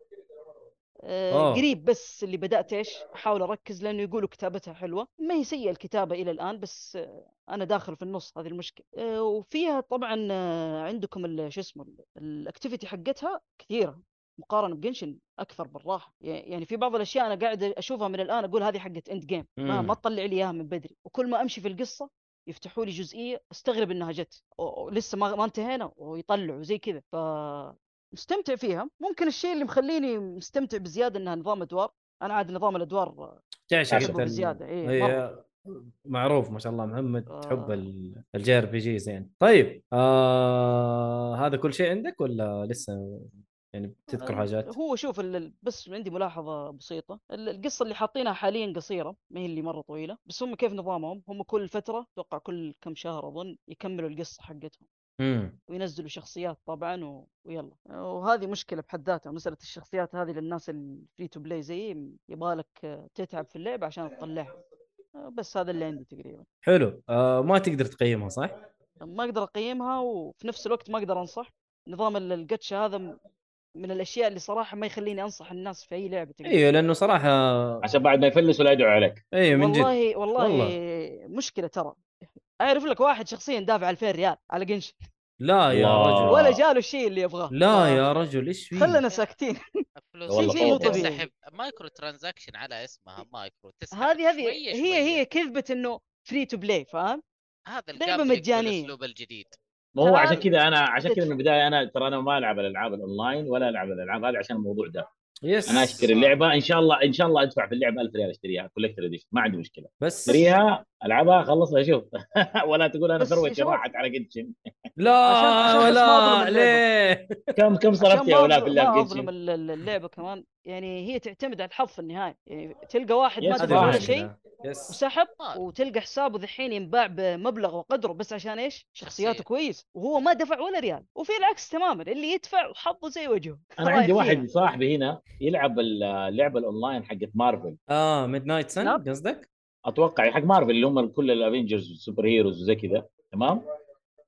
آه،
أوه.
قريب بس اللي بدات ايش احاول اركز لانه يقولوا كتابتها حلوه ما هي سيئه الكتابه الى الان بس آه، انا داخل في النص هذه المشكله آه، وفيها طبعا آه، عندكم ال- شو اسمه ال- الاكتيفيتي حقتها كثيره مقارنه بجنشن اكثر بالراحه يعني في بعض الاشياء انا قاعد اشوفها من الان اقول هذه حقت اند جيم ما
مم.
ما تطلع لي اياها من بدري وكل ما امشي في القصه يفتحوا لي جزئيه استغرب انها جت أو- أو لسه ما ما انتهينا ويطلعوا زي كذا ف مستمتع فيها ممكن الشيء اللي مخليني مستمتع بزياده انها نظام ادوار انا عاد نظام الادوار
تعشق
أحبه
انت ال-
بزيادة، إيه،
إيه،
مرة.
معروف ما شاء الله محمد
آه.
تحب ال- الجي ار بي جي زين طيب آه هذا كل شيء عندك ولا لسه يعني بتذكر حاجات
هو شوف ال- ال- بس عندي ملاحظة بسيطة ال- القصة اللي حاطينها حاليا قصيرة ما هي اللي مرة طويلة بس هم كيف نظامهم هم كل فترة توقع كل كم شهر أظن يكملوا القصة حقتهم
امم
وينزلوا شخصيات طبعا و... ويلا وهذه مشكلة بحد ذاتها مسألة الشخصيات هذه للناس الفري تو بلاي زي يبغالك تتعب في اللعب عشان تطلعها بس هذا اللي عندي تقريبا
حلو آه ما تقدر تقيمها صح؟
ما اقدر اقيمها وفي نفس الوقت ما اقدر انصح نظام ال- الجاتشا هذا م- من الاشياء اللي صراحه ما يخليني انصح الناس في اي لعبه تقريبا
ايوه لانه صراحه
عشان بعد ما يفلس ولا يدعو عليك
ايوه من جد
والله والله,
والله.
مشكله ترى اعرف لك واحد شخصيا دافع 2000 ريال على قنش
لا يا
الله.
رجل
ولا جاله الشيء اللي يبغاه
آه. لا يا رجل ايش فيه؟
خلنا ساكتين
فلوس
والله
شيء
فوضى.
تسحب مايكرو ترانزاكشن على اسمها مايكرو تسحب
هذه هذه
شوية
هي
شوية.
هي كذبه انه فري تو بلاي فاهم
هذا
لعبة
الجامبلينج
مجانية.
والاسلوب الجديد
ما هو
ترى
عشان كذا انا عشان كذا من البدايه انا ترى انا ما العب الالعاب الاونلاين ولا العب الالعاب هذه عشان الموضوع ده
يس
انا اشتري اللعبه ان شاء الله ان شاء الله ادفع في اللعبه 1000 ريال اشتريها كولكتر اديشن ما عندي مشكله
بس
اشتريها العبها خلصها اشوف ولا تقول انا
بس يا
ثروتي
شباب.
راحت على جنشن
لا
عشان- عشان بس ما
ولا
أظلم
ليه؟
كم كم صرفت
عشان
يا
ما
ولا
أظلم-
في اللعب
ما اظلم
جنشن
ال- ال- اللعبه كمان يعني هي تعتمد على الحظ في النهايه يعني تلقى واحد
يا
ما
هذه
تدري ولا
المشكلة.
شيء
يس
وسحب
طيب.
وتلقى حسابه ذحين ينباع بمبلغ وقدره بس عشان ايش؟ شخصياته
شخصية.
كويس وهو ما دفع ولا ريال وفي العكس تماما اللي يدفع وحظه زي وجهه
انا
رايح
عندي واحد
فيها.
صاحبي هنا يلعب اللعبه الاونلاين حقت مارفل
اه ميد نايت سن
نعم.
قصدك؟
اتوقع حق مارفل اللي هم كل الافنجرز والسوبر هيروز وزي كذا تمام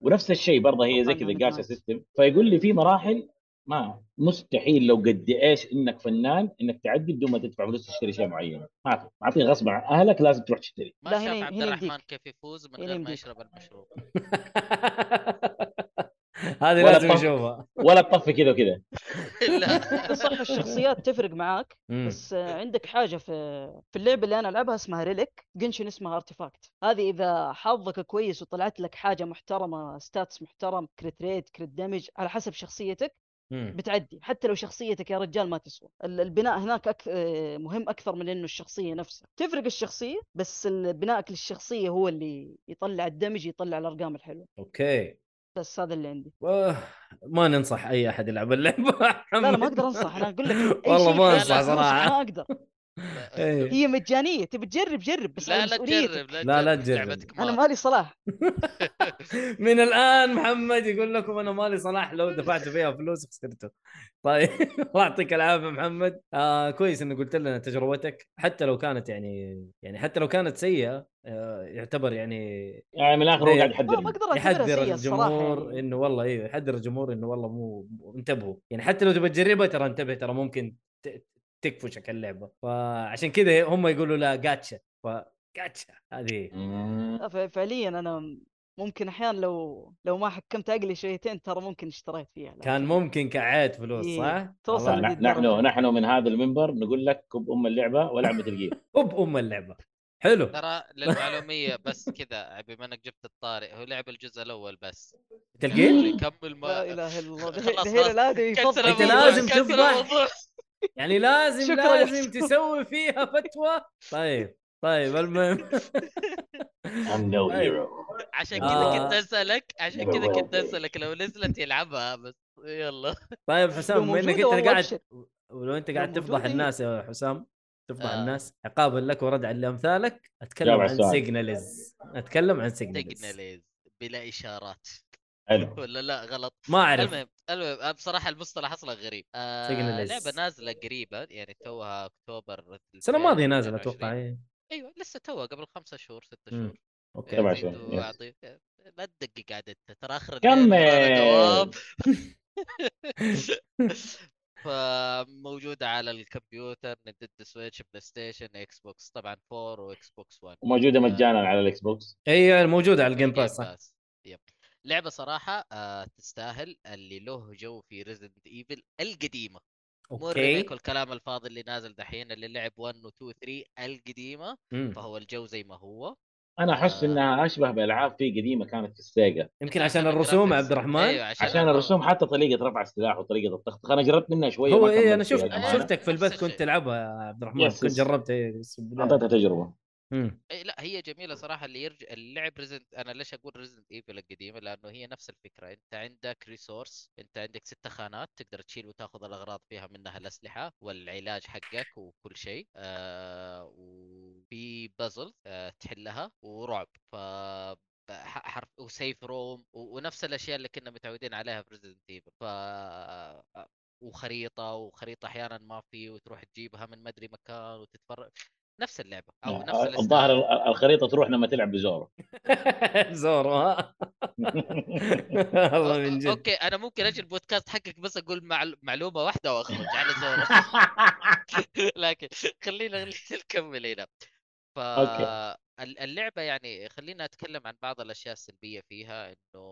ونفس الشيء برضه هي زي
طبعاً
كذا
أنا
قاسه
متعود.
سيستم فيقول لي في مراحل ما مستحيل لو قد ايش انك فنان انك تعدي بدون ما تدفع فلوس تشتري شيء معين ما في ما في غصب عن اهلك لازم تروح تشتري
ما
لا،
شاف
هنا-
عبد
هنا
الرحمن
يمديك.
كيف يفوز من
هنا
غير ما
يمديك.
يشرب المشروب
هذه
ولا
لازم
طف.
نشوفها
ولا تطفي كذا وكذا
لا
صح الشخصيات تفرق معاك
مم.
بس آه، عندك حاجه في في اللعبه اللي انا العبها اسمها ريليك جنشن اسمها ارتفاكت هذه اذا حظك كويس وطلعت لك حاجه محترمه ستاتس محترم كريت ريت كريت دمج على حسب شخصيتك
مم.
بتعدي حتى لو شخصيتك يا رجال ما تسوى ال- البناء هناك أك... آه، مهم اكثر من انه الشخصيه نفسها تفرق الشخصيه بس ال- بنائك للشخصيه هو اللي يطلع الدمج يطلع الارقام الحلوه
اوكي
بس هذا اللي عندي
آه، ما ننصح اي احد يلعب اللعبه
لا لا ما اقدر انصح انا اقول لك أي
والله
شيء
ما
لا، لا،
أنصح
أنصح،
صراحة.
ما اقدر
إيه.
هي مجانيه تبي تجرب جرب بس
لا
على
لا
مسؤوليتك.
تجرب
لا، لا تجرب.
لعبتك
انا
آه.
مار.
مالي صلاح
من الان محمد يقول لكم انا مالي صلاح لو دفعت فيها فلوس خسرته طيب الله يعطيك العافيه محمد آه كويس انك قلت لنا تجربتك حتى لو كانت يعني يعني حتى لو كانت سيئه آه يعتبر يعني
يعني من الاخر هو قاعد
ما آه، ما
يحذرني
اقدر اعتبرها
يحذر
سيئه الصراحه
الجمهور
يعني.
انه والله ايوه يحذر الجمهور انه والله مو مو- انتبهوا يعني حتى لو تبغى تجربها ترى انتبه ترى ممكن ت- تكفشك اللعبه فعشان كذا هم يقولوا لا جاتشا فجاتشا هذه
مم.
آه، ف- فعليا انا ممكن احيانا لو لو ما حكمت عقلي شويتين ترى ممكن اشتريت فيها لكن-
كان ممكن كعاد فلوس
إيه.
صح؟
توصل
والله.
لذي
نح- نحن
الدرجة.
نحن من هذا المنبر نقول لك كب ام اللعبه ولا عم تلقيه
اب ام اللعبه حلو
ترى للمعلومية بس كذا بما انك جبت الطارئ هو لعب الجزء الاول بس
تلقيه؟
يكمل
لا
ما
اله الا الله
خلاص،
دحين
خلاص.
دحين العاده
كسر
يفضل
أنت
الموضوع،
لازم
كسر
تفضح.
الموضوع.
يعني لازم
شكراً.
لازم تسوي فيها فتوى طيب طيب المهم
I'm no
طيب.
hero
عشان
آه.
كذا كنت اسالك عشان
Never
كذا
will
كنت
be.
اسالك لو نزلت يلعبها بس يلا
طيب حسام بما انك انت قاعد ولو انت قاعد
لو موجودة
تفضح
هي.
الناس يا حسام تفضح
آه.
الناس عقابا لك وردعا لامثالك اتكلم
جاوب على
عن
السؤال.
سيجناليز اتكلم عن سيجناليز
تقنليز بلا اشارات
حلو
ولا لا غلط
ما اعرف
المهم المهم بصراحه المصطلح اصلا غريب آه
Signalist.
لعبه نازله قريبا يعني توها اكتوبر
السنه
آه،
الماضيه نازل
2022.
اتوقع إيه.
ايوه لسه توها قبل خمسة شهور ستة
مم.
شهور
اوكي
سبع
يعني
شهور،
زيدوا
يس.
أعطي- لا تدقق عاد انت ترى اخر الليل ورانا
كمل
دوام فموجوده على الكمبيوتر نينتندو سويتش بلاي ستيشن اكس بوكس طبعا 4 واكس بوكس 1
وموجوده مجانا على الاكس بوكس
ايوه موجوده على الجيم
الجيم
باس صح
باس يب لعبه صراحه آه تستاهل اللي له جو في ريزدنت ايفل القديمه مو
اوكي
الريميك والكلام الفاضي اللي نازل دحين اللي لعب 1 و 2 و 3 القديمه
مم.
فهو الجو زي ما هو
انا احس
آه.
انها اشبه بالعاب في قديمه كانت في السيجا
يمكن
لا،
عشان
عشان
الرسوم
الجرافيكس.
عبد الرحمن
أيوة.
ايوه عشان,
عشان الرسوم حتى طريقه رفع السلاح وطريقه الضغط انا جربت منها شويه
هو
ما يعني.
ايه انا
كملت فيها
أيوة.
شفت
الأمانة.
شفتك في
نفس
البث كنت
الشيء.
تلعبها يا عبد الرحمن
يس،
كنت
يس.
جربت ايه بس بالله.
اعطيتها تجربه
مم.
إيه لا هي جميله صراحه اللي يرجع اللعب ريزنت انا ليش اقول ريزنت ايفل القديمه لانه هي نفس الفكره انت عندك ريسورس انت عندك ست خانات تقدر تشيل وتاخذ الاغراض فيها منها الاسلحه والعلاج حقك وكل شيء آه وفي بازل آه تحلها ورعب ف ب- ح- حرف وسيف روم و- ونفس الاشياء اللي كنا متعودين عليها في ريزدنت ايفل ف آه، وخريطه وخريطه احيانا ما في وتروح تجيبها من مدري مكان وتتفرج نفس اللعبه او نفس
آه،
الاستايل.
الظاهر ال- الخريطه تروح لما تلعب بزورو
زورو ها والله من
أو-
جد
اوكي انا ممكن اجي البودكاست حقك بس اقول معل... معلومه واحده واخرج على زور لكن خلينا خلينا نكمل هنا ف
أوكي.
ال- اللعبه يعني خلينا اتكلم عن بعض الاشياء السلبيه فيها انه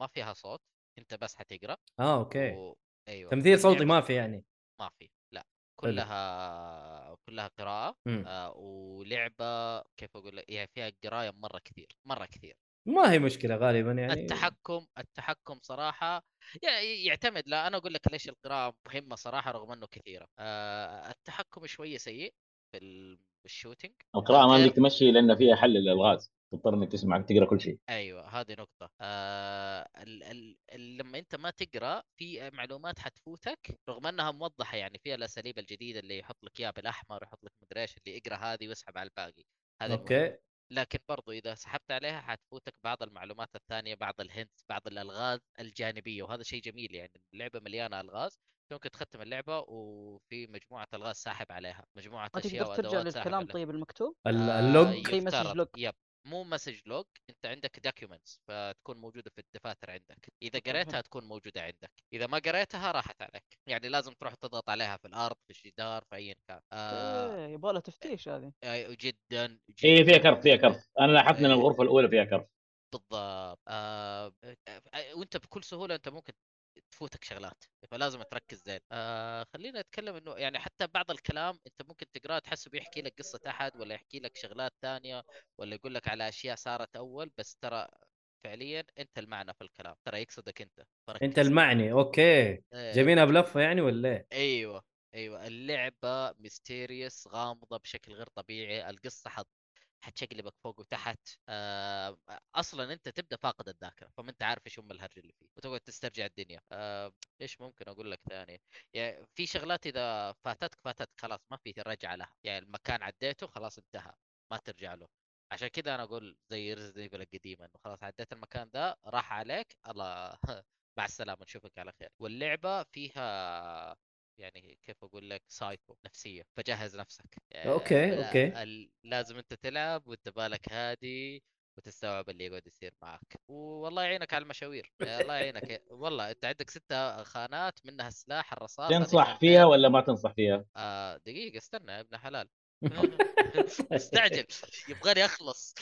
ما فيها صوت انت بس حتقرا
اه اوكي
و... ايوه
تمثيل صوتي
واللعبة-
ما في يعني
ما في لا كلها كلها قراءه
مم.
آه، ولعبه كيف اقول لك يعني فيها قرايه مره كثير مره كثير
ما هي مشكله غالبا يعني
التحكم التحكم صراحة يع- يعتمد لا أنا أقول لك ليش القراءة مهمة صراحة رغم أنه كثيرة آه، التحكم شوية سيء في ال- في الشوتينج
القراءه ما
غير-
بدك تمشي لان فيها حل للالغاز تضطر انك تسمع تقرا كل شيء
ايوه هذه نقطة آه ال ال ال لما انت ما تقرا في معلومات حتفوتك رغم انها موضحة يعني فيها الاساليب الجديدة اللي يحط لك اياها بالاحمر يحط لك مدري ايش اللي اقرا هذه واسحب على الباقي هذا المهم
اوكي
لكن برضو اذا سحبت عليها حتفوتك بعض المعلومات الثانيه بعض الهنتس بعض الالغاز الجانبيه وهذا شيء جميل يعني اللعبه مليانه الغاز ممكن تختم اللعبه وفي مجموعه الغاز ساحب عليها مجموعه
ما
اشياء
تقدر ترجع
وادوات ساحب
للكلام
عليها
طيب المكتوب
ال-
آه،
اللوج
زي مسج
يفترض
لوج.
يب مو مسج لوج انت عندك دوكيومنتس فتكون موجوده في الدفاتر عندك اذا
أوكي،
قريتها
حلو.
تكون موجوده عندك اذا ما قريتها راحت عليك يعني لازم تروح تضغط عليها في الارض في الجدار في ايا كان آه
ايه يبغى لها تفتيش هذه
آه، جدا جدا
اي إيه، فيها كرف فيها كرف انا لاحظت ان
إيه.
الغرفه الاولى فيها كرف
بالضبط آه آه، آه، وانت بكل سهوله انت ممكن تفوتك شغلات فلازم تركز زين آه خلينا نتكلم انه يعني حتى بعض الكلام انت ممكن تقراه تحسه بيحكي لك قصه احد ولا يحكي لك شغلات ثانيه ولا يقول لك على اشياء صارت اول بس ترى فعليا انت المعنى في الكلام ترى يقصدك انت فركز
انت المعني اوكي
إيه.
جايبينها بلفه يعني ولا ايه؟
ايوه ايوه اللعبه ميستيريس غامضه بشكل غير طبيعي القصه حت حتشقلبك فوق وتحت آه، اصلا انت تبدا فاقد الذاكره فما انت عارف ايش ام الهرج اللي فيه وتقعد تسترجع الدنيا آه، ايش ممكن اقول لك ثاني يعني في شغلات اذا فاتتك فاتتك خلاص ما في رجعه لها يعني المكان عديته خلاص انتهى ما ترجع له عشان كذا انا اقول زي ريزد ايفل القديمه انه خلاص عديت المكان ذا راح عليك الله مع السلامه نشوفك على خير واللعبه فيها يعني كيف اقول لك سايكو نفسيه فجهز نفسك يعني
أوكي،
لا-
أوكي.
ال- لازم انت تلعب وانت بالك هادي وتستوعب اللي يقعد يصير معك والله يعينك على المشاوير يا الله يعينك يا- والله انت عندك ست خانات منها السلاح الرصاص هذه
تنصح
شغال.
فيها ولا ما تنصح فيها؟
آه دقيقه استنى يا ابن حلال مستعجل يبغاني اخلص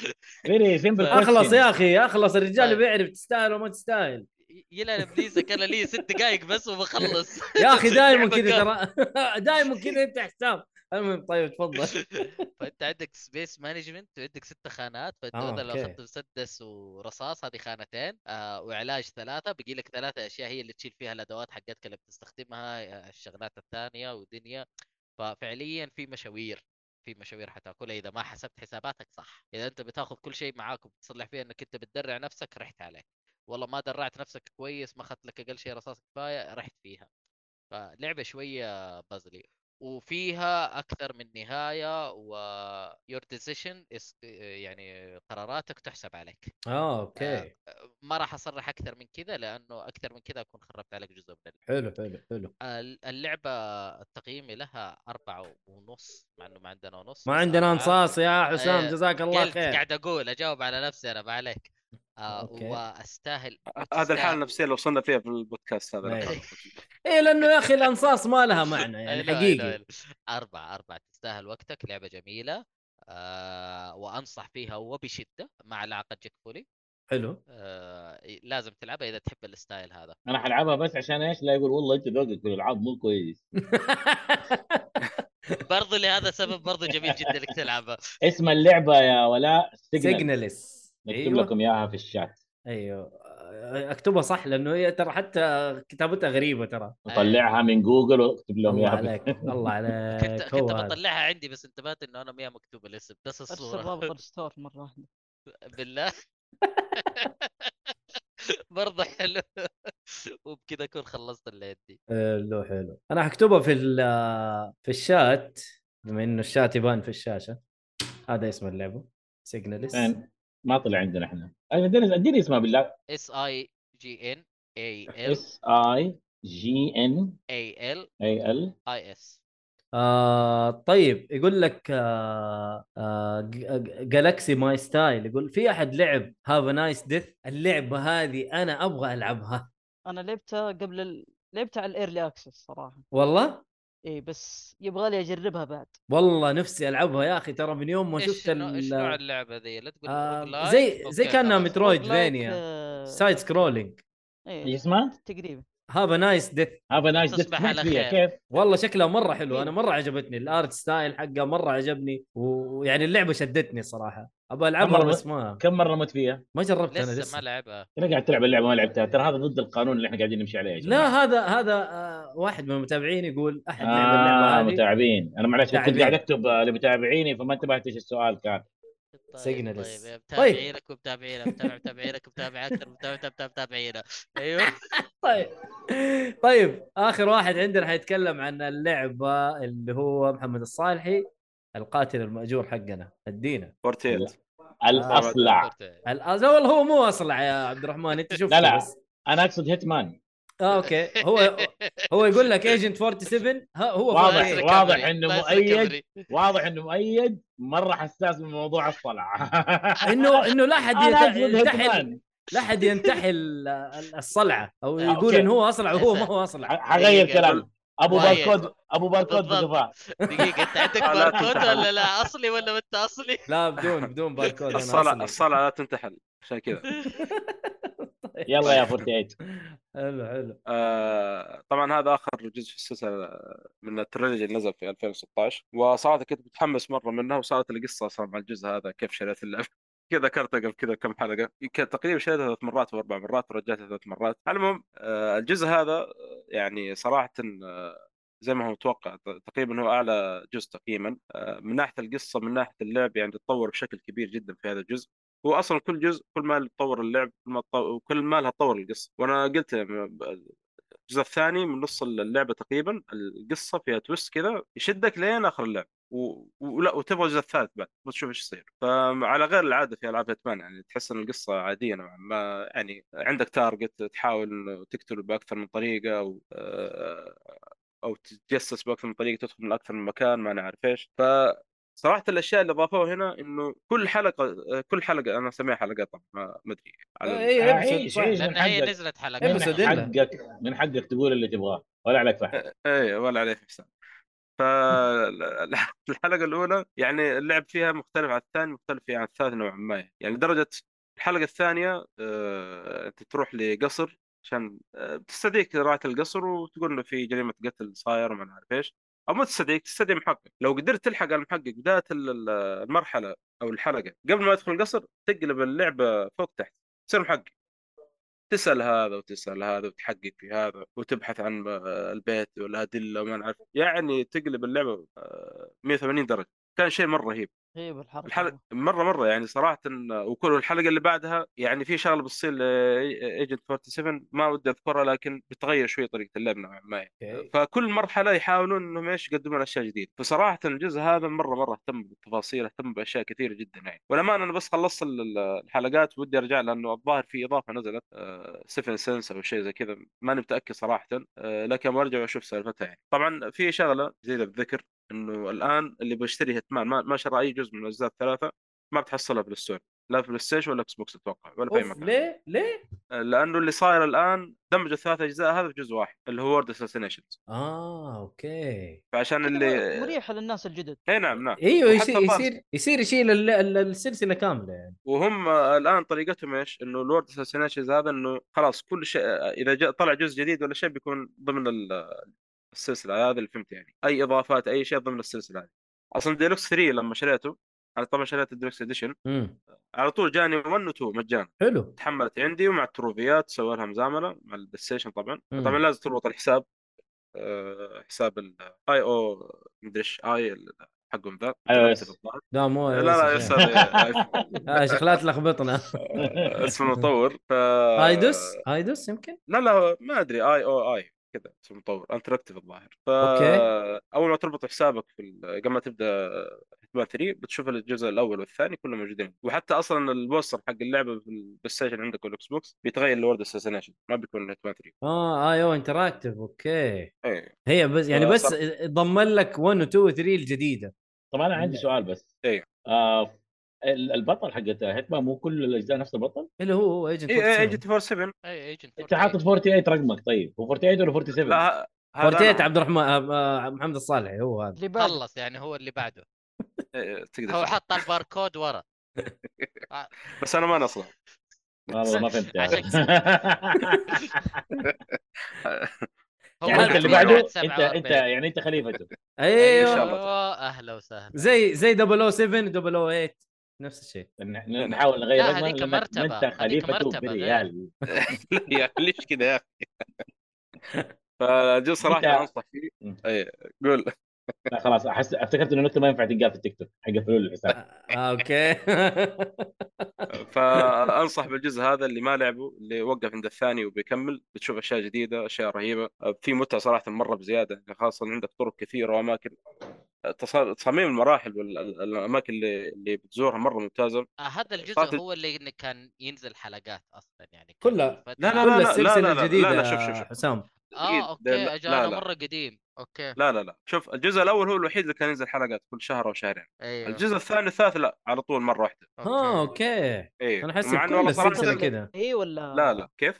فيري سمبل
اخلص يا اخي اخلص الرجال
طيب.
بيعرف تستاهل وما تستاهل
يلا يا ابليسك انا لي ست دقائق بس وبخلص
يا اخي دائما
لعبة
كذا
كاملة.
ترى دائما كذا انت حساب المهم طيب تفضل
فانت عندك سبيس مانجمنت وعندك ست خانات فانت
آه،
مثلا لو
أوكي.
اخذت مسدس ورصاص هذه خانتين آه وعلاج ثلاثه بقي لك ثلاثه اشياء هي اللي تشيل فيها الادوات حقتك اللي بتستخدمها آه، الشغلات الثانيه ودنيا ففعليا في مشاوير في مشاوير حتاكلها اذا ما حسبت حساباتك صح اذا انت بتاخذ كل شيء معاك وبتصلح فيه انك انت بتدرع نفسك رحت عليك والله ما درعت نفسك كويس ما اخذت لك اقل شيء رصاص كفايه رحت فيها فلعبه شويه بازلي وفيها اكثر من نهايه و your decision is يعني قراراتك تحسب عليك
اه
آه.
اوكي
ما راح اصرح اكثر من كذا لانه اكثر من كذا اكون خربت عليك جزء من
حلو حلو حلو
ال- اللعبه تقييمي لها أربعة ونص مع انه ما عندنا ونص
ما
بس
عندنا
أربعة.
انصاص يا حسام
إيه،
جزاك الله
آه. قلت
خير
قاعد اقول اجاوب على نفسي انا ما عليك آه
أوكي.
واستاهل
آه، هذا الحاله
وتستاهل.
النفسيه اللي وصلنا فيها في البودكاست هذا
أي.
الحالة.
ايه لانه يا اخي الانصاص ما لها معنى يعني
أي لا، أي لا، أي
حقيقي
لا. أربعة أربعة تستاهل وقتك لعبة جميلة آه وأنصح فيها وبشدة مع العقد جيك فولي
حلو
آه لازم تلعبها إذا تحب الستايل هذا
انا حلعبها بس عشان ايش؟ لا يقول والله انت ذوقك في الالعاب مو كويس
برضو لهذا السبب برضو جميل جدا إنك تلعبها
اسم اللعبه يا ولاء سيجنال
سيجنالس
نكتب
ايوه
لكم اياها في الشات
ايوه اكتبها صح لانه هي ترى حتى كتابتها غريبه ترى
اطلعها من جوجل واكتب لهم
الله
اياها
عليك الله
كنت
عليك
كنت
هو هذا.
بطلعها عندي بس انتبهت انه انا ما مكتوب الاسم بس
ارسل
الصوره
رابط الستور مره واحده
بالله برضه حلو وبكذا اكون خلصت اللي عندي
حلو حلو انا حكتبها في ال- في الشات بما انه الشات يبان في الشاشه هذا اسم اللعبه سيجناليس
فين؟ ما طلع عندنا احنا أيوة، اديني اديني اسمها بالله
اس اي جي ان اي ال
اس اي جي ان
اي ال
اي ال
اي اس
آه طيب يقول لك آه آه جالكسي ماي ستايل يقول في احد لعب هاف نايس ديث اللعبه هذه انا ابغى العبها
انا لعبتها قبل ال... لعبتها على الايرلي اكسس صراحه
والله
اي إيه، بس يبغى لي اجربها بعد
والله نفسي العبها يا اخي ترى من يوم ما شفت ال-
ايش نوع اللعبه ذي لا تقول
آه،
roguelike.
زي- زي
أوكي،
كأنها
خلاص.
مترو- Metroidvania.
سايد
سايد سكرولينج
ايش
إيه،
اسمها؟
تقريبا
هاف نايس ديث
هاف نايس
تصبح على
فيها
خير.
كيف؟
والله شكلها مره حلو انا
إيه.
مره عجبتني الارت ستايل حقها مره عجبني و- ويعني اللعبه شدتني صراحه ابغى العبها
مرة-
بس ما
كم مره مت فيها؟
ما جربتها انا
لسه
لسه
ما لعبها
انا قاعد تلعب اللعبه ما لعبتها ترى هذا ضد القانون اللي احنا قاعدين نمشي عليه يا
لا
جماعة.
هذا هذا آه، واحد من المتابعين يقول احد لعب
آه
اللعبه هذه
متابعين انا معلش كنت
متابعين.
قاعد اكتب آه، لمتابعيني فما انتبهت ايش السؤال كان
طيب،
Signalist.
طيب
طيب.
متابعينك ومتابعينا متابع متابعينك ومتابع اكثر متابع متابع- متابعينا ايوه
طيب طيب اخر واحد عندنا حيتكلم عن اللعبه اللي هو محمد الصالحي القاتل الماجور حقنا ادينا
فورتيت
آه،
الاصلع
الأ- لا آه، والله هو مو اصلع يا عبد الرحمن انت شفته
لا، لا.
بس
انا اقصد هيتمان
آه اوكي هو هو يقول لك ايجنت 47 ها هو
لا
واضح،
48.
يصير
واضح
كامري،
إنه
لا يصير
مؤيد.
كامري.
واضح انه مؤيد مره حساس من موضوع الصلع
انه انه لا احد
انا
يت-
اقصد
ينتحل
هيتمان
لا احد ينتحل ال- الصلعه او
آه،
يقول
أوكي.
انه هو اصلع وهو ما هو
ح-
اصلع
حغير
دقيقة.
كلامي ابو
مؤيد.
باركود ابو باركود
بالضبط.
بقفاه
دقيقه انت عندك
لا
باركود
تنتحل.
ولا لا اصلي ولا ما انت اصلي
لا بدون بدون باركود أنا
الصلع
أصلع.
الصلع لا تنتحل عشان كذا
يلا يا 48
حلو حلو
آه طبعا هذا اخر جزء في السلسله من التريلوجي اللي نزل في 2016 وصراحه كنت متحمس مره منها وصارت القصه اصلا مع الجزء هذا كيف شريت اللعبه كذا ذكرتها قبل كذا كم حلقه يمكن تقريبا شريتها ثلاث مرات واربع مرات ورجعتها ثلاث مرات المهم آه الجزء هذا آه، يعني صراحه آه، زي ما هو متوقع ت- تقريبا هو اعلى جزء تقييما آه، من ناحيه القصه من ناحيه اللعب يعني تطور بشكل كبير جدا في هذا الجزء هو اصلا كل جزء كل ما تطور اللعب كل ما تطو- كل ما لها تطور القصه وانا قلت آه، الجزء الثاني من نص اللعبه تقريبا القصه فيها تويست كذا يشدك لين اخر اللعبه و... ولا وتبغى الجزء الثالث بعد وتشوف ايش يصير فعلى غير العاده في العاب هيتمان يعني تحس ان القصه عاديه نوعا ما يعني عندك تارجت تحاول إنه تقتله باكثر من طريقه او او تتجسس باكثر من طريقه تدخل من اكثر من مكان ما انا عارف ايش ف صراحه الاشياء اللي ضافوها هنا انه كل حلقه كل حلقه انا سميها حلقات طبعا ما ما ادري على
إيه،
اي ابسط
عيش،
صح.
عيش.
لان
من
هي
حقك.
نزلت حلقه
إيه، من
بس أدلة.
حقك من حقك تقول اللي تبغاه ولا عليك فحم
إيه،
ايه ولا عليه حساب فالحلقه الاولى يعني اللعب فيها مختلف عن الثاني مختلف فيها عن الثالث نوعا ما يعني لدرجه الحلقه الثانيه آه، انت تروح لقصر عشان آه، تستدعيك رعاة القصر وتقول انه في جريمه قتل صاير وما أنا عارف ايش او ما تستدعيك تستدعي محقق لو قدرت تلحق المحقق بدايه ال- ال- المرحله او الحلقه قبل ما يدخل القصر تقلب اللعبه فوق تحت تصير محقق تسال هذا وتسال هذا وتحقق في هذا وتبحث عن آه، البيت والادله وما نعرف يعني تقلب اللعبه آه، 180 درجه كان شيء مره رهيب
غيب الحرب
الحلقه مره مره يعني صراحه آه، وكل الحلقه اللي بعدها يعني في شغله بتصير آه، لايجنت 47 ما ودي اذكرها لكن بتغير شوي طريقه اللعب نوعا ما يعني.
أوكي.
فكل مرحله يحاولون انهم ايش يقدمون اشياء جديده فصراحه الجزء هذا مره مره اهتم بالتفاصيل اهتم باشياء كثيره جدا يعني والامانه انا بس خلصت ال- ال- الحلقات ودي ارجع لانه الظاهر في اضافه نزلت آه، سيفن سنس او شيء زي كذا ماني متاكد صراحه آه، لكن برجع اشوف سالفتها يعني طبعا في شغله جديده بالذكر انه الان اللي بيشتري هيتمان ما, ما شرى اي جزء من الاجزاء الثلاثه ما بتحصلها في الستور لا في بلاي ستيشن ولا اكس بوكس اتوقع ولا في اي
اوف
مكان
ليه ليه؟
لانه اللي صاير الان دمجوا الثلاث اجزاء هذا في جزء واحد اللي هو وورد اساسينيشنز
اه اوكي
فعشان
اللي
اللي
مريحه للناس الجدد
اي نعم نعم
ايوه
وحتى
يصير
الظاهر-
يصير يصير يشيل ال- ال- السلسله كامله يعني
وهم الان طريقتهم ايش؟ انه الورد اساسينيشنز هذا انه خلاص كل شيء اذا جاء طلع جزء جديد ولا شيء بيكون ضمن ال- السلسله هذا اللي فهمت يعني اي اضافات اي شيء ضمن السلسله هذه اصلا ديلوكس 3 لما شريته انا طبعا شريت الديلكس اديشن
مم.
على طول جاني 1 و 2 مجانا
حلو
تحملت عندي ومع التروفيات سوي لها مزامله مع البلاي ستيشن طبعا
مم.
طبعا لازم تربط الحساب آه، حساب الاي او مدري ايش اي حقهم ذا
iOS.
لا مو
لا لا
يس-
يسأل
آه، شيخ لا تلخبطنا
اسم المطور ف
ايدوس ايدوس يمكن
لا لا ما ادري اي او اي كذا اسم المطور انتراكتيف الظاهر ف
أوكي.
اول ما تربط حسابك في ال- قبل ما تبدا هيتمان 3 بتشوف الجزء الاول والثاني كلهم موجودين وحتى اصلا البوستر حق اللعبه في البلاي ستيشن عندك والاكس بوكس بيتغير لورد اساسنيشن ما بيكون هيتمان 3
اه اي او انتراكتيف اوكي
ايه
هي بس يعني
آه،
بس
صح.
ضمن لك 1 و 2 و 3 الجديده
طبعا انا عندي سؤال بس
إيه.
آه ال- البطل حقت هيتمان مو كل الاجزاء نفس البطل؟
اللي هو هو ايجنت
اي اي جت 47
اي ايجنت
انت حاطط 48 رقمك طيب هو 48 ولا 47؟
لا ه- هذا
فورتيت
أنا-
عبد الرحمن آه، آه، محمد الصالح هو هذا
اللي بعد
خلص يعني هو اللي بعده
إيه، تقدر
هو
تشوف.
حط الباركود ورا
بس انا ما نصلح
والله ما فهمت هذا.
عشان كذا. هو
يعني انت
عارف
اللي بعده
إنه بعد
انت
47.
انت يعني انت خليفته
ايوه
إيه، شاء الله.
ايوه اهلا وسهلا
زي زي 007 008 نفس الشيء
ن- ن- نحاول نغير
لا،
رقمه
هذيك
لأنك
مرتبة.
ما انت
هذيك
خليفته
مرتبة
بريال
يا أخي، ليش كذا يا اخي فجو صراحه
أنت-
أنا انصح فيه
مم.
اي قول
لا خلاص احس افتكرت انه النكته ما ينفع تنقال في التيك توك حقفلوا لي الحساب
آه، اوكي
فانصح بالجزء هذا اللي ما لعبه اللي وقف عند الثاني وبيكمل بتشوف اشياء جديده اشياء رهيبه في متعه صراحه مره بزياده خاصه يعني عندك طرق كثيره واماكن تص- تصاميم المراحل والاماكن اللي اللي بتزورها مره ممتازه
آه، هذا الجزء
صارت-
هو اللي إنه كان ينزل حلقات اصلا يعني كان
كلها.
الفترة-
لا، لا،
كل
لا، لا،
السلسله
لا، لا،
الجديده
لا، شوف، شوف، شوف.
حسام
اه
لا،
اوكي
لا،
اجانا
لا.
مره قديم اوكي
لا لا لا شوف الجزء الاول هو الوحيد اللي كان ينزل حلقات كل شهر او شهرين
ايوه
الجزء آه، الثاني الثالث لا على طول مره واحده
اه اوكي
اي
انا احس
مع انه
كل
والله
السلسله
صراحه
كده.
كذا
اي إيه ولا
لا لا كيف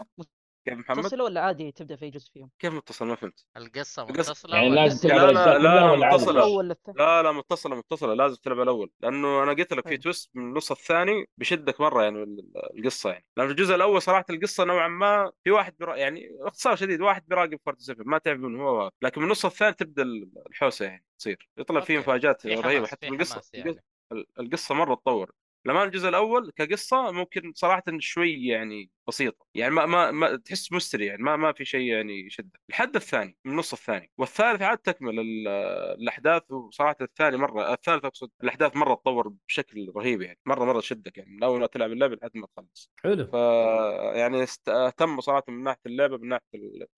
كيف محمد
متصل ولا عادي تبدا في جزء فيهم
كيف متصل ما فهمت
القصه
القصة-
متصله
يعني
ولا
لازم
سلسلة؟
تلعب
لا، لا،
الاجزاء
لا،
كلها
لا،
ولا عادي؟
متصلة.
الاول الثاني
لا لا متصلة متصلة لازم تلعب الأول لأنه أنا قلت لك في
طيب.
تويست من نص الثاني بشدك مرة يعني ال- القصة يعني لأنه الجزء الأول صراحة القصة نوعا ما في واحد برا يعني اختصار شديد واحد بيراقب فرد سفن ما تعرف من هو هذا. لكن من نص الثاني تبدأ ال- الحوسة يعني تصير يطلع فيه
أوكي.
مفاجآت
في
رهيبة
حماس
حتى
في
من القصة
حماس يعني
ال- القصة مرة تطور لما الجزء الأول كقصة ممكن صراحة شوي يعني بسيطة يعني ما ما, ما تحس مستري يعني ما ما في شيء يعني يشدك الحد الثاني من النص الثاني والثالث عاد تكمل ال- الاحداث وصراحه الثاني مره الثالث اقصد الاحداث مره تطور بشكل رهيب يعني مره مره تشدك يعني من اول ما تلعب اللعبه لحد ما تخلص ف
حلو
يعني است- اهتموا صراحه من ناحيه اللعبه من ناحيه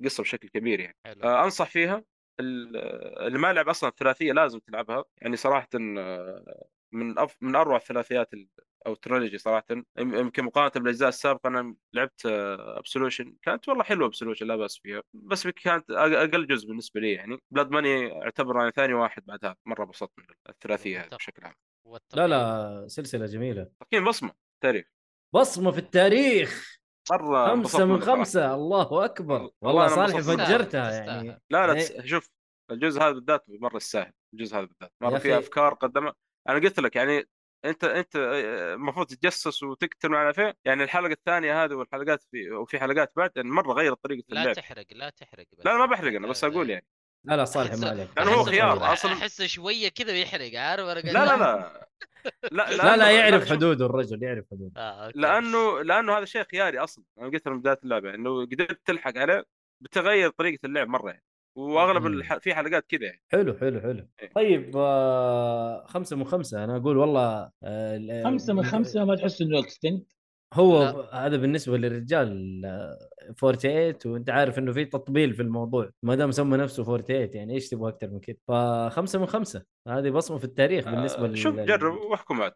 القصه بشكل كبير يعني
حلو
آه، انصح فيها ال- آه، اللي ما لعب اصلا الثلاثيه لازم تلعبها يعني صراحه آه، من أف... من اروع الثلاثيات ال- او تريلوجي صراحه يم- يمكن مقارنه بالاجزاء السابقه انا لعبت ابسولوشن كانت والله حلوه ابسولوشن لا باس فيها بس كانت أق- اقل جزء بالنسبه لي يعني بلاد ماني اعتبر يعني ثاني واحد بعدها مره بسطني الثلاثيه هذه
واتفق.
بشكل عام
لا
والتقييم؟
طيب.
لا سلسله جميله
تقييم بصمه تاريخ
بصمه في التاريخ
مره
خمسة
انبسطت
من
منه صراحة.
خمسة الله أكبر
آه، والله
والله
أنا
صالح
انبسطت.
فجرتها
تستاهل.
يعني
لا لا
إيه.
تس- شوف الجزء هذا بالذات مره يستاهل الجزء هذا بالذات
يا
مره
أخي.
فيه افكار قدمها انا قلت لك يعني انت انت آه، المفروض تتجسس وتقتل وعلى فين يعني الحلقه الثانيه هذه والحلقات في وفي حلقات بعد يعني مره غيرت طريقه
لا
اللعب
تحرق لا تحرق بس
لا أنا ما
أنت-
بحرق انا بس اقول يعني
لا لا صالح ما
أحس-
عليك
لأنه هو
أحس
احسه
خيار
طيب.
أصلاً.
احسه شويه كذا بيحرق عارف انا
لا لا لا لا
لا لا
لأنه-
يعرف
شوف،
حدوده الرجل يعرف حدوده
آه، أوكي.
لانه لانه هذا شيء خياري اصلا انا قلت من بدايه اللعبه انه قدرت تلحق عليه بتغير طريقه اللعب مره يعني واغلب
مم.
الح... في حلقات كذا يعني
حلو حلو حلو
إيه.
طيب آه خمسة من خمسة أنا أقول والله آه ال-
خمسه من خمسه ما تحس انه اكستنت
هو
لا.
هذا بالنسبة للرجال آه، 48 وأنت عارف إنه في تطبيل في الموضوع ما دام سمى نفسه 48 يعني إيش تبغى أكثر من كذا فخمسة من خمسة هذه بصمة في التاريخ بالنسبة
آه، شوف
لل-
جرب واحكم عاد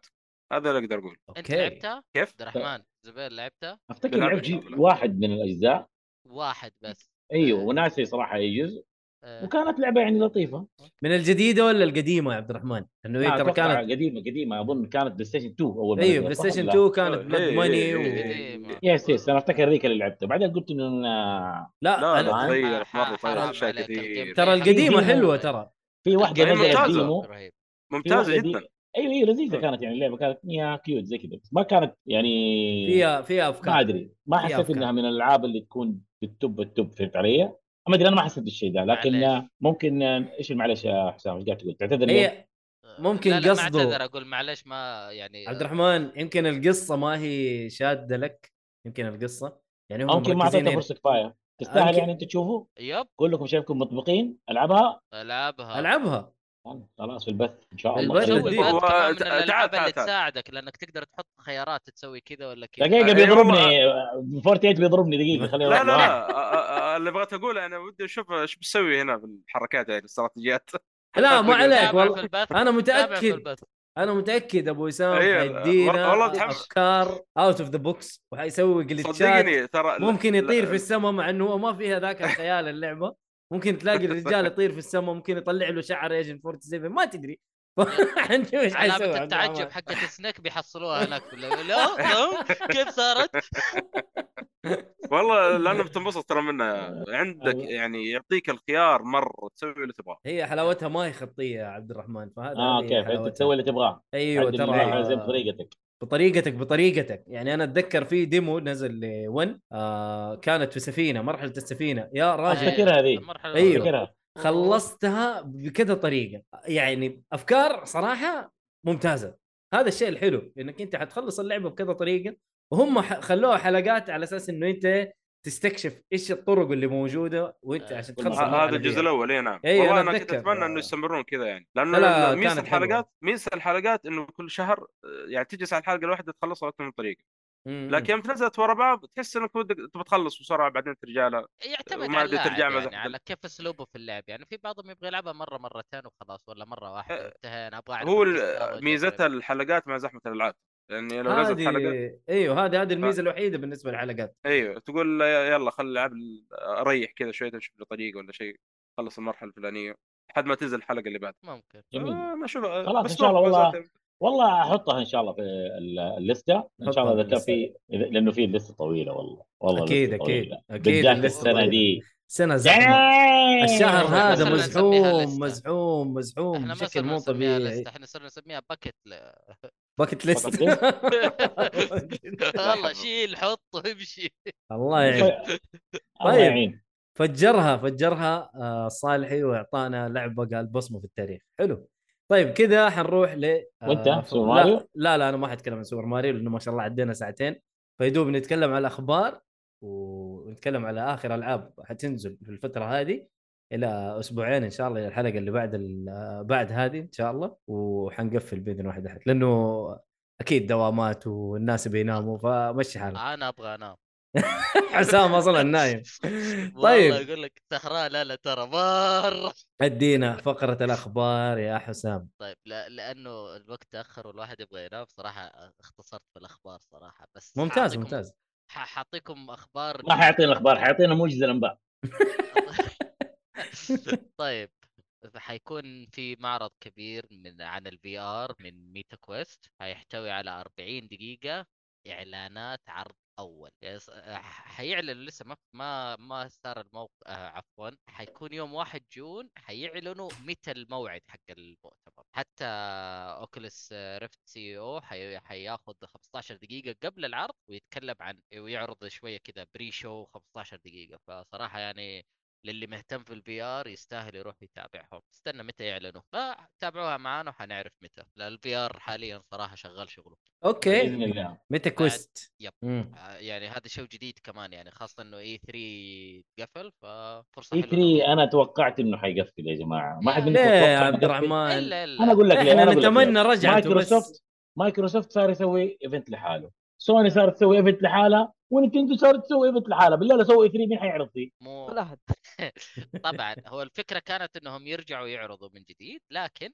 هذا اللي اقدر اقول
انت
أوكي
لعبتها؟
كيف؟
عبد الرحمن زبير لعبتها؟
افتكر
بلعب
لعبت
إن شاء الله.
واحد من الاجزاء
واحد بس
ايوه
إيه.
آه،
وناسي صراحه اي جزء
آه،
وكانت لعبه يعني لطيفه
من الجديده ولا القديمه يا عبد الرحمن؟ انه
لا
هي إيه، ترى
اتوقع
كانت
قديمه قديمه اظن كانت بلاي ستيشن 2 اول ما
ايوه
نزلت،
بلاي
صح
ستيشن
ولا لا؟
2 كانت
إيه،
بلاد
إيه،
ماني
إيه،
و...
إيه.
يس يس انا افتكر ذيك اللي لعبتها بعدين قلت انه أنا-
لا
لا يعني لا
أنا-
أنا...
تغيرت مره
ح-
تغيرت
حرام
اشياء
عليك
كثير
الجيم.
ترى
في-
القديمه
في-
حلوه ترى
في واحده
يعني
هي
الجيم
نزلت
ممتازة.
ديمو
رهيب.
في
ممتازه
واحده دي
جدا
ايوه ايوه لذيذه
إيه.
مم.
كانت يعني اللعبه كانت يا كيوت زي كذا بس ما كانت يعني
فيها فيها
ما
افكار
ادري ما
فيها
حسيت
أفكار.
انها من الالعاب اللي تكون بالتوب التوب فهمت علي؟ ما ادري انا ما حسيت بالشيء ده لكن
معليش.
ممكن ايش معلش يا حسام ايش قاعد تقول؟ تعتذر لي؟
هي ممكن
آه، لا لا ما
قصده.
اعتذر اقول معلش ما يعني
عبد الرحمن يمكن القصه ما هي شاده لك يمكن القصه يعني هم
ممكن ما
مركزين
اعطيته
هنا.
فرصه كفايه تستاهل
يمكن-
يعني انت تشوفه
آه، يب
كلكم شايفكم مطبقين العبها
العبها
العبها
خلاص في البث ان شاء
البث
الله
وشوف
الدين.
البث
هو-
كمان من
تعال-
الالعاب
تعال-
اللي
تعال.
تساعدك لانك تقدر تحط خيارات تسوي كذا ولا كذا
دقيقه
أي
بيضربني 48 بيضربني دقيقه خليه
أيوة. لا
يروح
لا
لوحده.
آه، آه، اللي بغيت اقوله انا ودي اشوف ايش بسوي هنا بالحركات يعني الاستراتيجيات
لا ما
تابع
عليك
تابع في
والله
البث
انا
تابع في
متاكد
البث
انا متاكد ابو وسام
إيه،
حيدينا
والله متحمس.
افكار اوت اوف ذا بوكس وحيسوي جلتشات
صدقني ترى
ممكن يطير في
السماء
السماء مع انه هو ما فيها ذاك الخيال اللعبه ممكن تلاقي الرجال يطير في السماء ممكن يطلع له شعر ايجن 47 ما تدري حنشوف ايش حيسوي عبد
علامة
الرحمن.
التعجب حقت سنيك بيحصلوها هناك في اللعبة. لا لا، كيف صارت؟
والله لانه بتنبسط ترى منها عندك
أيوه.
الله.
يعني يعطيك الخيار مره تسوي اللي تبغاه
هي حلاوتها ما هي خطيه يا عبد الرحمن فهذا
اه
هذه
كيف انت
حلاوتها.
تسوي اللي تبغاه
ايوه
عدل اللعبه زي
ترى
بطريقتك
بطريقتك بطريقتك يعني انا اتذكر في ديمو نزل ل1 آه كانت في سفينه مرحله السفينه يا راجل
أتذكر. أفتكرها ذي.
المرحلة
أيوه.
الأولى.
فكرها
خلصتها بكذا طريقه يعني افكار صراحه ممتازه هذا الشيء الحلو انك انت حتخلص اللعبه بكذا طريقه وهم ح- خلوها حلقات على اساس انه انت تستكشف ايش الطرق اللي موجوده وانت
آه.
عشان
كل
تخلص
مرة.
المرحلة
هذا الجزء
فيها.
الاول اي نعم
إيه، أنا
والله انا كنت
أتذكر.
اتمنى انه يستمرون كذا يعني لانه
لا،
لا ميزه
كانت حلوة.
الحلقات ميزه الحلقات انه كل شهر آه، يعني تجلس على الحلقه الواحده تخلصها اكثر من طريقه
مم.
لكن يوم تنزلت ورا بعض تحس انك ودك تبغى تخلص بسرعه بعدين ترجع لها
يعتمد
وما
على
أدري ترجع
اللاعب
مزح
يعني
دل-
على كيف اسلوبه في اللعب يعني في بعضهم يبغى يلعبها مره مرتين وخلاص ولا مره واحده
أه،
انتهينا ابغى اعرف
هو
آه،
القصة
ال-
وأجرب.
ميزتها الحلقات مع زحمه الالعاب يعني لو نزلت حلقات آه.
هذه ايوه هذه هذه الميزه الوحيده بالنسبه للحلقات
ايوه تقول لا- يلا خل العب ال- اريح كذا شويه اشوف لي طريقه ولا شيء خلص المرحله الفلانيه لحد ما تنزل الحلقه اللي بعدها
ممكن
جميل
آه ما اشوف آه،
خلاص،
بس
إن شاء الله
ما- ما
والله.
زلت-
والله احطها ان شاء الله في ال- الليسته ان شاء
حطها
الله
في
اذا كان
الليستة.
في إذا- لانه في لسته طويله والله والله
أكيد،
لستة
أكيد،
طويلة.
أكيد
بالذات
اللستة
السنه
طويلة.
دي
سنه زحمه الشهر
إحنا
هذا
صرنا نسميها
مزحوم
لستة.
مزحوم مزحوم
احنا ما
بشكل
صرنا
مو
نسميها
طبيعي
لست احنا صرنا نسميها باكت ل...
باكت ليست
Bucket list.
والله شيل حط وامشي
الله يعين
الله
طيب.
يعين
فجرها فجرها آه، صالحي واعطانا لعبه قال بصمه في التاريخ حلو طيب كذا حنروح ل آه،
وأنت؟
ف-
سوبر
لا-
ماريو؟
لا لا انا ما حتكلم عن سوبر ماريو لانه ما شاء الله عدينا ساعتين فيدوب نتكلم على الاخبار ونتكلم على اخر العاب حتنزل في الفتره هذه الى اسبوعين ان شاء الله إلى الحلقه اللي بعد ال- آه، بعد هذه ان شاء الله وحنقفل باذن واحد احد لانه اكيد دوامات والناس بيناموا فمشي حالك
انا ابغى انام
حسام اصلا نايم طيب.
والله اقول لك سهران لا لا ترى مره
ادينا فقرة الأخبار يا حسام
طيب لا لانه الوقت تاخر والواحد يبغى ينام صراحه اختصرت في الاخبار صراحه بس
ممتاز
حاعطيكم-
ممتاز
ح- حاعطيكم اخبار
ما حيعطينا الاخبار حيعطينا موجز الانباء
طيب حيكون في معرض كبير من عن الفي ار من ميتا كويست هيحتوي على 40 دقيقة اعلانات عرض اول يس- آه، حيعلنوا لسه ما ما ما صار الموقع عفوا حيكون يوم 1 جون حيعلنوا متى الموعد حق المؤتمر حتى اوكلس ريفت سي او حي... حياخذ 15 دقيقة قبل العرض ويتكلم عن ويعرض شوية كذا بري شو 15 دقيقة فصراحة يعني للي مهتم في الفي ار يستاهل يروح يتابعهم استنى متى يعلنوا فتابعوها معانا وحنعرف متى الفي ار حاليا صراحه شغال شغله
أوكي
باذن الله
ميتا كويست
يب.
مم.
آه، يعني هذا شيء جديد كمان يعني خاصه انه اي 3 قفل ففرصه
اي
حلوه
3 انا إيه، توقعت انه حيقفل يا جماعه ما حد منكم
ليه يا
توقع
عبد
إنه
الرحمن
الا الا
انا اقول لك ليه
إحنا
أنا أقول لك ليه.
نتمنى رجعته بس.
مايكروسوفت مايكروسوفت صار يسوي ايفنت لحاله سوني صارت تسوي ايفنت لحالها ونتندو صارت تسوي ايفنت لحالها بالله لو سووا اي 3 مين حيعرض فيه؟
مو
ولا احد
طبعا هو الفكره كانت انهم يرجعوا يعرضوا من جديد لكن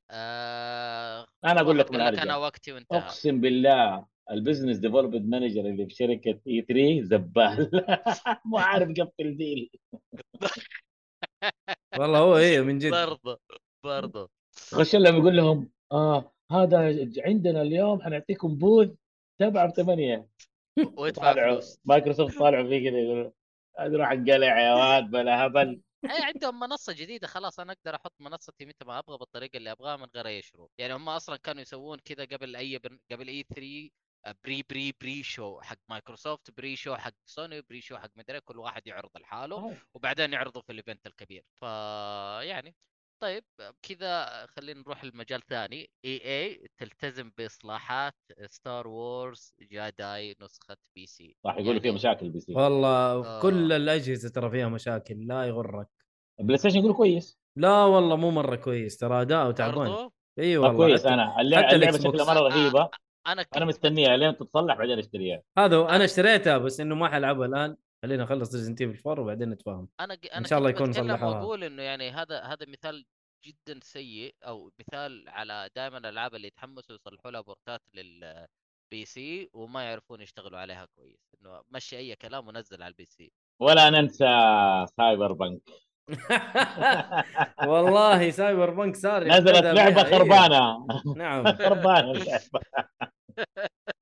آه
انا اقول لك من
أقول لك انا
ارجع
وقتي وانتهى
اقسم بالله البزنس ديفلوبمنت مانجر اللي في شركه اي 3 زبال مو عارف يقفل ديل
والله هو إيه من جد
برضه برضه
خش لهم يقول لهم اه هذا ج- عندنا اليوم حنعطيكم بوث سبعة بثمانية
وادفع
طالعوا
فلوس
مايكروسوفت طالعوا فيه كذا يقولوا هذا روح انقلع يا واد بلا هبل
اي إيه، عندهم منصه جديده خلاص انا اقدر احط منصتي متى ما ابغى بالطريقه اللي ابغاها من غير اي شروط يعني هم اصلا كانوا يسوون كذا قبل اي بن- قبل اي 3 بري بري بري شو حق مايكروسوفت بري شو حق إيه، سوني بري شو حق مدري كل واحد يعرض لحاله وبعدين يعرضوا في الايفنت الكبير فا يعني طيب كذا خلينا نروح لمجال ثاني اي اي تلتزم باصلاحات ستار وورز جاداي نسخه بي سي
راح يقولوا فيه مشاكل بي سي
آه.
والله كل الاجهزه ترى فيها مشاكل لا يغرك
بلاي ستيشن يقولوا كويس
لا والله مو مره كويس ترى اداءه تعبان
برضو
اي
طب
والله
كويس
حتى-
انا اللعبه,
حتى
اللعبة
الإكس بوكس.
شكلها مره رهيبه
انا كنت
انا مستنيها لين تتصلح بعدين اشتريها
هذا هو، انا اشتريتها بس انه ما حلعبها الان خلينا اخلص ريزنت ايفل 4 وبعدين نتفاهم
انا انا
شاء الله
كنت
يكون
بتكلم
صلحوها.
واقول انه يعني هذا هذا مثال جدا سيء او مثال على دائما الالعاب اللي يتحمسوا يصلحوا لها بورتات لل بي سي وما يعرفون يشتغلوا عليها كويس انه مشي اي كلام ونزل على البي سي
ولا ننسى سايبر بنك
والله سايبر بنك صار
نزلت
يعتدى
لعبه
بها، إيه.
خربانه
نعم
خربانه اللعبة.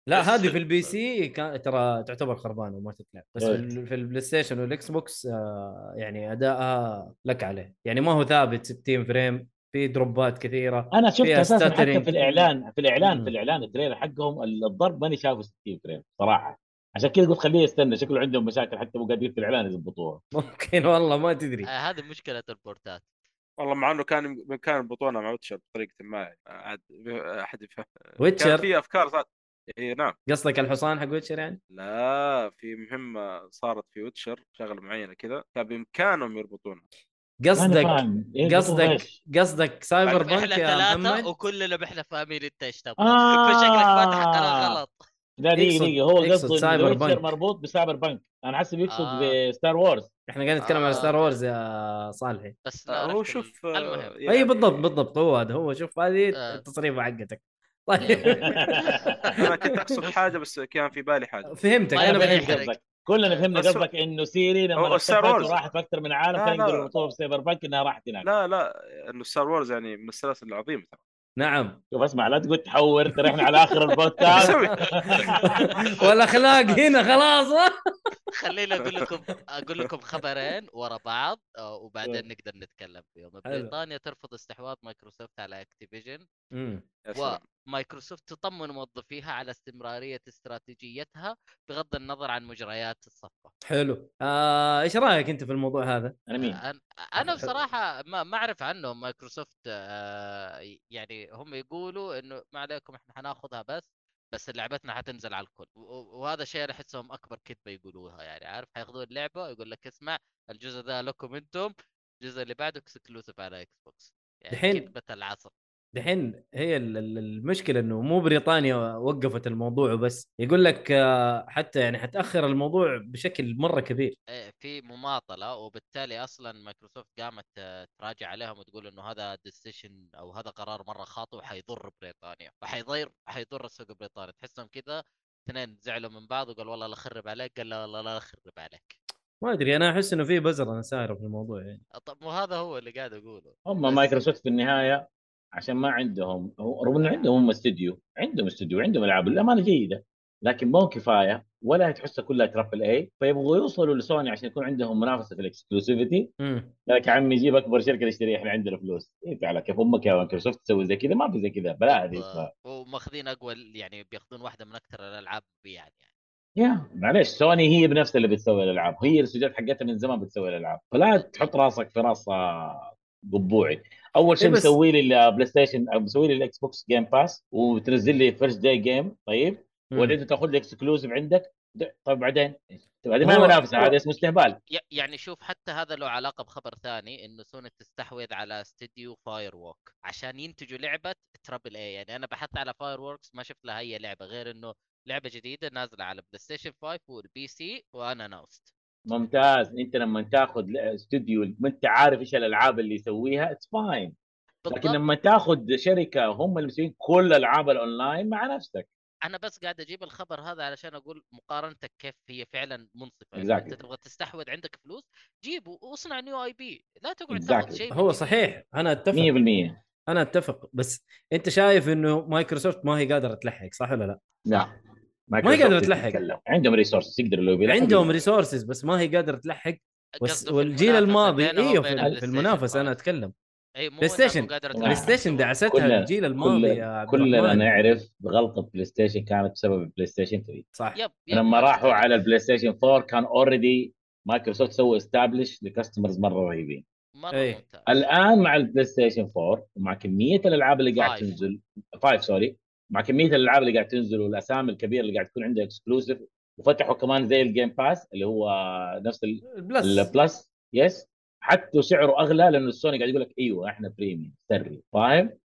لا هذه في البي سي كان ترى تعتبر خربانه وما تتلعب بس في
إيه.
ال- في البلاي ستيشن والاكس بوكس آه، يعني ادائها لك عليه يعني ما هو ثابت 60 فريم في دروبات كثيره
انا شفت
فيها
اساسا حتى
stuttering.
في الاعلان في الاعلان
مم.
في الاعلان التريلر حقهم الضرب ماني شافه 60 فريم صراحه عشان كذا قلت خليه يستنى شكله عندهم مشاكل حتى مو قادرين في الاعلان يضبطوها
ممكن والله ما تدري
آه، هذه مشكله البورتات
والله مع انه كان كان البطوله مع ويتشر بطريقه ما يعني عاد احد يفهم كان
ويتشر
في افكار صار... اي نعم
قصدك الحصان حق ويتشر يعني؟
لا في مهمه صارت في ويتشر شغله معينه كده كان بامكانهم يربطونها
ماني
قصدك
فاهم إيه يضبطوها
قصدك
إيش؟
قصدك سايبر
بعد
بانك
احنا
يا
ثلاثه
محمد
وكلنا احنا فاهمين انت ايش تبغى
آه.
فشكلك فاتح قناه غلط
لا دقيقه
يقصد-
دقيقه هو
يقصد
قصده إن
سايبر
ويتشر
بنك.
مربوط بسايبر بنك انا حسب يقصد
آه.
بستار وورز
طيب،
احنا قاعدين نتكلم على
آه،
ستار
أوكي.
وورز يا صالحي
بس لا
هو
رحت ال-
شوف آه،
المهم
يعني-
اي أيوة، بالضبط بالضبط هو هذا هو شوف هذه
آه.
التصريفه حقتك
يلا.
طيب
انا كنت اقصد حاجه بس كان في بالي حاجه
فهمتك
طيب
انا
إيه
فهمتك
حلو.
فهمت قصدك كلنا فهمنا
بس-
قصدك انه سيري
هو
لما
Star
اختفت
Wars.
وراحت في اكثر من عالم
لا،
كان
لا.
يقدروا يربطوها بسايبر بنك انها راحت هناك
لا لا انه ستار وورز يعني من السلاسل العظيمه ترى
نعم
شوف اسمع لا تقول تحور ترى احنا على اخر البودكاست
أسوي؟
والاخلاق هنا خلاص
خليني اقول لكم اقول لكم خبرين ورا بعض آه، وبعدين نقدر نتكلم فيهم
حلو.
بريطانيا ترفض استحواذ مايكروسوفت على اكتيفيجن
مم.
يا سلام.
مايكروسوفت تطمن موظفيها على استمراريه استراتيجيتها بغض النظر عن مجريات الصفقه
حلو آه، ايش رايك انت في الموضوع هذا؟
انا مين؟
انا انا
حلو.
بصراحه ما ما اعرف عنهم مايكروسوفت آه، يعني هم يقولوا انه ما عليكم احنا حناخذها بس بس لعبتنا حتنزل على الكل و- و- وهذا شيء انا احسهم اكبر كذبه يقولوها يعني عارف حياخذون اللعبه ويقول لك اسمع الجزء ذا لكم انتم الجزء اللي بعده اكسكلوسيف على اكس بوكس يعني
دحين-
كذبه العصر
دحين هي ال- ال- المشكله انه مو بريطانيا وقفت الموضوع وبس يقول لك آه، حتى يعني حتاخر الموضوع بشكل مره كبير
إيه، في مماطله وبالتالي اصلا مايكروسوفت قامت آه، تراجع عليهم وتقول انه هذا ديسيشن او هذا قرار مره خاطئ وحيضر بريطانيا وحيضر حيضر السوق البريطاني تحسهم كذا اثنين زعلوا من بعض وقال والله لا اخرب عليك قال لا والله لا اخرب عليك
ما ادري انا احس انه في بزر انا سايره في الموضوع يعني
طب وهذا هو اللي قاعد اقوله
هم مايكروسوفت في النهايه عشان ما عندهم هو- رغم انه عندهم هم استوديو عندهم استوديو عندهم العاب للامانه جيده لكن مو كفايه ولا تحسها كلها ترابل اي فيبغوا يوصلوا لسوني عشان يكون عندهم منافسه في الاكسكلوسيفيتي
مم.
لك يا عمي جيب اكبر شركه نشتريها احنا عندنا فلوس انت على كيف امك يا مايكروسوفت تسوي زي كذا ما في زي كذا بلا هذه اسمها.
آه، وماخذين اقوى يعني بياخذون واحده من اكثر الالعاب بيعا يعني
يا معليش سوني هي بنفسها اللي بتسوي الالعاب هي الاستوديوهات حقتها من زمان بتسوي الالعاب فلا تحط راسك في راس آه، قبوعي اول شيء
إيه بس-
مسوي لي البلاي ستيشن أو مسوي لي الاكس بوكس جيم باس وتنزل لي فيرست داي جيم طيب
مم.
وبعدين تاخذ لي اكسكلوسيف عندك ده- طيب بعدين طيب هذه ما
هو-
منافسه هذا اسمه استهبال
ي- يعني شوف حتى هذا له علاقه بخبر ثاني انه سوني تستحوذ على استديو فاير ووك عشان ينتجوا لعبه ترابل اي يعني انا بحثت على فاير ووركس ما شفت لها اي لعبه غير انه لعبه جديده نازله على بلاي ستيشن 5 والبي سي وانا ناوست
ممتاز انت لما تاخذ ل- استوديو ما انت عارف ايش الالعاب اللي يسويها اتس فاين لكن
بالضبط
لما تاخذ شركه هم اللي مسوين كل العاب الاونلاين مع نفسك
انا بس قاعد اجيب الخبر هذا علشان اقول مقارنتك كيف هي فعلا منصفه
Exactly.
يعني انت تبغى تستحوذ عندك فلوس جيبه واصنع نيو اي بي لا تقعد
Exactly.
تاخذ شيء من
هو
جديد.
صحيح انا
100%
اتفق انا اتفق بس انت شايف انه مايكروسوفت ما هي قادره تلحق صح ولا لا؟
لا
ما يقدروا يتلحق.
يتكلم. عندهم ريسورس يقدروا لو بيلحقوا
عندهم
يلحقوا.
ريسورسز بس ما هي قادره تلحق والس-
قصده في
والجيل
المنافسة
الماضي
بينه
ايوه
وبين
في,
البلاي
في
ستيشن
المنافسه انا
خلاص.
اتكلم
اي إيه، مو
بلاي ستيشن
قادره
بلاي ستيشن دعستها
كلنا-
الجيل الماضي يا
كل
عبد
كلنا
الرحمن
نعرف غلطه بلاي ستيشن كانت بسبب البلاي ستيشن 3
صح
يب يب
لما
هذا
راحوا
فعلاً.
على البلاي ستيشن 4 كان اوريدي مايكروسوفت سووا استابلش لكاستمرز مره رهيبين
مره
إيه.
ممتاز
الان مع البلاي ستيشن 4 ومع كميه الالعاب اللي قاعد
Five.
تنزل 5 سوري مع كميه الالعاب اللي قاعد تنزل والاسامي الكبيره اللي قاعد تكون عندها اكسكلوسيف وفتحوا كمان زي الجيم باس اللي هو نفس ال-
البلس
البلس يس حتى سعره اغلى لانه سوني قاعد يقول لك ايوه احنا بريميوم سري فاهم؟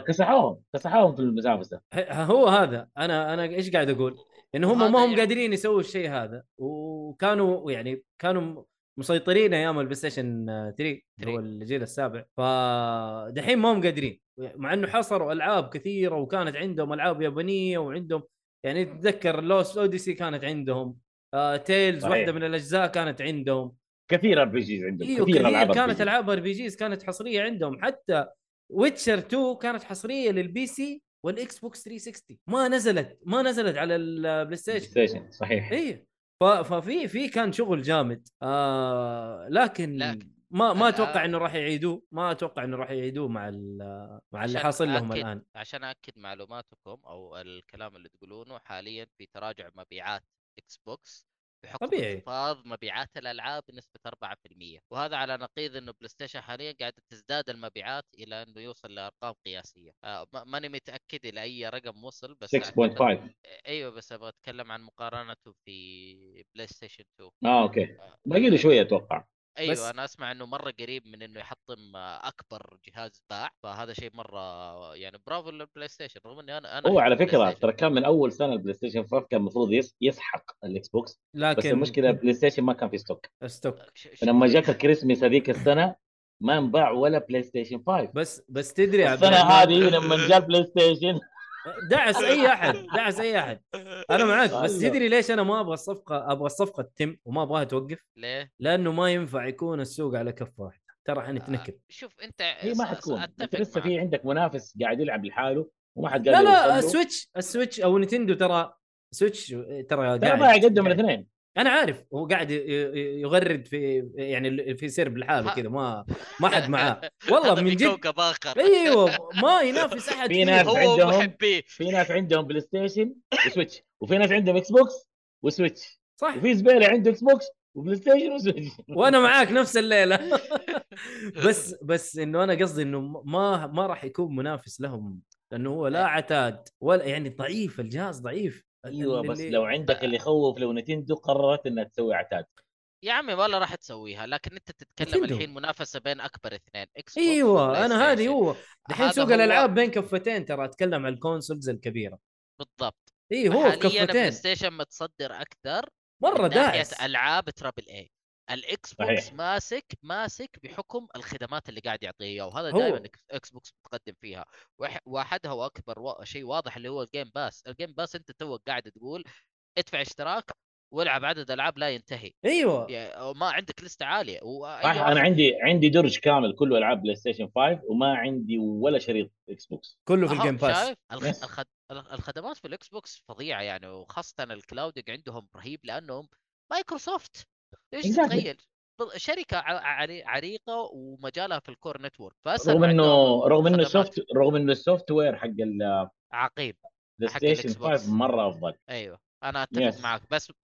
فكسحوهم كسحوهم في المنافسه
ه- هو هذا انا انا ايش قاعد اقول؟ ان هم
هذا
ما هم
يعني-
قادرين يسووا الشيء هذا وكانوا يعني كانوا مسيطرين ايام البلاي ستيشن 3 اللي هو الجيل السابع فدحين ما هم قادرين مع انه حصروا العاب كثيره وكانت عندهم العاب يابانيه وعندهم يعني تتذكر لوست اوديسي كانت عندهم آه تيلز
صحيح.
واحده من الاجزاء كانت عندهم
كثير ار بي جيز عندهم
ايوه
كثير العاب
كثير
RPG.
كانت العاب ار بي جيز كانت حصريه عندهم حتى ويتشر 2 كانت حصريه للبي سي والاكس بوكس 360 ما نزلت ما نزلت على البلاي
بلاي
ستيشن
ستيشن صحيح
اي ف- ففي في كان شغل جامد آه لكن,
لكن
ما ما
الآن-
اتوقع انه راح يعيدوه ما اتوقع انه راح يعيدوه مع ال- مع اللي
عشان
حاصل لهم
أكد-
الان
عشان اكد معلوماتكم او الكلام اللي تقولونه حاليا في تراجع مبيعات اكس بوكس بحكم
طبيعي.
انخفاض مبيعات الالعاب بنسبه 4% وهذا على نقيض انه بلاي ستيشن حاليا قاعده تزداد المبيعات الى انه يوصل لارقام قياسيه آه، ما- ماني متاكد الى اي رقم وصل بس أعتقد-
6.5
ايوه بس ابغى اتكلم عن مقارنته في بلاي ستيشن 2
اه اوكي
آه،
باقي له شويه اتوقع
ايوه
بس-
انا اسمع انه مره قريب من انه يحطم اكبر جهاز باع فهذا شيء مره يعني برافو للبلاي ستيشن رغم اني انا انا
هو على
أحب البلاي
فكره
ستيشن.
ترى كان من اول سنه البلاي ستيشن 5 كان المفروض يس- يسحق الاكس بوكس
لكن
بس المشكله البلاي ستيشن ما كان في ستوك
ستوك
آه، ش- ش-
فلما جاك الكريسماس هذيك السنه ما انباع ولا بلاي ستيشن 5
بس بس تدري يا عبد
السنه
الرحمن
هذه لما جاء البلاي ستيشن
دعس اي احد دعس اي احد انا معاك بس
الله.
تدري ليش انا ما ابغى الصفقه ابغى الصفقه تتم وما ابغاها توقف
ليه؟
لانه ما ينفع يكون السوق على كف واحده ترى حنتنكب
شوف انت
هي ما حتكون انت
اتفق
لسه في
معك.
عندك منافس قاعد يلعب لحاله وما حد
لا
قادر
لا
يوصل له.
السويتش السويتش او نتندو ترى سويتش ترى
ترى
قاعد- يعني.
ما يقدم
قاعد.
الاثنين
انا عارف هو قاعد ي- ي- يغرد في يعني في سرب لحاله
ها.
كذا ما ما حد معاه والله
هذا
من
في
جد.
كوكب اخر
ايوه ما ينافس احد
في
فيه.
ناس
هو-
هو
عندهم-
ومحبيه
في ناس عندهم بلاي ستيشن وسويتش وفي ناس عندهم اكس بوكس وسويتش
صح
وفي زباله عنده اكس بوكس وبلاي ستيشن وسويتش
وانا معاك نفس الليله بس بس انه انا قصدي انه ما ما راح يكون منافس لهم لانه هو لا عتاد ولا يعني ضعيف الجهاز ضعيف
ايوه بس
اللي-
لو عندك اللي يخوف لو نتندو قررت انها تسوي عتاد
يا عمي والله راح تسويها لكن انت تتكلم
نتندو.
الحين منافسه بين اكبر اثنين اكس بوكس
ايوه
وبلاي
انا هذه
ستيشن.
هو دحين
هذا
سوق
هو-
الالعاب بين كفتين ترى اتكلم عن الكونسولز الكبيره
بالضبط
اي هو في
حاليا بلاي
كفتين
ستيشن متصدر اكثر
مره
من ناحيه
داعس
العاب ترابل اي الاكس بوكس
صحيح.
ماسك ماسك بحكم الخدمات اللي قاعد يعطيه اياه وهذا
هو-
دائما اكس بوكس متقدم فيها وح- واحدها واكبر وا- شيء واضح اللي هو الجيم باس الجيم باس انت توك قاعد تقول ادفع اشتراك والعب عدد العاب لا ينتهي
ايوه
يا- ما عندك لسته عاليه وأي
صح
واحد-
انا عندي عندي درج كامل كله العاب بلاي ستيشن 5 وما عندي ولا شريط اكس بوكس
كله في
أهو،
الجيم باس
شايف الخ...
Yes.
الخد... ال- الخدمات في الاكس بوكس فظيعه يعني وخاصه الكلاودنج عندهم رهيب لانهم مايكروسوفت ايش
Exactly.
تتخيل بل- شركه ع- عري- عريقه ومجالها في الكور نتورك فاسهل
رغم
ما
انه
عندهم
رغم انه
خدمات.
سوفت رغم انه السوفت وير حق البلاي
عقيم حق
ستيشن
الإكس بوكس.
5 مره افضل
ايوه انا اتفق
Yes.
معك بس م...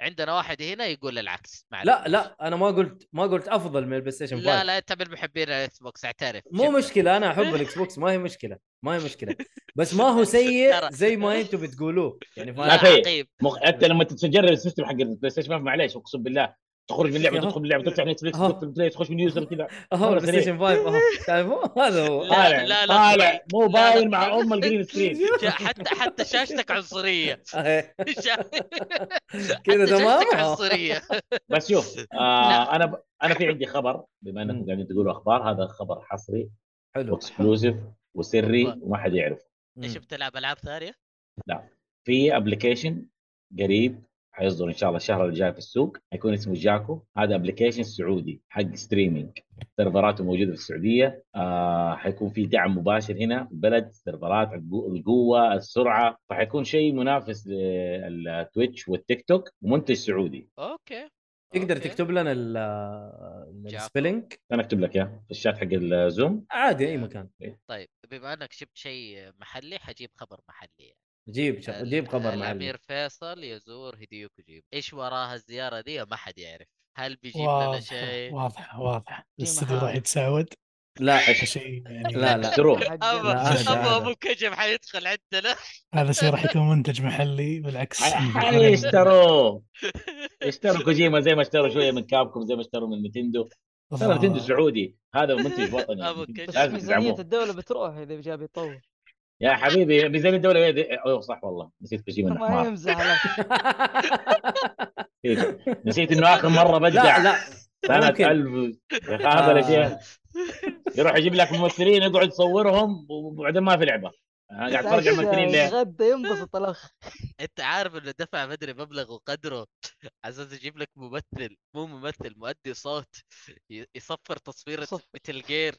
عندنا واحد هنا يقول العكس معلش.
لا لا انا ما قلت ما قلت افضل من البلاي ستيشن
لا
5
لا انت من محبين الاكس بوكس اعترف
مو
شفت.
مشكله انا احب الاكس بوكس ما هي مشكله ما هي مشكله بس ما هو سيء
ترى.
زي ما انتم بتقولوه يعني
لا
فاهم؟
ما في.
عقيم
مخ... انت لما تتجرب السيستم حق البلاي ستيشن 5 معليش اقسم بالله تخرج من لعبه
أهو.
تدخل من لعبه تفتح نتفلكس
أهو.
تدخل بلاي تخش من يوزر كذا
اهو
مرة
البلاي
سريع.
ستيشن 5 اهو تعرفوا هذا هو
لا،
طالع
لا، لا،
طالع
خرافي.
مو
لا،
باين
لا.
مع ام الجرين سكرين
جا- حتى حتى شاشتك عنصريه
أهي.
كذا
كذا تمام؟
تمام عنصريه
بس شوف
لا.
آه انا ب... انا في عندي خبر بما انكم
مم.
قاعدين تقولوا اخبار هذا خبر حصري
حلو
واكسكلوسيف وسري
بالضبط.
وما حد يعرف
مم.
شفت تلعب العاب ثانيه؟
في ابلكيشن قريب حيصدر ان شاء الله الشهر الجاي في السوق حيكون اسمه جاكو هذا ابلكيشن سعودي حق ستريمينج سيرفراته موجوده في السعوديه آه حيكون في دعم مباشر هنا في البلد سيرفرات القو- القوه السرعه فحيكون شيء منافس للتويتش والتيك توك ومنتج سعودي
اوكي
تقدر
أوكي.
تكتب لنا
جاكو.
السبيلنج
انا اكتب لك اياه في الشات حق الزوم
عادي اي مكان
طيب بما انك جبت شيء محلي حجيب خبر محلي آه،
جيب شخ...
ال-
جيب خبر معلم
الامير فيصل يزور هيديو كوجيما ايش وراها الزياره دي ما حد يعرف هل بيجيب لنا
واضحه
شيء؟
واضحه واضحه
جيم
الاستوديو راح
حار.
يتساود
لا
شيء يعني
لا لا
شروع
ابا
هذا-
ابا
هذا.
ابو الكجب حيدخل عندنا
هذا شيء راح يكون منتج محلي بالعكس يعني
حيشتروه اشتروا كوجيما زي ما اشتروا شويه من كابكم زي ما اشتروا من نتندو ترى
آه.
نتندو سعودي هذا منتج وطني
أبو كيف.
بس
لازم
ميزانية
تدعموه
الدولة بتروح إذا جاب يطور
يا حبيبي ميزانيه الدوله هي دي- اوه أيوه، صح والله نسيت كوجيما
ما
الحمار
يمزح لك
إيه. نسيت انه اخر
لا
مره بدع
لا ممكن.
سنه 1000 يا اخي هذا
آه.
الاشياء يروح يجيب لك ممثلين يقعد يصورهم وبعدين ما في لعبه أنا قاعد اتفرج على الممثلين ليه؟
يتغدى ينبسط الأخ
انت عارف انه دفع مدري مبلغ وقدره على اساس يجيب لك ممثل مو ممثل مؤدي صوت ي- يصفر تصويره
صف.
مثل جير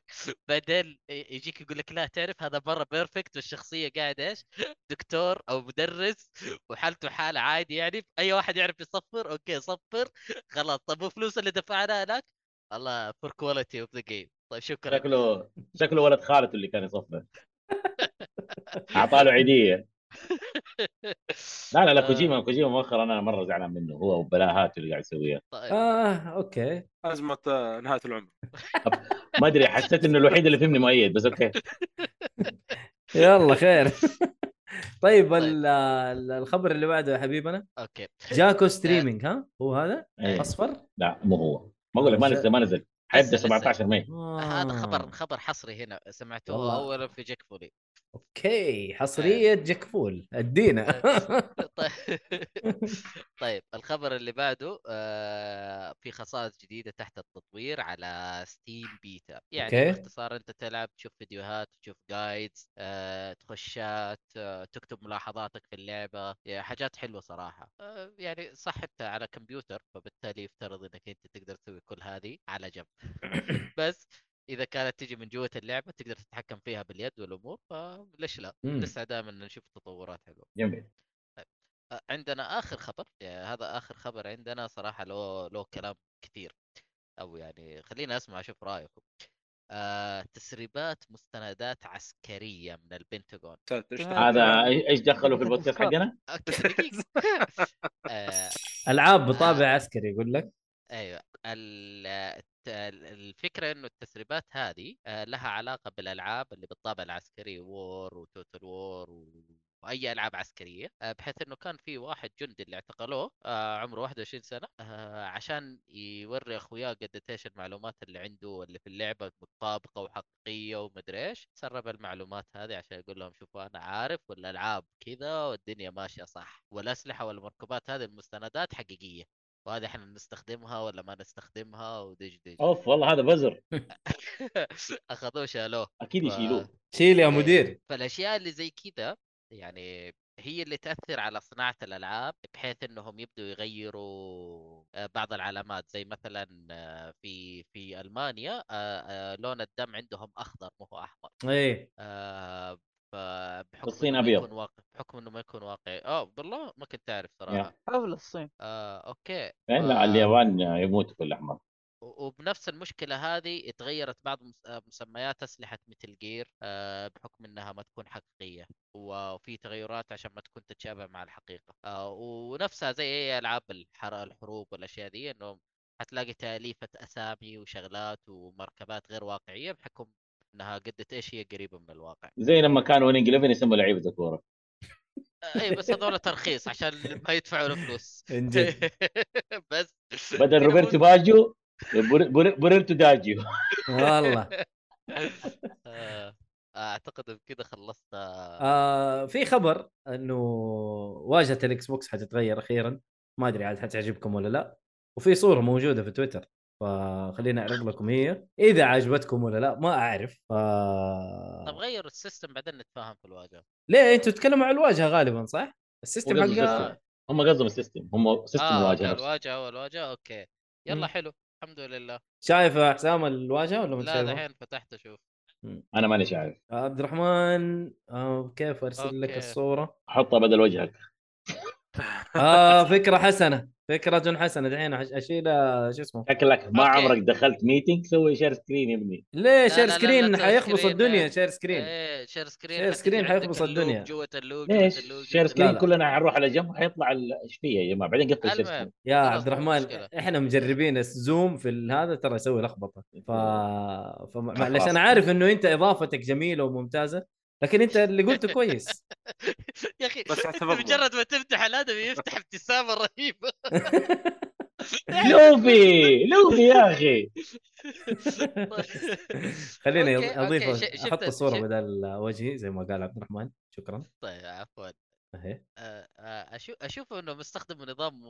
بعدين ي- يجيك يقول لك لا تعرف هذا مره بيرفكت والشخصيه قاعد ايش دكتور او مدرس وحالته حاله عادي يعني اي واحد يعرف يصفر اوكي صفر خلاص طب والفلوس اللي دفعناها هناك الله فور كواليتي اوف ذا جيم طيب شكرا
شكله شكله ولد خالته اللي كان يصفر اعطاه له عيديه لا لا لا
آه،
كوجيما كوجيما مؤخرا انا مره زعلان منه هو وبلاهاته اللي قاعد يسويها
طيب
اه اوكي
ازمه آه، نهايه العمر
ما ادري حسيت انه الوحيد اللي فهمني مؤيد بس اوكي
يلا خير طيب ال- ال- الخبر اللي بعده يا حبيبنا
اوكي
جاكو ستريمينج ها هو هذا
إيه.
اصفر
لا مو هو ما اقول لك ما نزل ما نزل
لسه-
حيبدا
لسه.
17 ماي
هذا خبر
آه.
خبر حصري هنا سمعتوه
والله.
اولا في جيك فولي
اوكي حصريه جاك فول ادينا
طيب طيب الخبر اللي بعده آه، في خصائص جديدة تحت التطوير على ستيم بيتا يعني
أوكي.
باختصار انت تلعب تشوف فيديوهات تشوف جايدز تخشات آه، تكتب ملاحظاتك في اللعبة يعني حاجات حلوة صراحة آه، يعني صح انت على كمبيوتر فبالتالي يفترض انك انت تقدر تسوي كل هذه على جنب بس اذا كانت تجي من جوة اللعبة تقدر تتحكم فيها باليد والامور فليش لا
مم.
لسه دائما نشوف تطورات حلوة
جميل
آه، عندنا اخر خبر يعني هذا اخر خبر عندنا صراحه له له كلام كثير او يعني خلينا اسمع اشوف رايكم آه تسريبات مستندات عسكريه من البنتاغون
ساتر، إيش
تمام.
هذا ايش دخلوا في البودكاست حقنا؟
اوكي دقيقه آه
العاب بطابع عسكري يقول لك
ايوه ال- الت- ال- الفكره انه التسريبات هذه آه، لها علاقه بالالعاب اللي بالطابع العسكري وور وتوتال وور واي العاب عسكريه آه، بحيث انه كان في واحد جندي اللي اعتقلوه آه، عمره 21 سنه آه، عشان يوري اخوياه قد ايش المعلومات اللي عنده اللي في اللعبه متطابقه وحقيقيه ومدري ايش سرب المعلومات هذه عشان يقول لهم شوفوا انا عارف والالعاب كذا والدنيا ماشيه صح والاسلحه والمركبات هذه المستندات حقيقيه وهذه احنا نستخدمها ولا ما نستخدمها ودج دج
اوف والله هذا بزر
اخذوه شالوه
اكيد يشيلوه
شيل يا مدير
فالاشياء اللي زي كذا يعني هي اللي تاثر على صناعه الالعاب بحيث انهم يبدوا يغيروا آه، بعض العلامات زي مثلا آه، في في المانيا آه، آه، لون الدم عندهم اخضر مو هو احمر
ايه
آه، فبحكم
الصين
إنه ما
أبيض.
يكون واقع بحكم انه ما يكون واقعي اه والله ما كنت اعرف
يا.
صراحه
حفل الصين
آه، اوكي
لا
آه،
اليابان يموت كل احمر
و- وبنفس المشكلة هذه اتغيرت بعض مس- آه، مسميات أسلحة متل جير آه، بحكم إنها ما تكون حقيقية وفي تغيرات عشان ما تكون تتشابه مع الحقيقة آه، ونفسها زي أي ألعاب الحر- الحروب والأشياء دي إنه هتلاقي تأليفة أسامي وشغلات ومركبات غير واقعية بحكم إنها قد إيش هي قريبة من الواقع
زي لما كانوا وينج 11 يسموا لعيبه الكوره
آه، إيه بس هذول ترخيص عشان ما يدفعوا الفلوس
إن جد.
بس
بدل
في
روبرتو
نموذج-
باجيو بور- بور- بوريرتو داجيو
والله
آه، اعتقد بكذا خلصت آه،
آه في خبر انه واجهه الاكس بوكس حتتغير اخيرا ما ادري عاد حتعجبكم ولا لا وفي صوره موجوده في تويتر فخلينا اعرض لكم هي اذا عجبتكم ولا لا ما اعرف ف...
طب
آه.
غير السيستم بعدين نتفاهم في الواجهه
ليه انتوا تتكلموا عن الواجهه غالبا صح؟ السيستم
وقصدهم
حقها
السيستم. هم قصدهم السيستم هم سيستم
اه
الواجهه
اوكي
نفسه
الواجهه هو الواجهه اوكي يلا
مم.
حلو الحمد لله
شايف يا حسام الواجهه ولا ما
لا
شايفها؟
دحين فتحت اشوف
انا ماني عارف
عبد الرحمن آه كيف ارسل لك
أوكي.
الصوره؟
حطها بدل وجهك
اه فكره حسنه آه، فكرة حسنة دحين أش- اشيلها شو اسمه
شكلك ما
أوكي.
عمرك دخلت ميتنج سوي شير سكرين يا ابني
ليه
لا،
شير
لا، لا،
سكرين
لا،
حيخبص
سكرين،
الدنيا
لا.
شير سكرين
ايه شير سكرين
شير
حتجي
سكرين
عندك
حيخبص
اللوج
الدنيا.
جوة اللوج جوة
ليش
اللوج،
شير
جوة
سكرين
لا، لا.
كلنا حنروح على جنب حيطلع ال- ايش فيه يا جماعه بعدين قفل الشير
المهم.
سكرين
يا
خلاص،
عبد
مو
الرحمن
مشكلة.
احنا مجربين الزوم في ال- هذا ترى يسوي لخبطه ف فمعلش
خلاص.
انا عارف انه انت اضافتك جميله وممتازه لكن انت اللي قلته كويس
يا اخي
بس
أنت
اعتبرنا.
مجرد ما تفتح الادمي يفتح ابتسامه رهيبه
لوفي لوفي يا اخي
خليني
أوكي، أوكي،
اضيف
ش- شفت-
احط الصوره
شفت-
بدل وجهي زي ما قال عبد الرحمن شكرا
طيب عفوا
أهي.
آه، آه، اشوف اشوف انه مستخدم نظام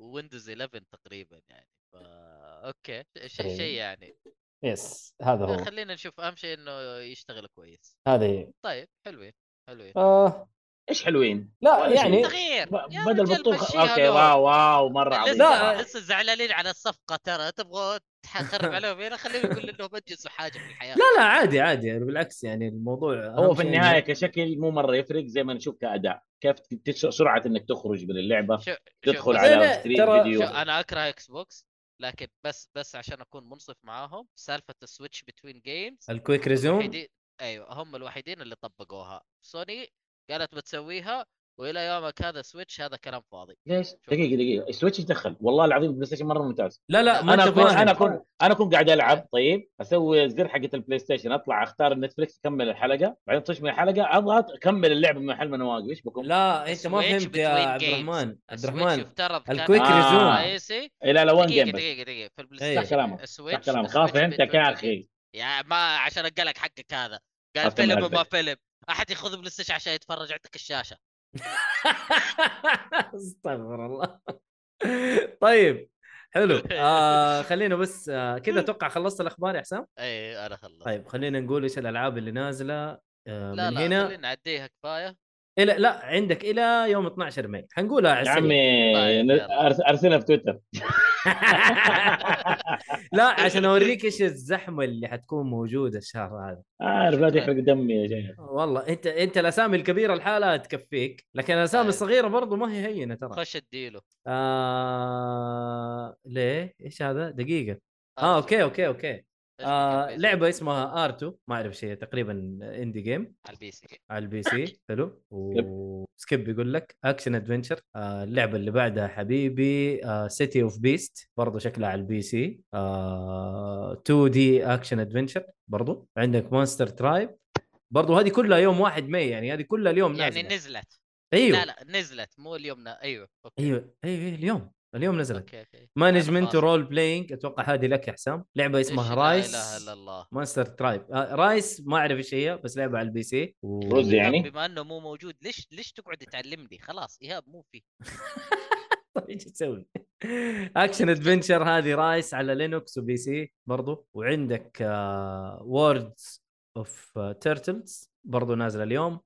ويندوز 11 تقريبا يعني ف... اوكي شيء
تقريباً.
شيء يعني
يس هذا هو
خلينا نشوف اهم شيء انه يشتغل كويس
هذا هي
طيب حلوين حلوين
آه
ايش حلوين
لا
ولا شيء.
يعني
صغير
ب-
يا
بدل
رجال
بطول
مشيها
اوكي
له.
واو واو مره عظيم
لسه
صراحة.
لا.
لسه زعلانين على الصفقه ترى تبغى تخرب عليهم هنا خليهم يقول لهم انجزوا حاجه في الحياه
لا لا عادي عادي يعني بالعكس يعني الموضوع
هو
أهم
في
شيء إنه-
النهايه كشكل مو مره يفرق زي ما نشوف كاداء كيف تس- سرعه انك تخرج من اللعبه
شو
تدخل
شو
لا،
على
لا،
ستريم
ترى-
فيديو
شو انا اكره اكس بوكس لكن بس بس عشان اكون منصف معاهم سالفه السويتش بتوين جيمز
الكويك ريزوم
الوحيدين ايوه هم الوحيدين اللي طبقوها سوني قالت بتسويها والى يومك هذا سويتش هذا كلام فاضي
ليش؟ دقيقه دقيقه السويتش يتدخل والله العظيم البلاي ستيشن مره ممتاز
لا لا ما
انا
انت
اكون
فاهم
انا اكون انا اكون قاعد العب طيب اسوي الزر حقه البلاي ستيشن اطلع اختار نتفلكس اكمل الحلقه بعدين تطش من الحلقه اضغط اكمل اللعبه من محل ما انا واقف ايش بكون؟
لا انت ما
السويتش
فهمت يا
between
عبد
games.
الرحمن عبد
السويتش
الرحمن
يفترض كان آه، إيه،
الكويك
الجهاز
ريزوم.
الرئيسي
الى لا وين
دقيقه
جيم بس
دقيقه دقيقه في البلاي
إيه.
ستيشن
صح كلامك
السويتش
صح كلامك
السويتش
خلاص فهمتك
between
يا
games.
اخي
يا ما عشان اقلك حقك هذا قال
أكمل
فيلم وما
البيت.
فيلم احد ياخذ بلاي ستيشن عشان يتفرج عندك الشاشه
استغفر الله طيب حلو آه خلينا بس آه كذا اتوقع خلصت الاخبار يا حسام
اي انا إيه، خلصت
طيب خلينا نقول ايش الالعاب اللي نازله آه
لا
من
لا
هنا
خلينا نعديها كفايه
الى لا عندك الى يوم 12 ماي حنقولها على
يا
السريع
عمي
طيب، يلا.
أرس- ارسلها في تويتر
لا عشان اوريك ايش الزحمه اللي حتكون موجوده الشهر هذا
عارف لا تحرق دمي يا شيخ
والله انت انت الاسامي الكبيره الحالة تكفيك لكن الاسامي
طيب.
الصغيره برضو ما هي هينه ترى
خش اديله
آه... ليه ايش هذا دقيقه
أرسل.
اه اوكي اوكي اوكي
آه، إيش
آه...
بتحب يعني؟
لعبه اسمها ارتو ما اعرف شيء تقريبا اندي جيم
على البي سي
على البي سي حلو وسكيب يقول لك اكشن ادفنشر آه اللعبه اللي بعدها حبيبي آه، سيتي اوف بيست برضه شكلها على البي سي آه 2 دي اكشن ادفنشر برضه عندك مونستر ترايب برضه هذه كلها يوم 1 ماي يعني هذه كلها اليوم نازله
يعني نزلت
ايوه
لا لا نزلت مو اليوم نا... ايوه اوكي
ايوه ايوه أيوة، اليوم اليوم نزلت
اوكي اوكي
مانجمنت
أنا فاصل.
رول بلاينج اتوقع هذه لك يا حسام لعبه اسمها
إيش
رايس
لا اله الا الله
مونستر ترايب آه رايس ما اعرف ايش هي بس لعبه على البي سي و...
رز
إيهاب
يعني؟
بما انه مو موجود ليش ليش تقعد تعلمني خلاص ايهاب مو فيه
طيب ايش تسوي؟ اكشن ادفنشر هذه رايس على لينوكس وبي سي برضو وعندك آه، ووردز اوف تيرتلز آه، برضو نازله اليوم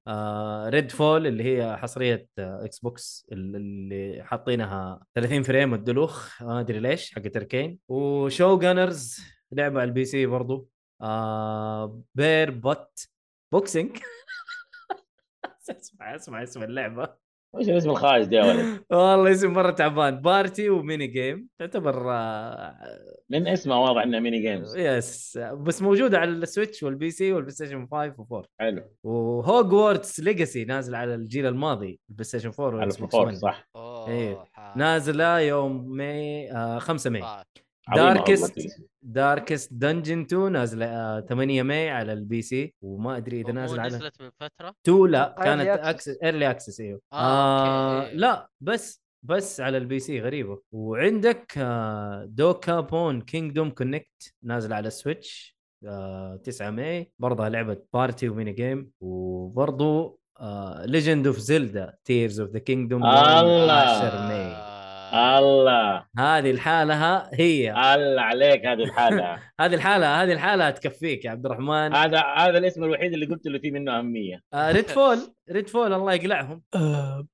ريد فول اللي هي حصريه آه، اكس بوكس ال- اللي حاطينها 30 فريم الدلوخ ما ادري ليش حقت اركين وشو جانرز لعبه على البي سي برضو آه بير بوت بوكسينج اسمع اسمع اسم اللعبه
وش الاسم الخايس ده يا ولد؟
والله اسم مره تعبان بارتي وميني جيم تعتبر آه،
من اسمه واضح انه ميني جيمز
يس بس موجوده على السويتش والبي سي والبلاي ستيشن 5 و4
حلو
وهوجورتس ليجاسي نازل على الجيل الماضي البلاي ستيشن 4
على
والاكس بوكس
الفور
1
صح
اوه
إيه.
حا-
نازله يوم مي آه 5 ماي
حا.
عظيمة والله
Darkest.
الاسم.
داركست دنجن 2 نازله آه 8 ماي على البي سي وما ادري اذا
ومو
نازل على
نزلت من فتره
2 لا
أتوقع
كانت
آه، early access.
اكسس ايرلي اكسس ايوه
آه، أوكي.
لا بس بس على البي سي غريبه وعندك آه دوكا بون كينجدوم كونكت نازل على السويتش آه 9 ماي برضه لعبه بارتي وميني جيم وبرضه آه، ليجند اوف زيلدا تيرز اوف ذا كينجدوم
الله.
10 ماي
آه.
الله
هذه الحالة هي
الله عليك هذه الحالة
هذه الحالة هذه الحالة تكفيك يا عبد الرحمن
هذا هذا الاسم الوحيد اللي قلت له فيه منه أهمية
ريد فول ريد فول الله يقلعهم
آه،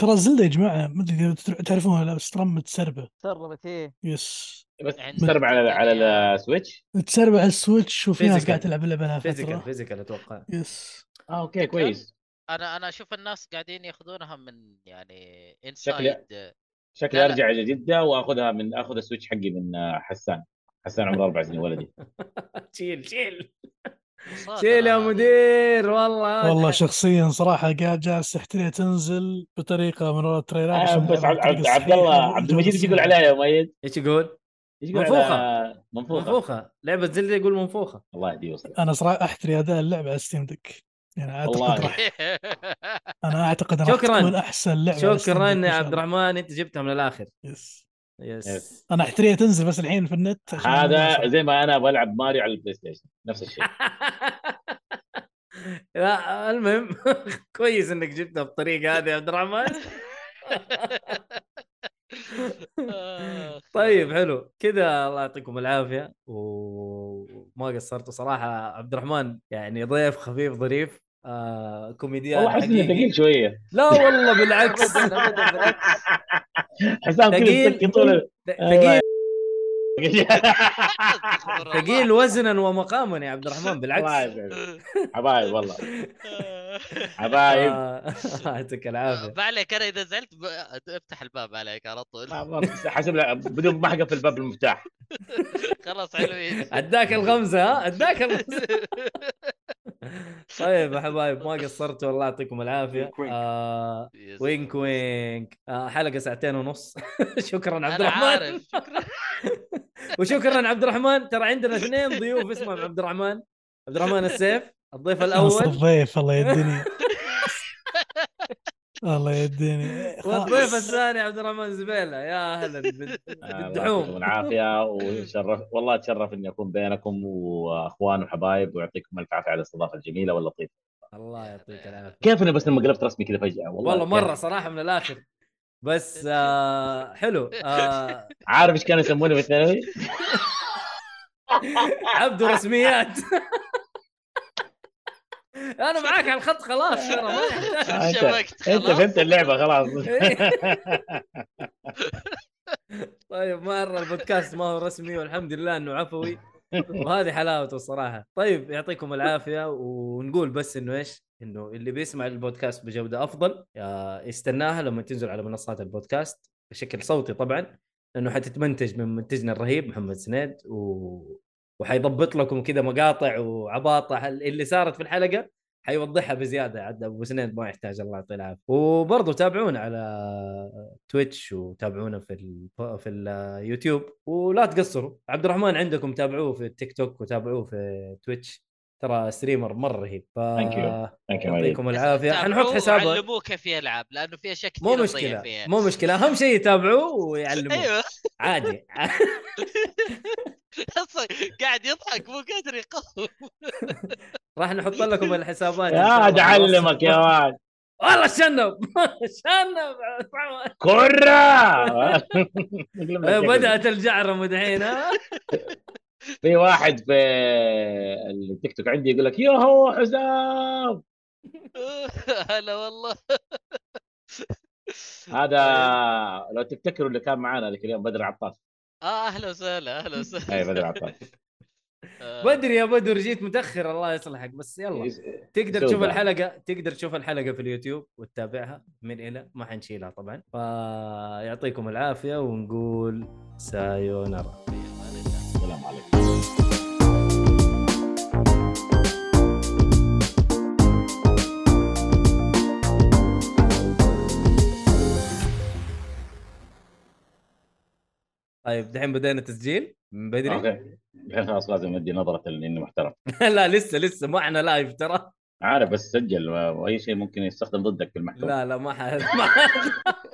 ترى زلدة يا جماعه ما ادري اذا تتر- تعرفونها لا بس ترى متسربه
تسربت ايه
يس
بس
عندك
تسرب
يعني
على على
الدنيا.
السويتش
متسربه على السويتش وفي ناس
Physical.
قاعده تلعب اللعبه لها
فيزيكال
فتره
فيزيكال اتوقع
يس
اه اوكي كويس
انا انا اشوف الناس قاعدين ياخذونها من يعني
شكلي-
انسايد
شكلي
لا لا.
ارجع الى جده واخذها من اخذ السويتش حقي من آه، حسان حسان عمره اربع سنين ولدي
شيل شيل
مصادرة
شيل يا
هذه.
مدير والله
والله شخصيا صراحه قاعد جالس تحتري تنزل بطريقه من ورا التريلات
آه،
عشان
بس
ما
عبد,
أعرف
عبد,
الطريقة
عبد الله
الصحيحة
عبد
والجودة
المجيد ايش يقول
الصحيحة.
عليها يا مؤيد؟
ايش يقول؟
ايش يقول
منفوخة.
على منفوخه
منفوخه لعبه زلده يقول منفوخه
الله يهديه وصلك
انا صراحه احتري اداء اللعبه على ستيم دك يعني
والله.
اعتقد راح انا اعتقد راح
شكراً.
تكون احسن لعبه على Steam Deck
شكرا
إن
يا
شاء
عبد
الله.
الرحمن انت جبتها من الاخر
يس
يس
يس.
انا احتريها تنزل بس الحين في النت عشان ما
هذا
أصل.
زي ما انا بلعب ماريو على البلاي ستيشن نفس الشيء
لا المهم كويس انك جبتها بالطريقه هذه يا عبد الرحمن
آخ.
طيب حلو كذا الله يعطيكم العافيه وما قصرتوا صراحه عبد الرحمن يعني ضيف خفيف ظريف آه كوميديان
والله احس انه ثقيل
حقيقي
شويه
لا والله بالعكس
ابدا ابدا بالعكس
حسام كذا
ثقيل.
مسكي طول
ثقيل
أستغفر الله.
ثقيل وزنا ومقاما يا عبد الرحمن
الله
بالعكس
يسعدك. حبايب والله حبايب
آه، يعطيك العافيه
ما عليك انا اذا زعلت ب... افتح الباب عليك على طول
ما- ما- حسب لا، بدون ما احقق في الباب المفتاح
خلاص حلوين
اداك الغمزه ها اداك الغمزه طيب يا حبايب ما قصرتوا الله يعطيكم العافيه
وينك وينك.
آه،
يس.
وينك وينك آه، حلقه ساعتين ونص شكرا عبد
انا
الرحمن
عارف شكرا
وشكرا عبد الرحمن ترى عندنا اثنين ضيوف اسمهم عبد الرحمن عبد الرحمن السيف الضيف
ناصر
الاول
الضيف الله يديني الله يديني
والضيف الثاني عبد الرحمن زبيله يا اهلا بال-
آه،
بالدحوم
يعطيكم العافيه وشرف والله اتشرف اني اكون بينكم واخوان وحبايب ويعطيكم الف عافيه على الاستضافه الجميله واللطيفه
الله يعطيك العافيه
كيف انا بس لما قلبت رسمي كذا فجاه والله
والله مره
كيف.
صراحه من الاخر بس آه حلو آه
عارف ايش كانوا يسموني في الثانوي؟
عبدو رسميات انا معاك على الخط خلاص ترى ما يحتاج
آه،
شبكت
انت انت فهمت اللعبه خلاص
طيب مره البودكاست ما هو رسمي والحمد لله انه عفوي وهذه حلاوته الصراحه طيب يعطيكم العافيه ونقول بس انه ايش انه اللي بيسمع البودكاست بجوده افضل آه، يستناها لما تنزل على منصات البودكاست بشكل صوتي طبعا لانه حتتمنتج من منتجنا الرهيب محمد سنيد و... وحيضبط لكم كذا مقاطع وعباطه اللي صارت في الحلقه حيوضحها بزياده عاد ابو سنيد ما يحتاج الله يعطيه العافيه وبرضه تابعونا على تويتش وتابعونا في ال... في اليوتيوب ولا تقصروا عبد الرحمن عندكم تابعوه في التيك توك وتابعوه في تويتش ترى ستريمر مره رهيب ف
Thank you. Thank you, Maria.
يعطيكم العافيه حنحط
حسابه
حسابه
علموه كيف يلعب لانه في اشياء كثير
مو
تضيع
مشكله
فيها.
مو مشكله اهم شيء يتابعوه ويعلموه
ايوه
عادي
اصلا قاعد يضحك مو قادر يقوم
راح نحط لكم الحسابات إن شاء الله
يا
في الوصف.
اعلمك آه، يا ولد
والله شنب شنب
كرة
بدات الجعرمه دحين ها
في واحد في التيك توك عندي يقول لك يوهو حسام
هلا والله
هذا لو تفتكروا اللي كان معانا ذاك اليوم بدر عطاس
اه اهلا وسهلا اهلا وسهلا
اي بدر عطاس
آه،
بدري يا بدر جيت متاخر الله يصلحك بس
إيه،
يلا تقدر
يسوي
تشوف
دعم.
الحلقه تقدر تشوف الحلقه في اليوتيوب وتتابعها من الى ما حنشيلها طبعا فيعطيكم العافيه ونقول سايونارا
السلام عليكم
طيب دحين بدينا تسجيل من بدري
اوكي الحين خلاص لازم ادي نظره اني محترم
لا لسه لسه ما احنا لايف ترى
عارف بس سجل واي شيء ممكن يستخدم ضدك في المحكمه
لا لا ما ح... ما ح-